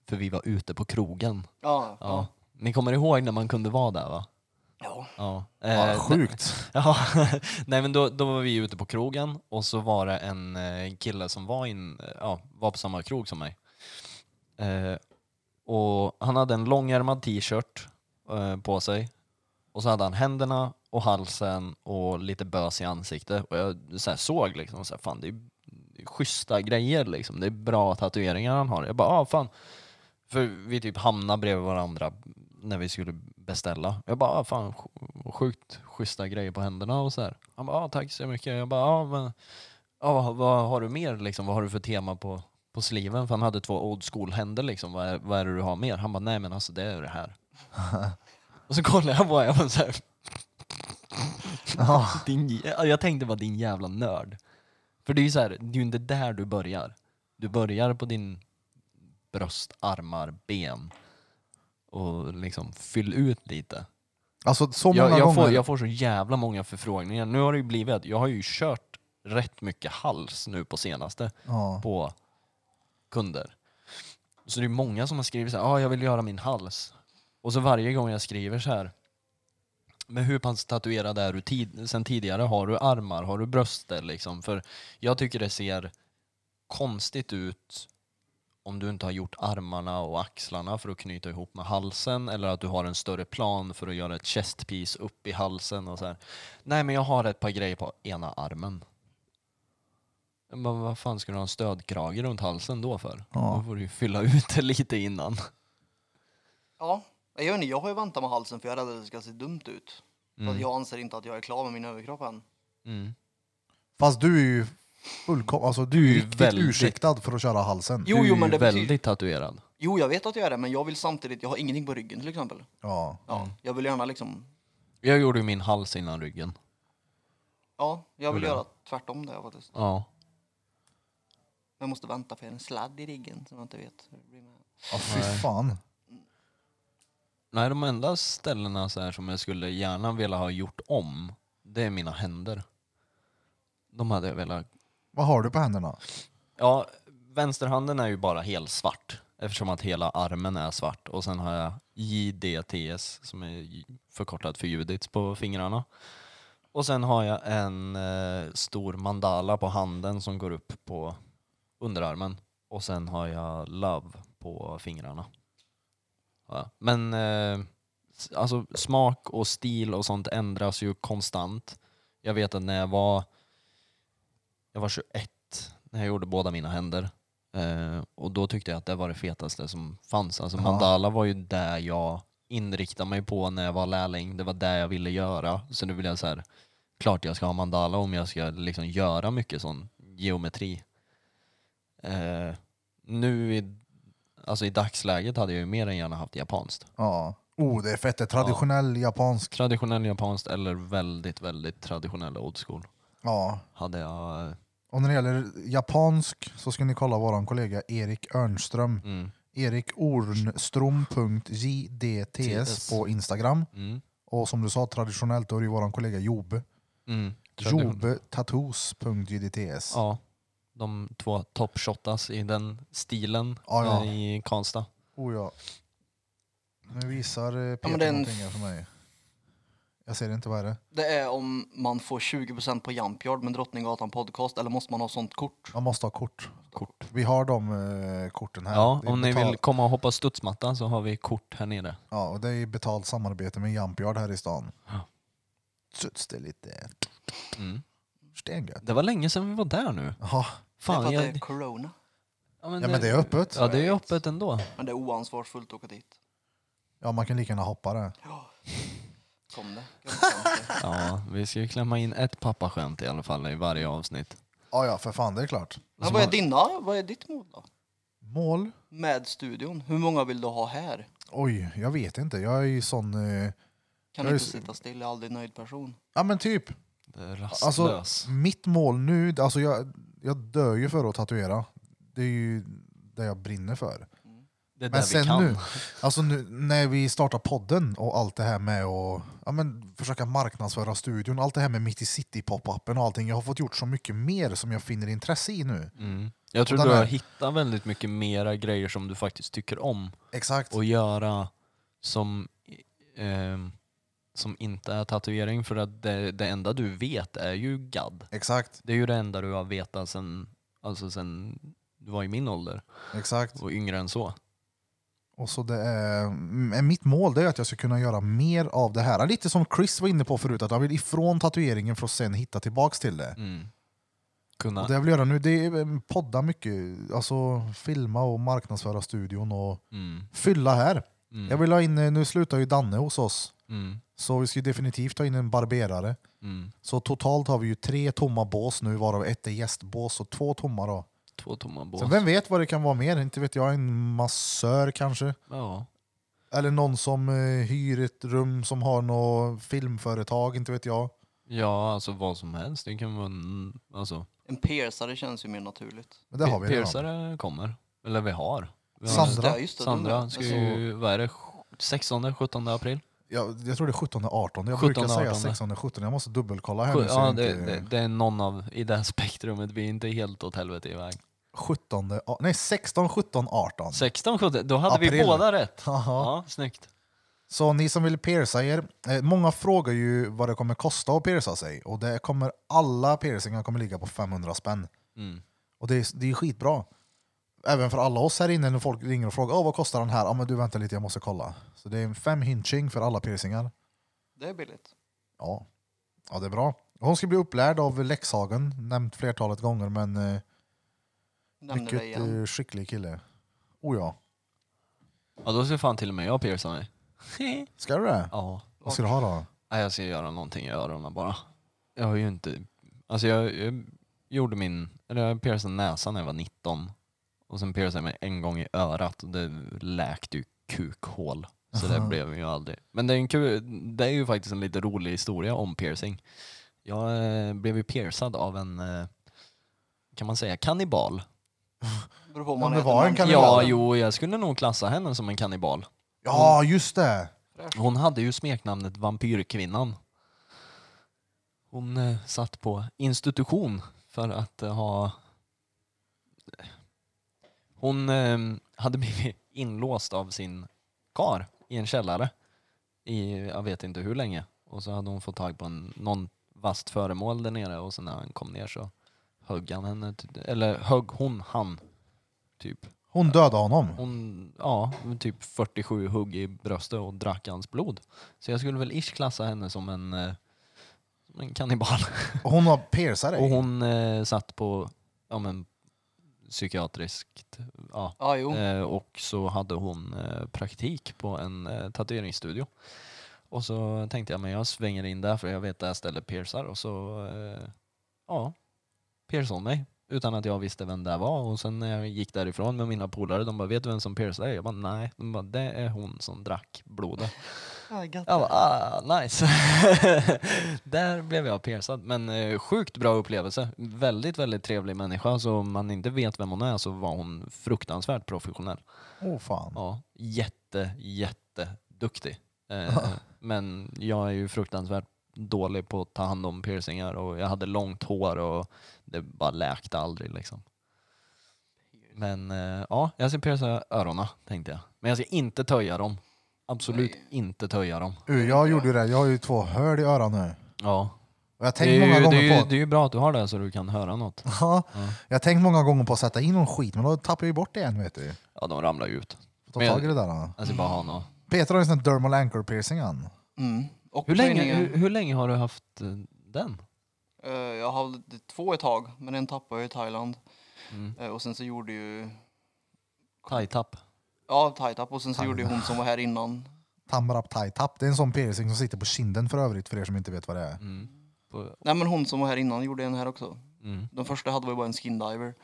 för vi var ute på krogen. Ja, Ja. ja. Ni kommer ihåg när man kunde vara där va? ja. Ja. Ja, Eh, sjukt. [laughs] Ja, nej men då, då var vi ute på krogen och så var det en eh, kille som var, in, eh, ja, var på samma krog som mig. Eh, och han hade en långärmad t-shirt, eh, eh, på sig. Och så hade han händerna och halsen och lite bös i ansiktet. Och jag så här såg liksom, så här, fan det är schyssta grejer liksom. Det är bra tatueringar han har. Jag bara, ah fan. För vi typ hamnade bredvid varandra när vi skulle beställa. Jag bara, ah, fan sj- sjukt schyssta grejer på händerna och så här. Han bara, ah, tack så mycket. Jag bara, ah, men ja, vad, vad har du mer liksom? Vad har du för tema på, på sliven? För han hade två old school-händer liksom. Vad är, vad är det du har mer? Han bara, nej men alltså det är det här. och så kollade jag på honom såhär. Ja. [laughs] Din, jä- jag tänkte bara din jävla nörd. För det är ju såhär, det är ju inte där du börjar. Du börjar på din bröst, armar, ben. Och liksom fyll ut lite. Alltså så många Jag, jag, gånger. får, jag får så jävla många förfrågningar. Nu har det ju blivit att jag har ju kört rätt mycket hals nu på senaste Ja. på kunder. Så det är många som har skrivit så här, ah, jag vill göra min hals. Och så varje gång jag skriver så här, men hur pass tatuerad är du tid- sen tidigare? Har du armar? Har du bröster? Liksom? För jag tycker det ser konstigt ut om du inte har gjort armarna och axlarna för att knyta ihop med halsen eller att du har en större plan för att göra ett chest piece upp i halsen och så här. Nej, men jag har ett par grejer på ena armen. Men vad fan ska du ha en stödkrage runt halsen då för? Ja. Då får du ju fylla ut det lite innan. Ja, jag gör inte, jag har ju väntat med halsen för jag är rädd att det ska se dumt ut. För att jag anser inte att jag är klar med min överkropp än. Mm. Fast du är ju fullkom... alltså, du är Du är ju riktigt väldigt- ursäktad för att köra halsen. Jo, du är jo, men ju det betyder- väldigt tatuerad. Jo, jag vet att jag är det, men jag vill samtidigt, jag har ingenting på ryggen till exempel. Ja. Ja, Mm. jag vill gärna liksom, Jag gjorde ju min hals innan ryggen. ja, jag vill Hur då? göra tvärtom där faktiskt. Ja. Jag måste vänta för jag har en sladd i ryggen som jag inte vet hur det blir med. Ja, fy fan. Nej, de enda ställena så här som jag skulle gärna vilja ha gjort om, det är mina händer. De hade jag velat... Vad har du på händerna? Ja, vänsterhanden är ju bara helt svart eftersom att hela armen är svart. Och sen har jag JDTS som är j- förkortat för Judits på fingrarna. Och sen har jag en eh, stor mandala på handen som går upp på underarmen. Och sen har jag love på fingrarna. Ja. Men eh, s- alltså smak och stil och sånt ändras ju konstant. Jag vet att när jag var, jag var 21 när jag gjorde båda mina händer. Eh, och då tyckte jag att det var det fetaste som fanns. Alltså mandala var ju där jag inriktade mig på när jag var lärling. Det var där jag ville göra. Så nu vill jag så här, klart jag ska ha mandala om jag ska liksom göra mycket sån geometri. Eh, nu i, alltså i dagsläget hade jag ju mer än gärna haft japanskt. Ja. Oh, det är fett. Det är traditionell japansk. Traditionell japanskt eller väldigt, väldigt traditionell old school. Ja. Hade jag... eh, Och när det gäller japansk så ska ni kolla våran kollega Erik Örnström. Mm, Erik Ornstrom.jdts på Instagram. mm, Och som du sa traditionellt, då är det ju våran kollega Jobe. mm. Tradition- Jobetattoos.jdts. Ja. De två toppshottas i den stilen Ja, ja. eh, i Karlstad. Oh ja. Nu visar eh, Peter men det är en- någonting här för mig. Jag ser inte, vad är det? Det är om man får 20% på Jumpyard med Drottninggatan podcast eller måste man ha sånt kort? Man måste ha kort. kort. Vi har de eh, korten här. Ja, Det är om ni betalt- vill komma och hoppa studsmatta så har vi kort här nere. Ja, och det är betalt samarbete med Jumpyard här i stan. Ja. Suts det lite Mm. stengött. Det var länge sedan vi var där nu. Ja, det är Fan, för att det jag, är corona. ja, men ja, men det är öppet. Ja, det är ju öppet ändå. Men det är oansvarsfullt att åka dit. Ja, man kan lika gärna hoppa det. Kom det. Kom, [laughs] kom det. Ja, vi ska ju klämma in ett pappaskämt i alla fall i varje avsnitt. Ja, ja, för fan, det är klart. Men vad är dina, vad är ditt mål då? Mål? Med studion, hur många vill du ha här? Oj, jag vet inte. Jag är ju sån... Eh, Kan Jag är inte s- sitta still, jag är aldrig nöjd person. ja, men typ. Det är Alltså, rastlös. mitt mål nu... Alltså jag, jag dör ju för att tatuera. Det är ju det jag brinner för. det Men är där vi sen kan. nu, alltså nu, när vi startar podden och allt det här med att ja, men, försöka marknadsföra studion, allt det här med Mitt i City-pop-appen och allting. Jag har fått gjort så mycket mer som jag finner intresse i nu. Mm. Jag tror Och den du har här- hittat väldigt mycket mera grejer som du faktiskt tycker om Exakt. och göra som, ehm, som inte är tatuering för att det, det enda du vet är ju gadd. Exakt. Det är ju det enda du har vetat sen, alltså sen du var i min ålder Exakt. och yngre än så. Och så det är, mm, mitt mål det är att jag ska kunna göra mer av det här. Lite som Chris var inne på förut, att han vill ifrån tatueringen för att sen hitta tillbaks till det. Mm. Kunna. Och det jag vill göra nu det är eh, podda mycket, alltså filma och marknadsföra studion och Mm. fylla här. Mm. Jag vill ha in, eh, nu slutar ju Danne hos oss, Mm. så vi ska ju definitivt ta in en barberare. Mm. Så totalt har vi ju tre tomma bås nu, varav ett är gästbås och två tomma då. Två tomma bås. Sen vem vet vad det kan vara mer? Inte vet jag, en massör kanske? Ja. Eller någon som eh, hyr ett rum som har något filmföretag, inte vet jag. ja, alltså vad som helst. Det kan vara... en- Alltså, En piercare känns ju mer naturligt. Men det har vi redan. piercare kommer. Eller vi har. Vi har Sandra. Just det, just det, Sandra den ska där. ju... Vad är det? 16, 17 april? Jag, jag tror det är 17 18. Jag 17, brukar säga 18. 16 17. Jag måste dubbelkolla här nu. så jag Ja, det, inte- det, det är någon av i det här [laughs] spektrumet. Vi är inte helt åt helvete iväg. 17, a- nej 16, 17, 18. 16, 17, då hade vi April. båda rätt. Aha. Ja, snyggt. Så ni som vill pierca er, eh, många frågar ju vad det kommer kosta att pierca sig och det kommer, alla piercingar kommer ligga på 500 spänn. Mm. Och det är, det är skitbra. Även för alla oss här inne när folk ringer och frågar Åh, vad kostar den här? Ja men du vänta lite jag måste kolla. Så det är en fem hinching för alla piercingar. Det är billigt. Ja. ja, det är bra. Hon ska bli upplärd av Läxhagen, nämnt flertalet gånger men eh, Nämner det mycket igen. eh, skicklig kille. Oh ja. Ja, då ska fan till och med jag pierca mig. Ska du det? Ja. Vad ska du ha då? Nej, jag ska göra någonting i öronen bara. Jag har ju inte... Alltså jag, jag gjorde min... Eller jag piercade näsan när jag var 19. Och sen piercade jag mig en gång i örat och det läkte ju kukhål. Så det Aha. blev ju aldrig. Men det är, en kul, det är ju faktiskt en lite rolig historia om piercing. Jag eh, blev ju piercad av en, eh, kan man säga, kannibal. Beror på om eh, Ja, man det äter var en människa. kannibal. Ja, jo, jag skulle nog klassa henne som en kannibal. Ja, just det! Hon hade ju smeknamnet Vampyrkvinnan. Hon eh, satt på institution för att eh, ha... Hon eh, hade [laughs] blivit inlåst av sin kar i en källare i jag vet inte hur länge. Och så hade hon fått tag på en, någon vasst föremål där nere och sen när han kom ner så högg han henne, typ- eller högg hon han typ. Hon dödade honom. Hon, ja, typ 47 hugg i bröstet och drack hans blod. Så jag skulle väl ish klassa henne som en, eh, som en kannibal. Och Hon har piercat Och dig. hon eh, satt på ja, men, psykiatriskt. Ja. Ja, jo. Eh, och så hade hon eh, praktik på en eh, tatueringsstudio. Och så tänkte jag, men jag svänger in där för jag vet det här stället piercar. Och så, eh, ja, piercade hon mig. Utan att jag visste vem det var. Och sen när jag gick därifrån med mina polare, de bara, vet du vem som piercade dig? Jag bara, nej. De bara, det är hon som drack blodet. Ja, gott. Jag bara, ah, nice. [laughs] Där blev jag piercad. Men eh, sjukt bra upplevelse. Väldigt, väldigt trevlig människa. Så om man inte vet vem hon är så var hon fruktansvärt professionell. Åh fan. Ja, jätte, jätteduktig. Eh, men jag är ju fruktansvärt dålig på att ta hand om piercingar och jag hade långt hår och det bara läkte aldrig liksom. Men eh, ja, jag ska pierca öronen tänkte jag. Men jag ska inte töja dem. Absolut inte töja dem. Uh, jag gjorde ju det, jag har ju två hål i öronen nu. Ja. Och Jag har Det tänkt många är, ju, det, gånger är ju, på... det är ju bra att du har det så du kan höra något. [laughs] Ja, jag har tänkt många gånger på att sätta in någon skit, men då tappar jag ju bort det igen vet du. Ja, de ramlar ju ut. Ta Men jag- tag i det där. då. Jag ska bara ha något. Peter har ju en sån här dermal anchor piercing han. Mm. Och Hur länge, töjningen. hur, hur länge har du haft eh, den? Eh, jag hade två ett tag, men en tappade jag i Thailand. Mm. Eh, och sen så gjorde ju... Thai-tapp? Ja, thai-tapp. Och sen så gjorde ju hon som var här innan. Tamrap Thai Tap. Det är en sån piercing som sitter på kinden för övrigt, för er som inte vet vad det är. Mm. På, Nej, men hon som var här innan gjorde en här också. mm. Den första hade vi bara en skindiver.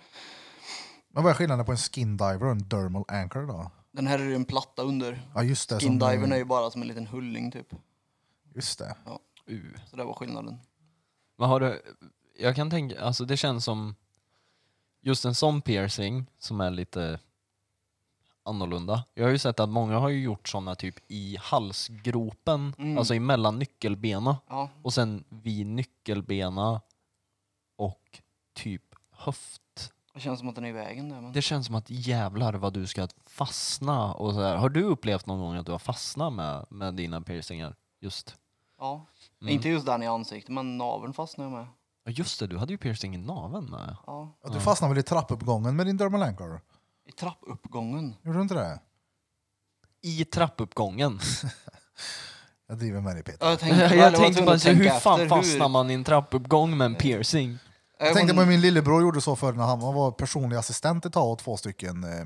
Men vad är skillnaden på en skin diver och en dermal anchor då? Den här är ju en platta under. Ja just det. som- Skindivern är ju bara som en liten hulling typ. Just det. Uh. Så det var skillnaden. Vad har du, jag kan tänka, alltså det känns som just en sån piercing som är lite annorlunda. Jag har ju sett att många har ju gjort såna typ i halsgropen, Mm. alltså emellan nyckelbena Ja, och sen vid nyckelbena och typ höft. det känns som att den är i vägen där. Men... Det känns som att jävlar vad du ska fastna och så här. Har du upplevt någon gång att du har fastnat med, med dina piercingar? Just. Ja. Mm. Inte just den i ansiktet, men naveln fastnade jag med. Ja, Just det, du hade ju piercing i naveln med. Ja. Ja, Du fastnade väl i trappuppgången med din dermal anchor? I trappuppgången. Gjorde du inte det? i trappuppgången. Jag driver med dig Peter. Ja, Jag tänkte, Jag, eller var tänkte tvungen bara, att så hur tänka fan efter, fastnar man i en trappuppgång med en piercing? Jag tänkte på men- hur min lillebror gjorde så för när han var personlig assistent ett tag åt två stycken. eh,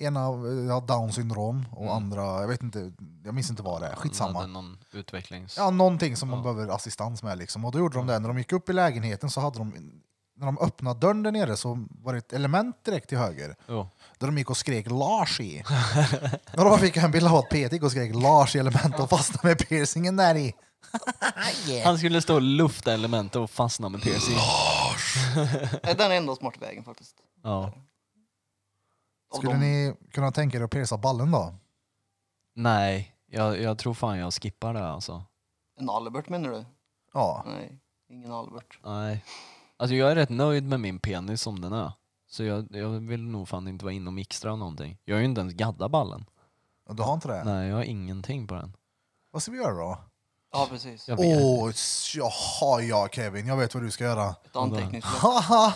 Ena hade down syndrom och andra, jag vet inte, jag minns inte vad det är, Han skitsamma. hade Någon utvecklings... Ja, någonting som man behöver assistans med liksom. Och då gjorde de det, när de gick upp i lägenheten så hade de, när de öppnade dörren där nere så var det ett element direkt till höger. Jo. Där de gick och skrek Lars i. och då fick jag en bild av att Peter gick och skrek Lars i elementet och fastnade med piercingen där i. Han skulle stå och lufta elementet och fastna med piercing. Det är den enda smarta vägen faktiskt. Ja. Av Skulle dem. ni kunna tänka er att pierca ballen då? Nej, jag, jag tror fan jag skippar det alltså. En Albert menar du? Ja. Nej, ingen Albert. Nej. Alltså jag är rätt nöjd med min penis som den är. Så jag, jag vill nog fan inte vara inne och mixtra någonting. Jag har ju inte ens gaddat ballen. Du har inte det? Nej, jag har ingenting på den. Vad ska vi göra då? Ja, precis. Jag vet. Åh, s- jaha ja Kevin, jag vet vad du ska göra. Ett antecknings... Haha!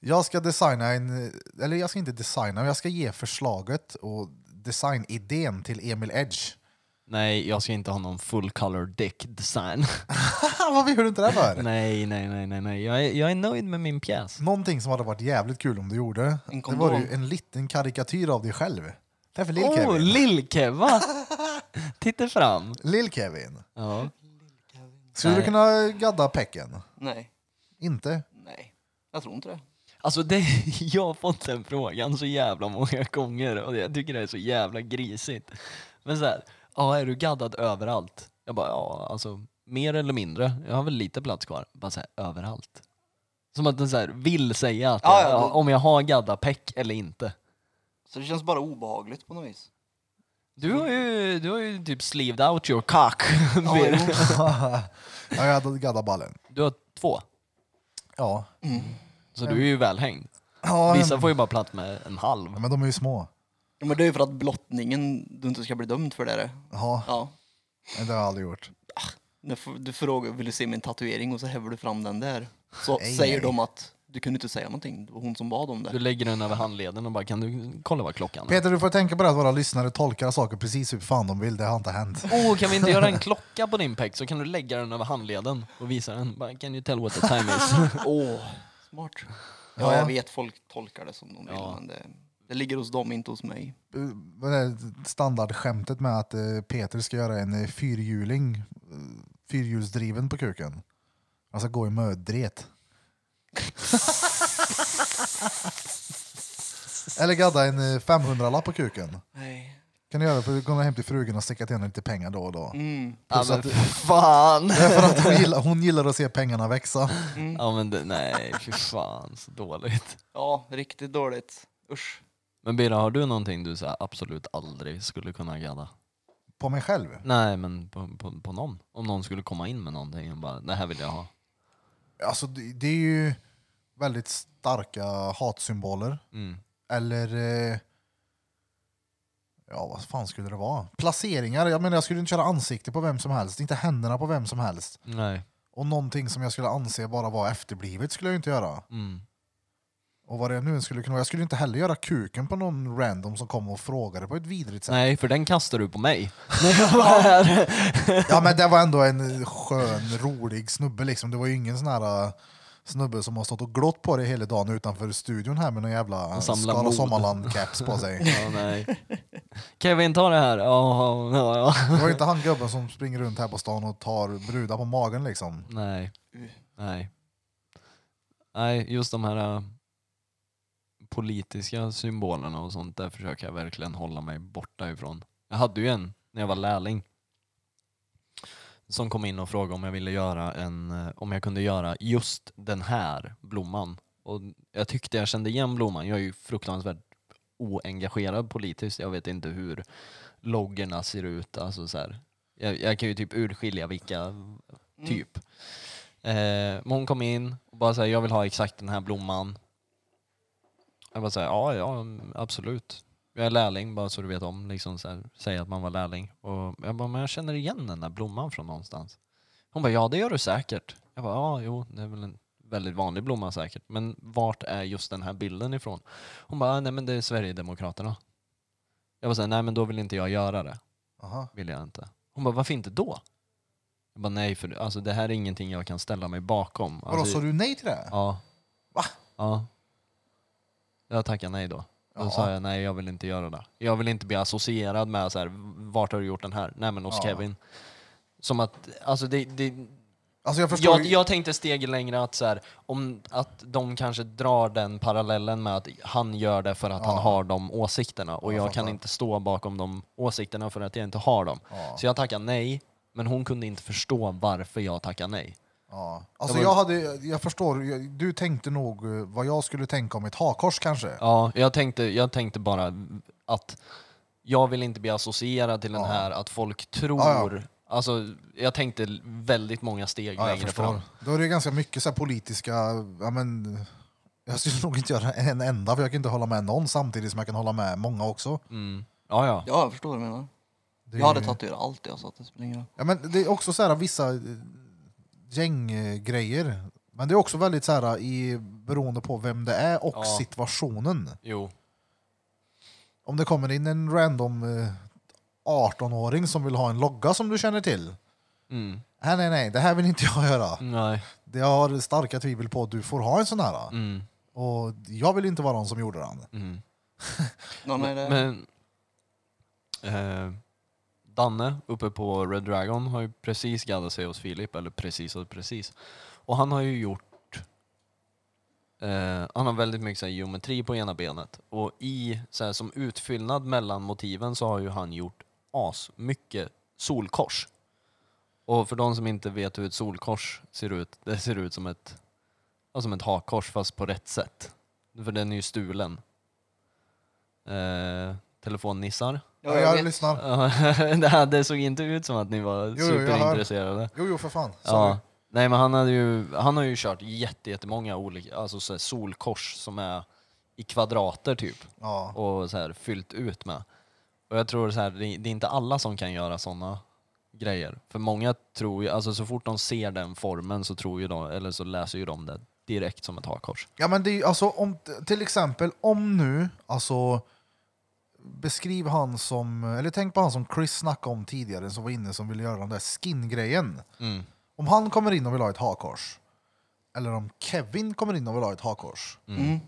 Jag ska designa en, eller jag ska inte designa, men jag ska ge förslaget och designidén till Emil Edge. [laughs] Nej, jag ska inte ha någon full color dick design. [laughs] Varför gör du inte det för? nej, nej, nej, nej, nej. Jag är, jag är nöjd med min pjäs. Någonting som hade varit jävligt kul om du gjorde, En det kondom. var ju en liten karikatyr av dig själv. Tack för Åh, oh, Lill-Kevin. lill-Keva! Titta fram. Lill-Kevin. Ja. Skulle du Nej. kunna gadda pecken? [laughs] Nej, Inte? nej. Jag tror inte det. Alltså det, [laughs] jag har fått den frågan så jävla många gånger och jag tycker det är så jävla grisigt. Men så här, ja är du gaddad överallt? Jag bara, ja alltså mer eller mindre. Jag har väl lite plats kvar. Bara så här, överallt. Som att den så här vill säga att Ja, jag, ja, det- om jag har gadda peck eller inte. Så det känns bara obehagligt på något vis. Du har ju, du har ju typ sleeved out your cock. [laughs] Ja, Birre. jo. ja, jag hade gaddat ballen. du har två, Ja. så du är ju välhängd. ja Vissa får ju bara plats med en halv. men de är ju små. Ja, men det är ju för att blottningen, du inte ska bli dömd för det. är det. Ja, Ja. det har jag aldrig gjort. När f- du frågar vill du se min tatuering och så häver du fram den där. Så Nej, säger nej. de att du kunde inte säga någonting. Det var hon som bad om Du det. lägger den över handleden och bara, kan du kolla vad klockan är? Peter, du får tänka på det att våra lyssnare tolkar saker precis hur fan de vill. Det har inte hänt. Åh, Oh, kan vi inte göra en klocka på din peck så kan du lägga den över handleden och visa den. Bara, Can you tell what the time [laughs] is? Åh, smart. Ja, jag vet. Folk tolkar det som de vill. Ja. Men det, det ligger hos dem, inte hos mig. Eh, vad är det standardskämtet med att eh, Peter ska göra en eh, fyrhjuling, eh, fyrhjulsdriven på kuken. Alltså gå i mödret. [laughs] Eller gadda en 500-lapp på kuken. Nej. Kan du göra det för att komma hem till frugan och sticka till henne lite pengar då och då. Mm. ja, men [laughs] fan! För att hon gillar, hon gillar att se pengarna växa. ja, men det, nej, fy fan så dåligt. Ja, riktigt dåligt. Usch. Men Bira, har du någonting du så här, absolut aldrig skulle kunna gadda? På mig själv. Nej, men på, på, på någon. Om någon skulle komma in med någonting och bara, det här vill jag ha. Alltså det, det är ju väldigt starka hatsymboler. Mm. Eller... Eh, ja, vad fan skulle det vara? Placeringar. Jag menar, jag skulle inte köra ansikte på vem som helst. Inte händerna på vem som helst. Nej. Och någonting som jag skulle anse bara vara efterblivet skulle jag inte göra. Mm. Och vad det nu än skulle kunna vara. Jag skulle inte heller göra kuken på någon random som kom och frågade på ett vidrigt sätt. Nej, för den kastar du på mig. När jag var här. Ja men det var ändå en skön, rolig snubbe liksom. Det var ju ingen sån här eh, snubbe som har stått och glott på det hela dagen utanför studion här med någon jävla Och samlar Skara mod. Sommarland-caps på [laughs] sig. Ja, nej. Kevin, ta det här. Ja, ja, ja. Det var inte han gubben som springer runt här på stan och tar brudar på magen liksom. Nej. Uh. Nej. Nej, just de här äh, politiska symbolerna och sånt, där försöker jag verkligen hålla mig borta ifrån. Jag hade ju en när jag var lärling som kom in och frågade om jag ville göra en, eh, om jag kunde göra just den här blomman. Och jag tyckte jag kände igen blomman. Jag är ju fruktansvärt oengagerad politiskt. Jag vet inte hur loggorna ser ut. Alltså så här. Jag, jag kan ju typ urskilja vilka, typ. Eh, men hon kom in och bara såhär, jag vill ha exakt den här blomman. Jag bara såhär, ja, ja mm, absolut. Jag är lärling bara så du vet om, liksom så här, säga att man var lärling. Och jag bara, men jag känner igen den där blomman från någonstans. Hon bara, ja det gör du säkert. Jag bara, ja jo, det är väl en väldigt vanlig blomma säkert. Men vart är just den här bilden ifrån? Hon bara, nej men det är Sverigedemokraterna. Jag var såhär, nej men då vill inte jag göra det. Aha. Vill jag inte. Hon bara, varför inte då? Jag bara, nej för alltså, det här är ingenting jag kan ställa mig bakom. Vadå, Alltså, sa du nej till det? här? Ja. Va? Ja. Jag tackar nej då. Då Ja. sa jag nej, jag vill inte göra det. Jag vill inte bli associerad med så här, vart har du gjort den här? Nej men hos Ja. Kevin. Som att, alltså det, det, Alltså jag förstår jag, ju- jag tänkte steget längre att så här, om att de kanske drar den parallellen med att han gör det för att han har de åsikterna och jag, kan fattar. inte stå bakom de åsikterna för att jag inte har dem. Ja. Så jag tackar nej, men hon kunde inte förstå varför jag tackar nej. Ja. Alltså Jag jag, hade, jag förstår, jag- du tänkte nog eh, vad jag skulle tänka om ett hakkors kanske? Ja, jag tänkte, jag tänkte bara att jag vill inte bli associerad till den här att folk tror... Ja, Alltså, jag tänkte väldigt många steg Ja, jag längre fram. förstår. Då är det ganska mycket så här politiska... Ja, men, jag skulle nog inte göra en enda, för jag kan inte hålla med någon samtidigt som jag kan hålla med många också. Mm. Ja, ja. Ja, jag förstår vad du menar. Det är Jag hade ju- tatuerat allt jag sa att det spelar ingen roll. Ja, men det är också så här vissa eh, gänggrejer. Men det är också väldigt så här eh, i, beroende på vem det är och Ja. situationen. Jo. Om det kommer in en random eh, 18-åring som vill ha en logga som du känner till. Mm. Nej, nej, nej, det här vill inte [laughs] jag göra. Nej. Jag har starka tvivel på att du får ha en sån här. Mm. Och jag vill inte vara någon som gjorde den. Mm. No, nej, det... Men... Eh, Danne uppe på Red Dragon har ju precis gaddat sig hos Filip, eller precis och precis. Och han har ju gjort... Eh, han har väldigt mycket så här, geometri på ena benet. Och i, så här, som utfyllnad mellan motiven så har ju han gjort as mycket solkors. Och för de som inte vet hur ett solkors ser ut, det ser ut som ett, ja, som ett hakkors fast på rätt sätt. För den är ju stulen. Eh, telefonnissar. [laughs] Ja, Ja, jag jag vet. lyssnar. Ja, det såg inte ut som att ni var jo, jag hör. superintresserade. Jo, jo, för fan. Sorry. Ja. Nej men han, hade ju, han har ju kört jätte, jättemånga olika alltså så här solkors som är i kvadrater typ Ja. och så här fyllt ut med. Och jag tror så här, det, det är inte alla som kan göra sådana grejer. För många tror ju, alltså så fort de ser den formen så tror ju de, eller så läser ju de det direkt som ett hakkors. ja, men det är ju alltså om, till exempel om nu, alltså beskriv han som, eller tänk på han som Chris snackade om tidigare som var inne som ville göra den där skin-grejen. Om han kommer in och vill ha ett hakkors, eller om Kevin kommer in och vill ha ett hakkors. Mm.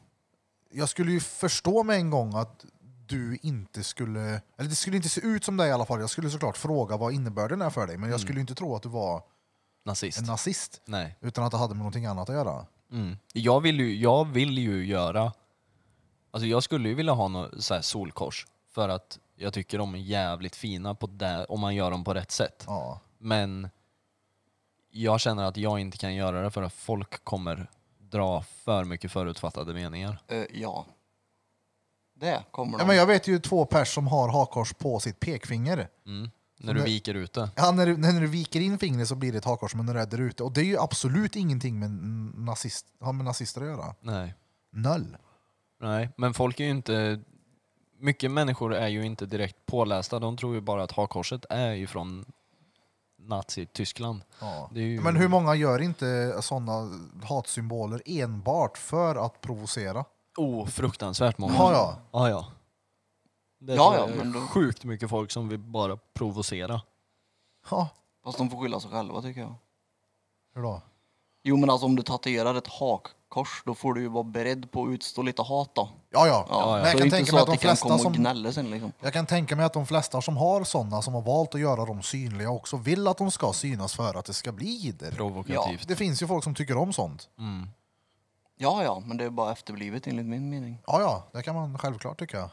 jag skulle ju förstå med en gång att du inte skulle... Eller det skulle inte se ut som det i alla fall. Jag skulle såklart fråga vad innebörden är för dig. Men jag skulle ju inte tro att du var Nazist. en nazist. Nej. Utan att det hade med någonting annat att göra. Mm. Jag, vill ju, jag vill ju göra... Alltså jag skulle ju vilja ha något så här solkors för att jag tycker de är jävligt fina på det, om man gör dem på rätt sätt. Ja. Men jag känner att jag inte kan göra det för att folk kommer dra för mycket förutfattade meningar. Eh, ja. Det kommer Ja, de. men jag vet ju två pers som har hakkors på sitt pekfinger. Mm. När du det- viker ut det. Ja, när, du, när du viker in fingret så blir det ett hakkors, men när det är där ute. Och det är ju absolut ingenting med, nazist, har med nazister att göra. Nej. Noll. Nej, men folk är ju inte... Mycket människor är ju inte direkt pålästa. De tror ju bara att hakkorset är ju från Nazi-Tyskland. Ja. Det är ju... Men hur många gör inte sådana hatsymboler enbart för att provocera? Oh, fruktansvärt många. Ja, ja. Ja, ja. Det Ja, tror jag ja, är men då- sjukt mycket folk som vill bara provocera. Ja, Fast de får skylla sig själva tycker jag. hur då? Jo men alltså om du tatuerar ett hakkors då får du ju vara beredd på att utstå lite hat då. Ja, ja. Ja, Men jag Så det är kan, inte tänka så mig att att det de kan komma flesta och som, gnälla sen liksom. jag kan tänka mig att de flesta som har sådana som har valt att göra dem synliga också vill att de ska synas för att det ska bli jidder. Provokativt. Det finns ju folk som tycker om sånt. Mm. Ja ja, men det är bara efterblivet enligt min mening. Ja, ja, det kan man självklart tycka.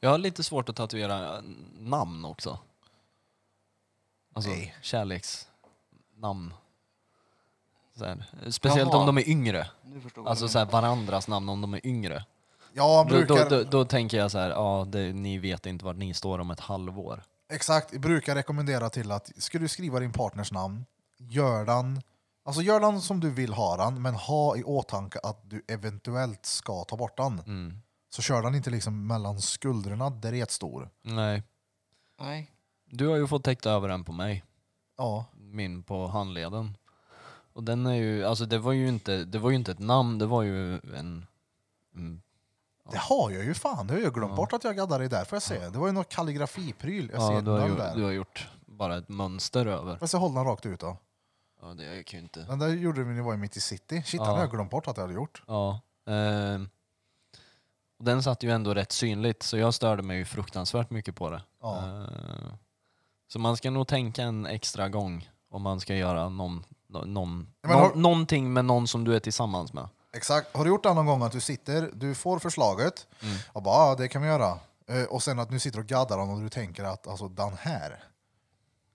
Jag har lite svårt att tatuera namn också. Alltså Nej. kärleksnamn. Så här. Speciellt Jaha. om de är yngre. Nu förstår jag. Alltså så här, varandras namn om de är yngre. Jag Då, då, brukar, då, då tänker jag så här, ja, det, ni vet inte vart ni står om ett halvår. Exakt, brukar rekommendera till att ska du skriva din partners namn, gör den, alltså gör den som du vill ha den, men ha i åtanke att du eventuellt ska ta bort den. Mm. Så kör den inte liksom mellan skuldrorna, där det är ett stor. Nej. Nej. Du har ju fått täckt över en på mig. Ja, min på handleden. Och den är ju, alltså det var ju inte, det var ju inte ett namn, det var ju en, en Det har jag ju fan. Det har jag glömt bort att jag gaddade i där. Får jag se? Det var ju någon kalligrafipryl. Jag Ja, ser du, har den gjort, där. du har gjort bara ett mönster över. Men så håller den rakt ut då. Ja, det jag kan ju inte. Den där gjorde vi när vi var i mitt i city. Shit, den Ja. har jag glömt bort att jag hade gjort. Ja. ehm. Och den satt ju ändå rätt synligt så jag störde mig ju fruktansvärt mycket på det. Ja. Ehm, Så man ska nog tänka en extra gång om man ska göra någon, nå- någon, Ja, men har- nå- någonting med någon som du är tillsammans med. Exakt. Har du gjort det någon gång att du sitter, du får förslaget Mm. och bara ja, det kan vi göra. Eh, Och sen att du sitter och gaddar om och du tänker att alltså den här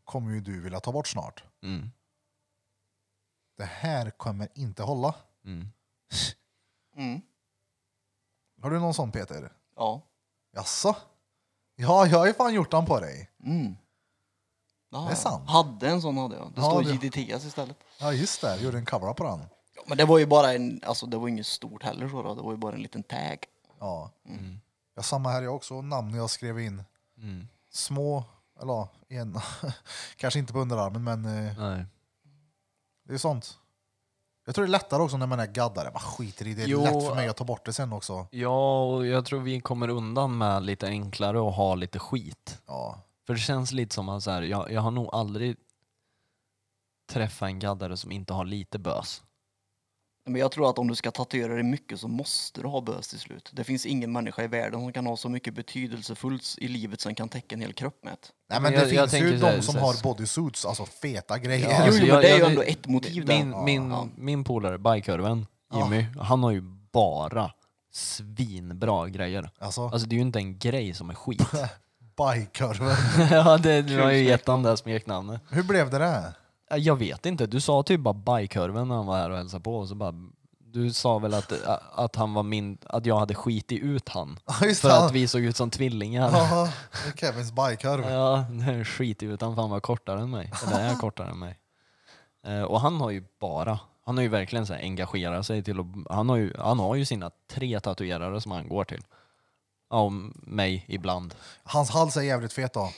kommer ju du vilja ta bort snart. Mm. Det här kommer inte hålla. Mm. Mm. Har du någon sån Peter? Ja. Jaså? Ja, jag har ju fan gjort den på dig. Mm. Ja, Det är sant. Hade en sån hade jag. Det Ja, står du- JDTS istället. Ja, just det. Jag gjorde en cover på den. Ja, men det var ju bara en, alltså det var inget stort heller så då. Det var ju bara en liten tag. Ja. ja samma här jag också. Namn jag skrev in. Mm. Små, eller ja, en, [laughs] kanske inte på underarmen men eh, Nej. Det är sånt. Jag tror det är lättare också när man är gaddare. Man skiter i det. Jo. Det är lätt för mig att ta bort det sen också. Ja, och jag tror vi kommer undan med lite enklare och ha lite skit. Ja. För det känns lite som att så här, jag, jag har nog aldrig träffat en gaddare som inte har lite bös. Men jag tror att om du ska tatuera dig mycket så måste du ha bös till slut. Det finns ingen människa i världen som kan ha så mycket betydelsefullt i livet som kan täcka en hel kropp med. ett. Nej, men men det jag- jag finns ju tänker så här- de som så här- har bodysuits, alltså feta grejer. Jo, alltså, jo, men jag- det är ju jag- ändå ett motiv där. Min, min, Ja. min polare, bajkurven, Jimmy, han har ju bara svinbra grejer. Alltså, Alltså det är ju inte en grej som är skit. [laughs] [laughs] bajkorven. ja, det, du har ju gett han det här smeknamnet. Hur blev det där? Ja, Äh, Jag vet inte, du sa typ bara bajkurven när han var här och hälsade på och så bara du sa väl att, äh, att, han var min, att jag hade skitit ut han Ja, just för det. att vi såg ut som tvillingar. Jaha, det är Kevins bajkorv. Ja, den skiter ju utan för han var kortare än mig. Eller är kortare än mig. Eh, och han har ju bara, han har ju verkligen så här engagerat sig till att, han har ju, han har ju sina tre tatuerare som han går till. Ja, och mig ibland. Hans hals är jävligt fet då.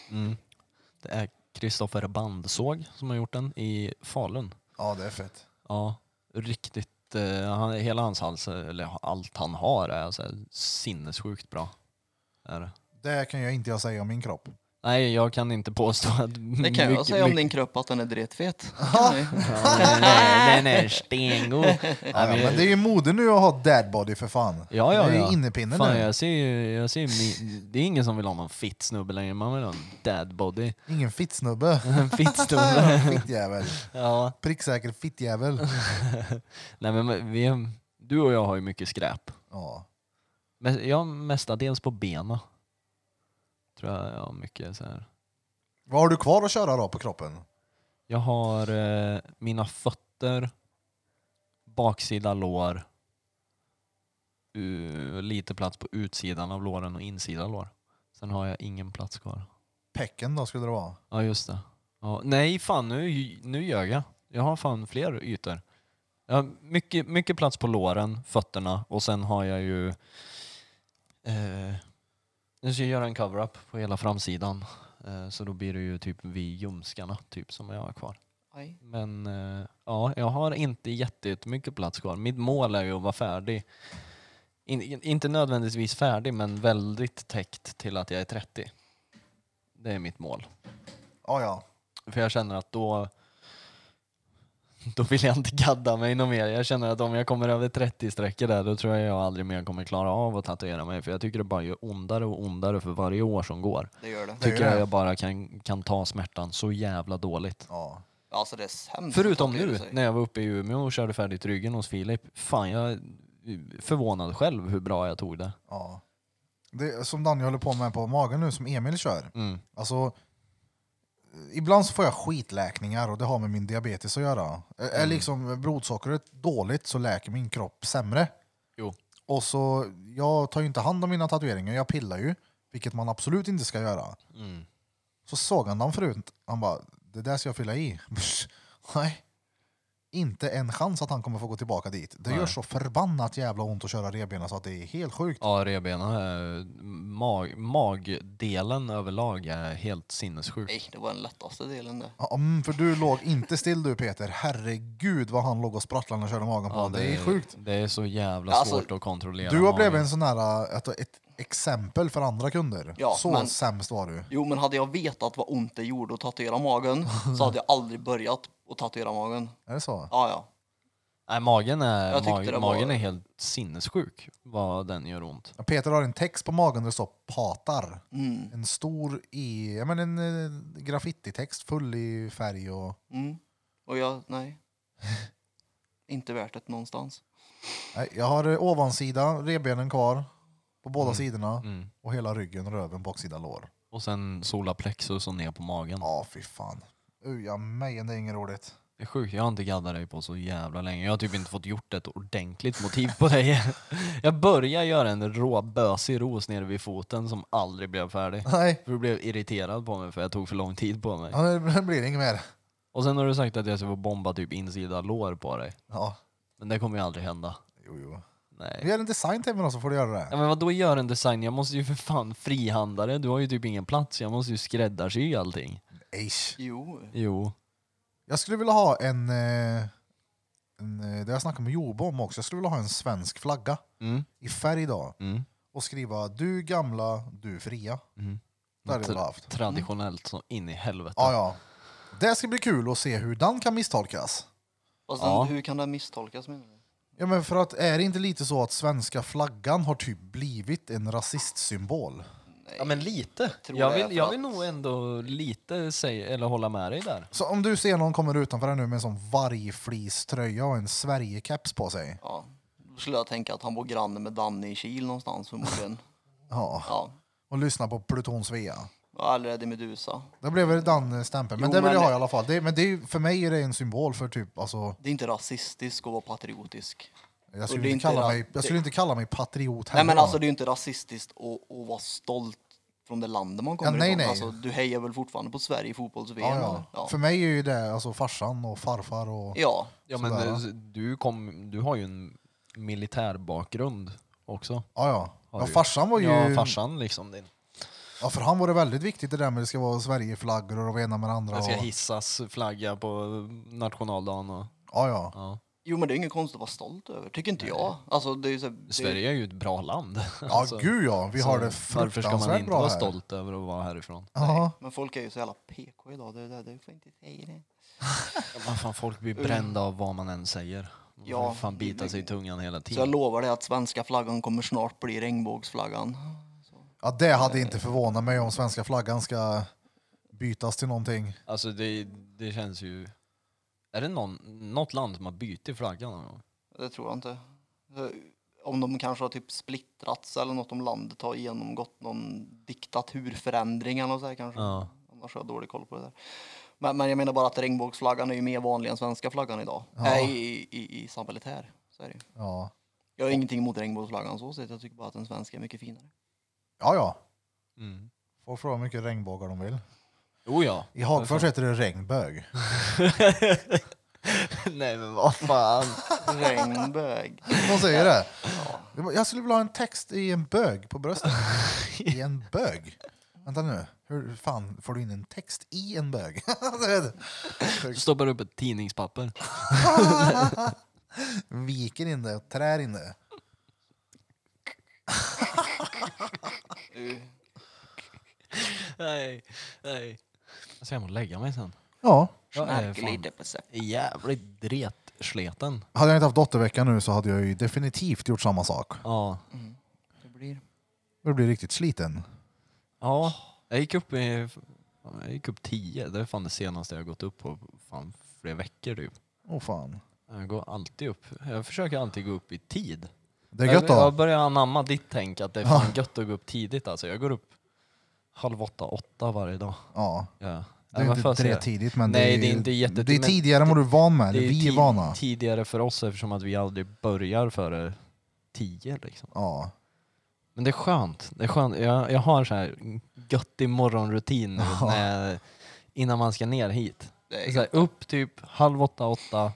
Det är Kristoffer Bandsåg som har gjort den i Falun. Ja, det är fett. Ja, riktigt, eh, han, hela hans hals, eller allt han har är så här sinnessjukt bra. Är det. Det kan jag inte jag säga om min kropp. Nej, jag kan inte påstå att... Det kan jag säga om din kropp att den [laughs] är dretfet. Nej. Nej, nej, nej, [laughs] stengod. Ja, men det är ju mode nu att ha dadbody för fan. Ja, ja, det är ja. ju innepinnen Fan, nu. jag ser ju, jag ser ju mi- det är ingen som vill ha någon fit snubbe längre, man vill ha en dad body. Ingen [laughs] fittsnubbe. En fit snubbe. [laughs] Fittjävel. ja. Pricksäker [laughs] fittjävel. Nej men vi, du och jag har ju mycket skräp. Ja. Men jag har mestadels på bena. Tror jag jag har mycket så här. Vad har du kvar att köra då på kroppen? Jag har eh, mina fötter, baksida lår, u- lite plats på utsidan av låren och insida lår. Sen har jag ingen plats kvar. Pecken då skulle det vara. Ja, just det. Ja, nej, fan nu, nu gör jag. Jag har fan fler ytor. Jag har mycket, mycket plats på låren, fötterna och sen har jag ju... Eh, nu ska jag göra en cover-up på hela framsidan. Eh, så då blir det ju typ vid ljumskarna typ, som jag har kvar. Nej. Men eh, ja, jag har inte jätte- jättemycket plats kvar. Mitt mål är ju att vara färdig. In, in- inte nödvändigtvis färdig, men väldigt täckt till att jag är 30. Det är mitt mål. Ja, ja. För jag känner att då [laughs] då vill jag inte gadda mig något mer. Jag känner att om jag kommer över 30 sträckor där då tror jag jag aldrig mer kommer klara av att tatuera mig. För jag tycker det bara gör ondare och ondare för varje år som går. Det gör det. Det Tycker gör jag det. jag bara kan, kan ta smärtan så jävla dåligt. ja. Alltså det är sämst. Förutom att tatuera nu sig. när jag var uppe i Umeå och körde färdigt ryggen hos Filip. Fan, jag är förvånad själv hur bra jag tog det. ja. Det är som Daniel håller på med på magen nu, som Emil kör. Mm. Alltså, ibland så får jag skitläkningar och det har med min diabetes att göra. Är- Mm. Är liksom blodsockret dåligt så läker min kropp sämre. Jo. Och så, jag tar ju inte hand om mina tatueringar, jag pillar ju. Vilket man absolut inte ska göra. Mm. Så såg han den förut. Han bara, det där ska jag fylla i. [laughs] Nej. Inte en chans att han kommer få gå tillbaka dit. Det gör så förbannat jävla ont att köra revbena så att det är helt sjukt. Ja, revbena, är- mag, magdelen överlag är helt sinnessjuk. Nej, det var den lättaste delen det. Ja, mm, för du låg inte still du Peter. Herregud vad han låg och sprattlade när han körde magen på Ja, honom. Det är sjukt. Det är så jävla Alltså, svårt att kontrollera Du har magen. blivit en sån här, ett, ett exempel för andra kunder. Ja, så men- sämst var du. Jo, men hade jag vetat vad ont det gjorde att tatuera magen så hade jag aldrig börjat att tatuera magen. Är det så? Ja, ja. Nej, magen är, Jag tyckte mag, det var- magen är helt sinnessjuk vad den gör ont. Peter har en text på magen där det står patar. Mm. En stor e, ja, men en eh, graffititext full i färg och... Mm. Och jag, nej. Inte värt det någonstans. Nej, jag har eh, ovansida, revbenen kvar på båda sidorna Mm. och hela ryggen, röven, baksida lår. Och sen solarplexus och ner på magen. Ja, fy fan. Uja mejen, det är inget roligt. [laughs] Det är sjukt, jag har inte gaddat dig på så jävla länge. Jag har typ inte fått gjort ett ordentligt motiv på dig. [laughs] Jag började göra en råbösig ros nere vid foten som aldrig blev färdig. Nej, För du blev irriterad på mig för jag tog för lång tid på mig. ja, det blir inget mer. Och sen har du sagt att jag ska få bomba typ insida lår på dig. Ja, Men det kommer ju aldrig hända. jo, jo. Nej. Vi gör en design till mig då så får du göra Ja, det. men vadå gör en design? Jag måste ju för fan frihandla det. Du har ju typ ingen plats. Jag måste ju skräddarsy allting. Eish. Jo. Jo. Jag skulle vilja ha en, eh, en eh, det jag snackade med Jobo om också, jag skulle vilja ha en svensk flagga Mm. i färg då Mm. och skriva du gamla, du fria. Mm. Det hade jag velat haft. Traditionellt så in i helvete. Ja, ja. Det ska bli kul att se hur den kan misstolkas. Fast den, Ja. hur kan det misstolkas menar du? Ja, men för att är det inte lite så att svenska flaggan har typ blivit en rasistsymbol? Ja, men lite. tror Jag det är vill, för jag att- vill nog ändå lite säga, eller hålla med dig där. Så om du ser någon kommer utanför här nu med en sån vargfliströja och en Sverigekeps på sig. Ja. Då skulle jag tänka att han bor granne med Danne i Kil någonstans förmodligen. Ja. Ja. Och lyssnar på Pluton Svea. Eller är det Medusa? Det blev väl den eh, stämpeln. Men Jo, det vill men- jag ha i alla fall. Det, men det är, ju- för mig är det en symbol för typ, alltså, Det är inte rasistiskt att vara patriotisk. jag det skulle, är inte inte kalla, ra- mig, jag skulle inte kalla mig patriot Nej heller. men va? alltså det är ju inte rasistiskt att, att vara stolt från det landet man kommer Ja, nej, ifrån. nej. Alltså, du hejar väl fortfarande på Sverige i fotbolls-VM? ja, eller? ja. Ja. För mig är ju det alltså farsan och farfar och... ja. Ja, men Sådär, va? du, kom, du har ju en militär bakgrund också. Ja, ja. Har ja du. farsan var ju... Ja, farsan liksom din. Ja, för han var det väldigt viktigt det där med det ska vara Sverigeflaggor och det ena med det andra. Det ska och- hissas flagga på nationaldagen och... Ja, ja. Ja. Jo men det är inget konstigt att vara stolt över, tycker inte jag. Alltså, det är ju så, det, Sverige är ju ett bra land. Ja, [laughs] gud ja. Vi har det Alltså, Varför ska man fruktansvärt inte bra vara här. stolt över att vara härifrån? Ja. Men folk är ju så jävla PK idag, det, är det, det får inte säga det. Men fan, folk blir brända av vad man än säger. Man Ja, får fan bita sig i tungan hela Så jag tiden. lovar dig att svenska flaggan kommer snart bli regnbågsflaggan. ja, det hade inte förvånat mig om svenska flaggan ska bytas till någonting. Alltså det, det känns ju... Är det någon, något land som har bytt i flaggan någon gång? Det tror jag inte. Eh, Om de kanske har typ splittrats eller något om landet har genomgått någon diktaturförändring eller något så här kanske. Ja. Annars har jag dålig koll på det där. Men, men jag menar bara att regnbågsflaggan är ju mer vanlig än svenska flaggan idag. Ja. Nej, i, i, i samhället här. Så är det. ju. Ja, Jag har ingenting emot regnbågsflaggan så sett. Jag tycker bara att den svenska är mycket finare. ja. ja. Mm. Folk får ha hur mycket regnbågar de vill. Oh ja. I Hagfors heter det regnbög. [laughs] Nej men vad fan. Regnbög. De säger det. Jag skulle vilja ha en text i en bög på [laughs] bröstet. I en bög? Vänta nu. Hur fan får du in en text i en bög? [laughs] Stoppar upp ett tidningspapper. Viker in det och trär in det. Uh, Nej, nej. Jag ska hem och lägga mig sen. Ja. Jag är Snarkar fan lite på sig. jävligt dretsleten. Hade jag inte haft dottervecka nu så hade jag ju definitivt gjort samma sak. Ja. Det blir. Jag blir riktigt sliten. Ja, Oh. jag gick upp i... fan, Jag gick upp 10. Det är fan det senaste jag har gått upp på fan flera veckor typ. Åh fan. Jag går alltid upp. Jag försöker alltid gå upp i tid. Det är gött då. Jag, jag börjar anamma ditt tänk att det är fan gött att gå upp tidigt alltså. Jag går upp halv åtta, åtta varje dag. Ja. Ja. Det är Ja, vad fan inte säger det jag? tidigt men Nej, ju- det är inte jätte- Det är men- tidigare än vad du är van med. Det är vi är tid- vana. tidigare för oss eftersom att vi aldrig börjar före tio liksom. Ja. Men det är skönt. Det är skönt. Jag, jag har så här göttig morgonrutin nu när, innan man ska ner hit. Det Så här, upp typ halv åtta, åtta,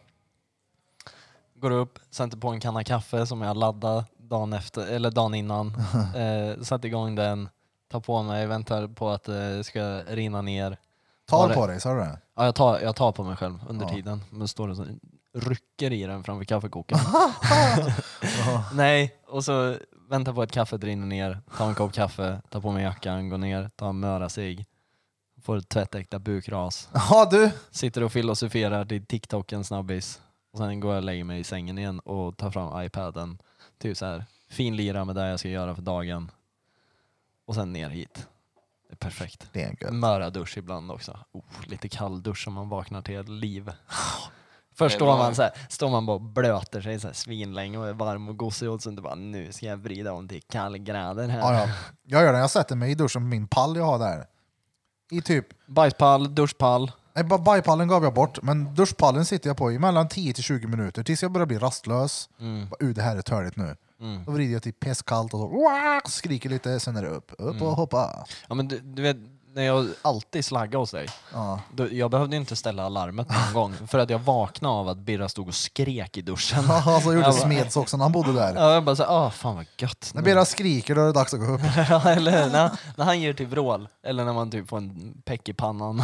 Går upp, sätter på en kanna kaffe som jag laddade dagen, efter, eller [laughs] dagen innan. eh, sätter igång den, tar på mig, väntar på att det ska rinna ner. Tar det. på dig, sa du det? Ja, jag, tar, jag tar på mig själv under Ja. tiden, men står och så rycker i den framför kaffekokaren. [laughs] Nej, och så väntar på att kaffet rinner ner, tar en kopp kaffe, tar på mig jackan, går ner, tar en möra sig får ett tvättäkta bukras, Ja du, sitter och filosoferar till TikTok en snabbis och sen går jag och lägger mig i sängen igen och tar fram iPaden, typ så här finlirar med det jag ska göra för dagen och sen ner hit. Det är perfekt. det är en gött. Möradusch ibland också. Oh, lite kall dusch som man vaknar till [sighs] ett liv. Först Det är står bra. man, så här, står man bara och blöter sig så här svinlänge och är varm och gosig och sen bara nu ska jag vrida om till kallgrader här. Ja, ja. Jag gör det, jag sätter mig i duschen på min pall jag har där. I typ, Bajspall, duschpall. nej ba- bajpallen gav jag bort, men duschpallen sitter jag på i mellan 10 till 20 minuter tills jag börjar bli rastlös. Mm. Uh, det här är törligt nu. Då vrider jag till pisskallt och så, "Wah!" skriker lite, sen är det upp, upp och hoppa. [laughs] Ja, men du, du vet, när jag alltid slaggade hos dig, Ja. då, jag behövde inte ställa alarmet [laughs] någon gång för att jag vaknade av att Birra stod och skrek i duschen. Ja, så gjorde Jag bara- Smeds också när han bodde där. Ja, jag bara såhär, ah fan vad gött. När Bera skriker då är det dags att gå [laughs] upp. [laughs] Ja, eller när, när han ger till vrål. Eller när man typ får en peck i pannan.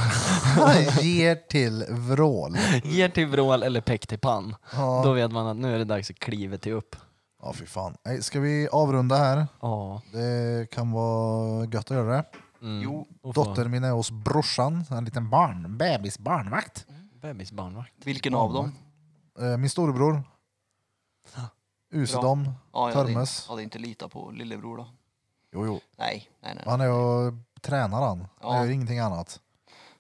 Ger till vrål. Ger till vrål eller peck till pann. Mm. Ja. Då vet man att nu är det dags att kliva till upp. Ja, fy fan. Nej, Ska vi avrunda här? Ja. Det kan vara gött att göra det. Jo, och få Dottern min är hos brorsan, en liten barn, bebis barnvakt. Bebisbarnvakt. vilken av dem? Eh, Min storebror. Usedom. Ja, jag hade, Törmes. hade inte litat på lillebror då. Jo, jo. Nej, nej, nej. Han är och tränar han. Ja. Han gör ingenting annat.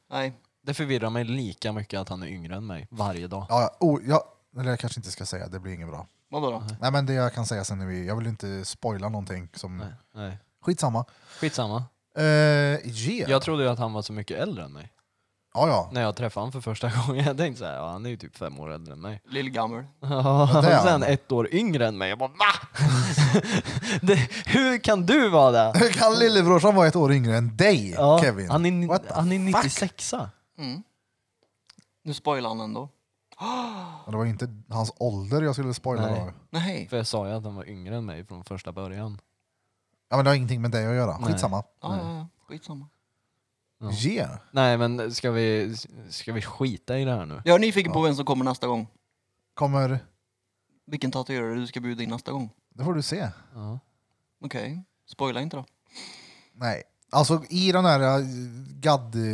nej. Det förvirrar mig lika mycket att han är yngre än mig varje dag. Ja, ja. oh, ja. Eller jag kanske inte ska säga, det blir inget bra. Vadå då? Nej men det jag kan säga sen är vi, jag vill inte spoila någonting som... Nej, nej. Skitsamma. Skitsamma. Eh, yeah. Jag trodde ju att han var så mycket äldre än mig. Ja, ja. [laughs] När jag träffade honom för första [laughs] gången. Jag tänkte såhär, ja, han är ju typ fem år äldre än mig. Lillgammel. [laughs] Ja, det är han. sen ett år yngre än mig. Jag bara VA? [laughs] det, hur kan du [laughs] vara det? Hur kan lillebrorsan vara ett år yngre än dig, Ja, Kevin? Han är, What the han är fuck? 96 Nu spoilar han ändå. Men Det var inte hans ålder jag skulle spoila Nej. då. Nej. För jag sa ju att han var yngre än mig från första början. Ja, men det har ingenting med dig att göra. Nej. Skitsamma. Ja, ja, ja. Skitsamma. Ja. Yeah. Nej men ska vi, ska vi skita i det här nu? Jag är nyfiken på vem som kommer nästa gång. Kommer... Vilken tatuerare du ska bjuda in nästa gång. Det får du se. Ja. Okej, spoila inte då. Nej. Alltså i den här eh,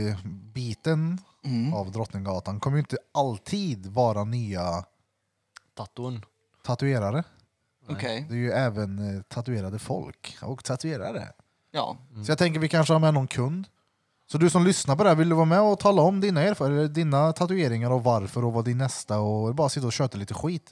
gadd-biten Mm. av Drottninggatan kommer ju inte alltid vara nya Datorn. tatuerare. Okej, Det är ju även eh, tatuerade folk och tatuerare. ja. Mm. Så jag tänker vi kanske har med någon kund. Så du som lyssnar på det här, vill du vara med och tala om dina erfarenheter, dina tatueringar och varför och vad din nästa och bara sitta och köta lite skit.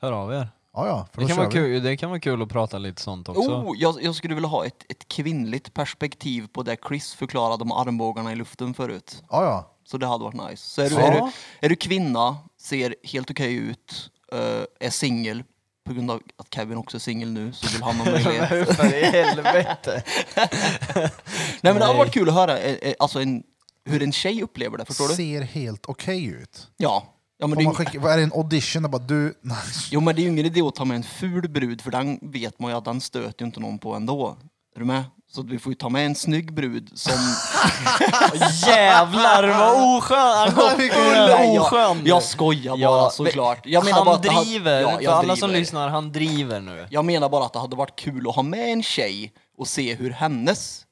Hör av er. Ja, ja, för Det då kan, kör vara vi. kul, det kan vara kul att prata lite sånt också. Oh, jag, jag skulle vilja ha ett, ett kvinnligt perspektiv på det Chris förklarade om armbågarna i luften förut. Ja, ja. Så det hade varit nice. Så är du, Ja. är [laughs] du, är du kvinna, ser helt okej ut, eh, är singel, på grund av att Kevin också är singel nu så vill han ha [laughs] möjlighet. För i helvete. Nej men det hade Nej. varit kul att höra eh, eh, alltså en, hur en tjej upplever det, förstår du? Ser helt okej ut. Ja. ja men det Får man är, ju- skicka, vad är det en audition? Jag bara, du, [laughs] nej. jo men det är ju ingen idé att ta med en ful brud för den vet man ju att den stöter ju inte någon på ändå. Är du med? Så att vi får ju ta med en snygg brud [laughs] som... Jävlar [laughs] vad oskön! Han var Nej, full oskön! Jag, jag skojar bara Ja, såklart. Jag Jag menar bara han att det hade- driver! Ja, för jag alla driver. som lyssnar, han driver nu. Jag menar bara att det hade varit kul att ha med en tjej och se hur hennes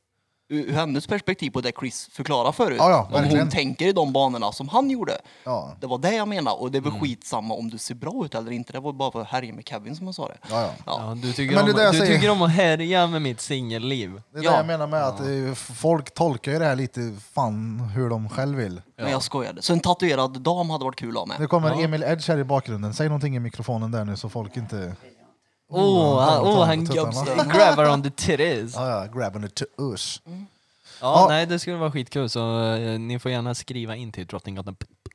ur hennes perspektiv på det Chris förklarade förut. Ja, ja, om verkligen. hon tänker i de banorna som han gjorde. Ja, Det var det jag menade och det är väl skitsamma om du ser bra ut eller inte. Det var bara för att härja med Kevin som jag sa det. ja, ja. Ja, du tycker, Men om, det där jag du säger- tycker om att härja med mitt singelliv. Det är Ja. det jag menar med att eh, f- folk tolkar ju det här lite fan hur de själv vill. Men jag skojade. Så en tatuerad dam hade varit kul att ha Nu med. kommer Emil Edge här i bakgrunden. Säg någonting i mikrofonen där nu så folk inte... Oh, han, tar oh, på han tuttarna. grabs- grabbar on the titties. Ja, ja, grabbing it to us. Ja, Ja. nej det skulle vara skitkul så eh, ni får gärna skriva in till Drottninggatan podcast.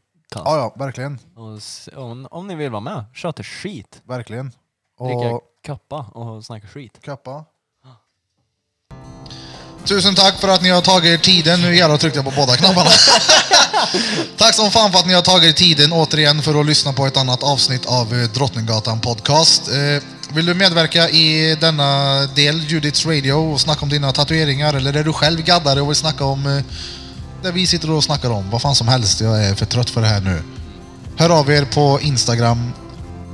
Ja, ja, verkligen. Och s- om, om ni vill vara med, köta skit. Verkligen. Dricka Och kappa och snacka skit. kappa. Tusen tack för att ni har tagit er tiden. Nu jävlar tryckte jag på båda knapparna. Tack som fan för att ni har tagit tiden återigen för att lyssna på ett annat avsnitt av eh, Drottninggatan Podcast. Eh, Vill du medverka i denna del, Judiths Radio, och snacka om dina tatueringar? Eller är du själv gaddare och vill snacka om eh, det vi sitter och snackar om? Vad fan som helst, jag är för trött för det här nu. Hör av er på Instagram,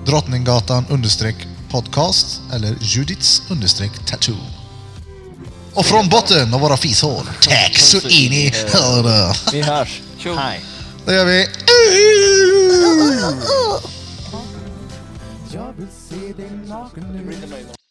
Drottninggatan understreck podcast eller Judiths understreck tattoo. Och från botten av våra fishål, tack så in i hörnet! Vi hörs. Tjo! Det gör vi. Jag vill se dig naken nu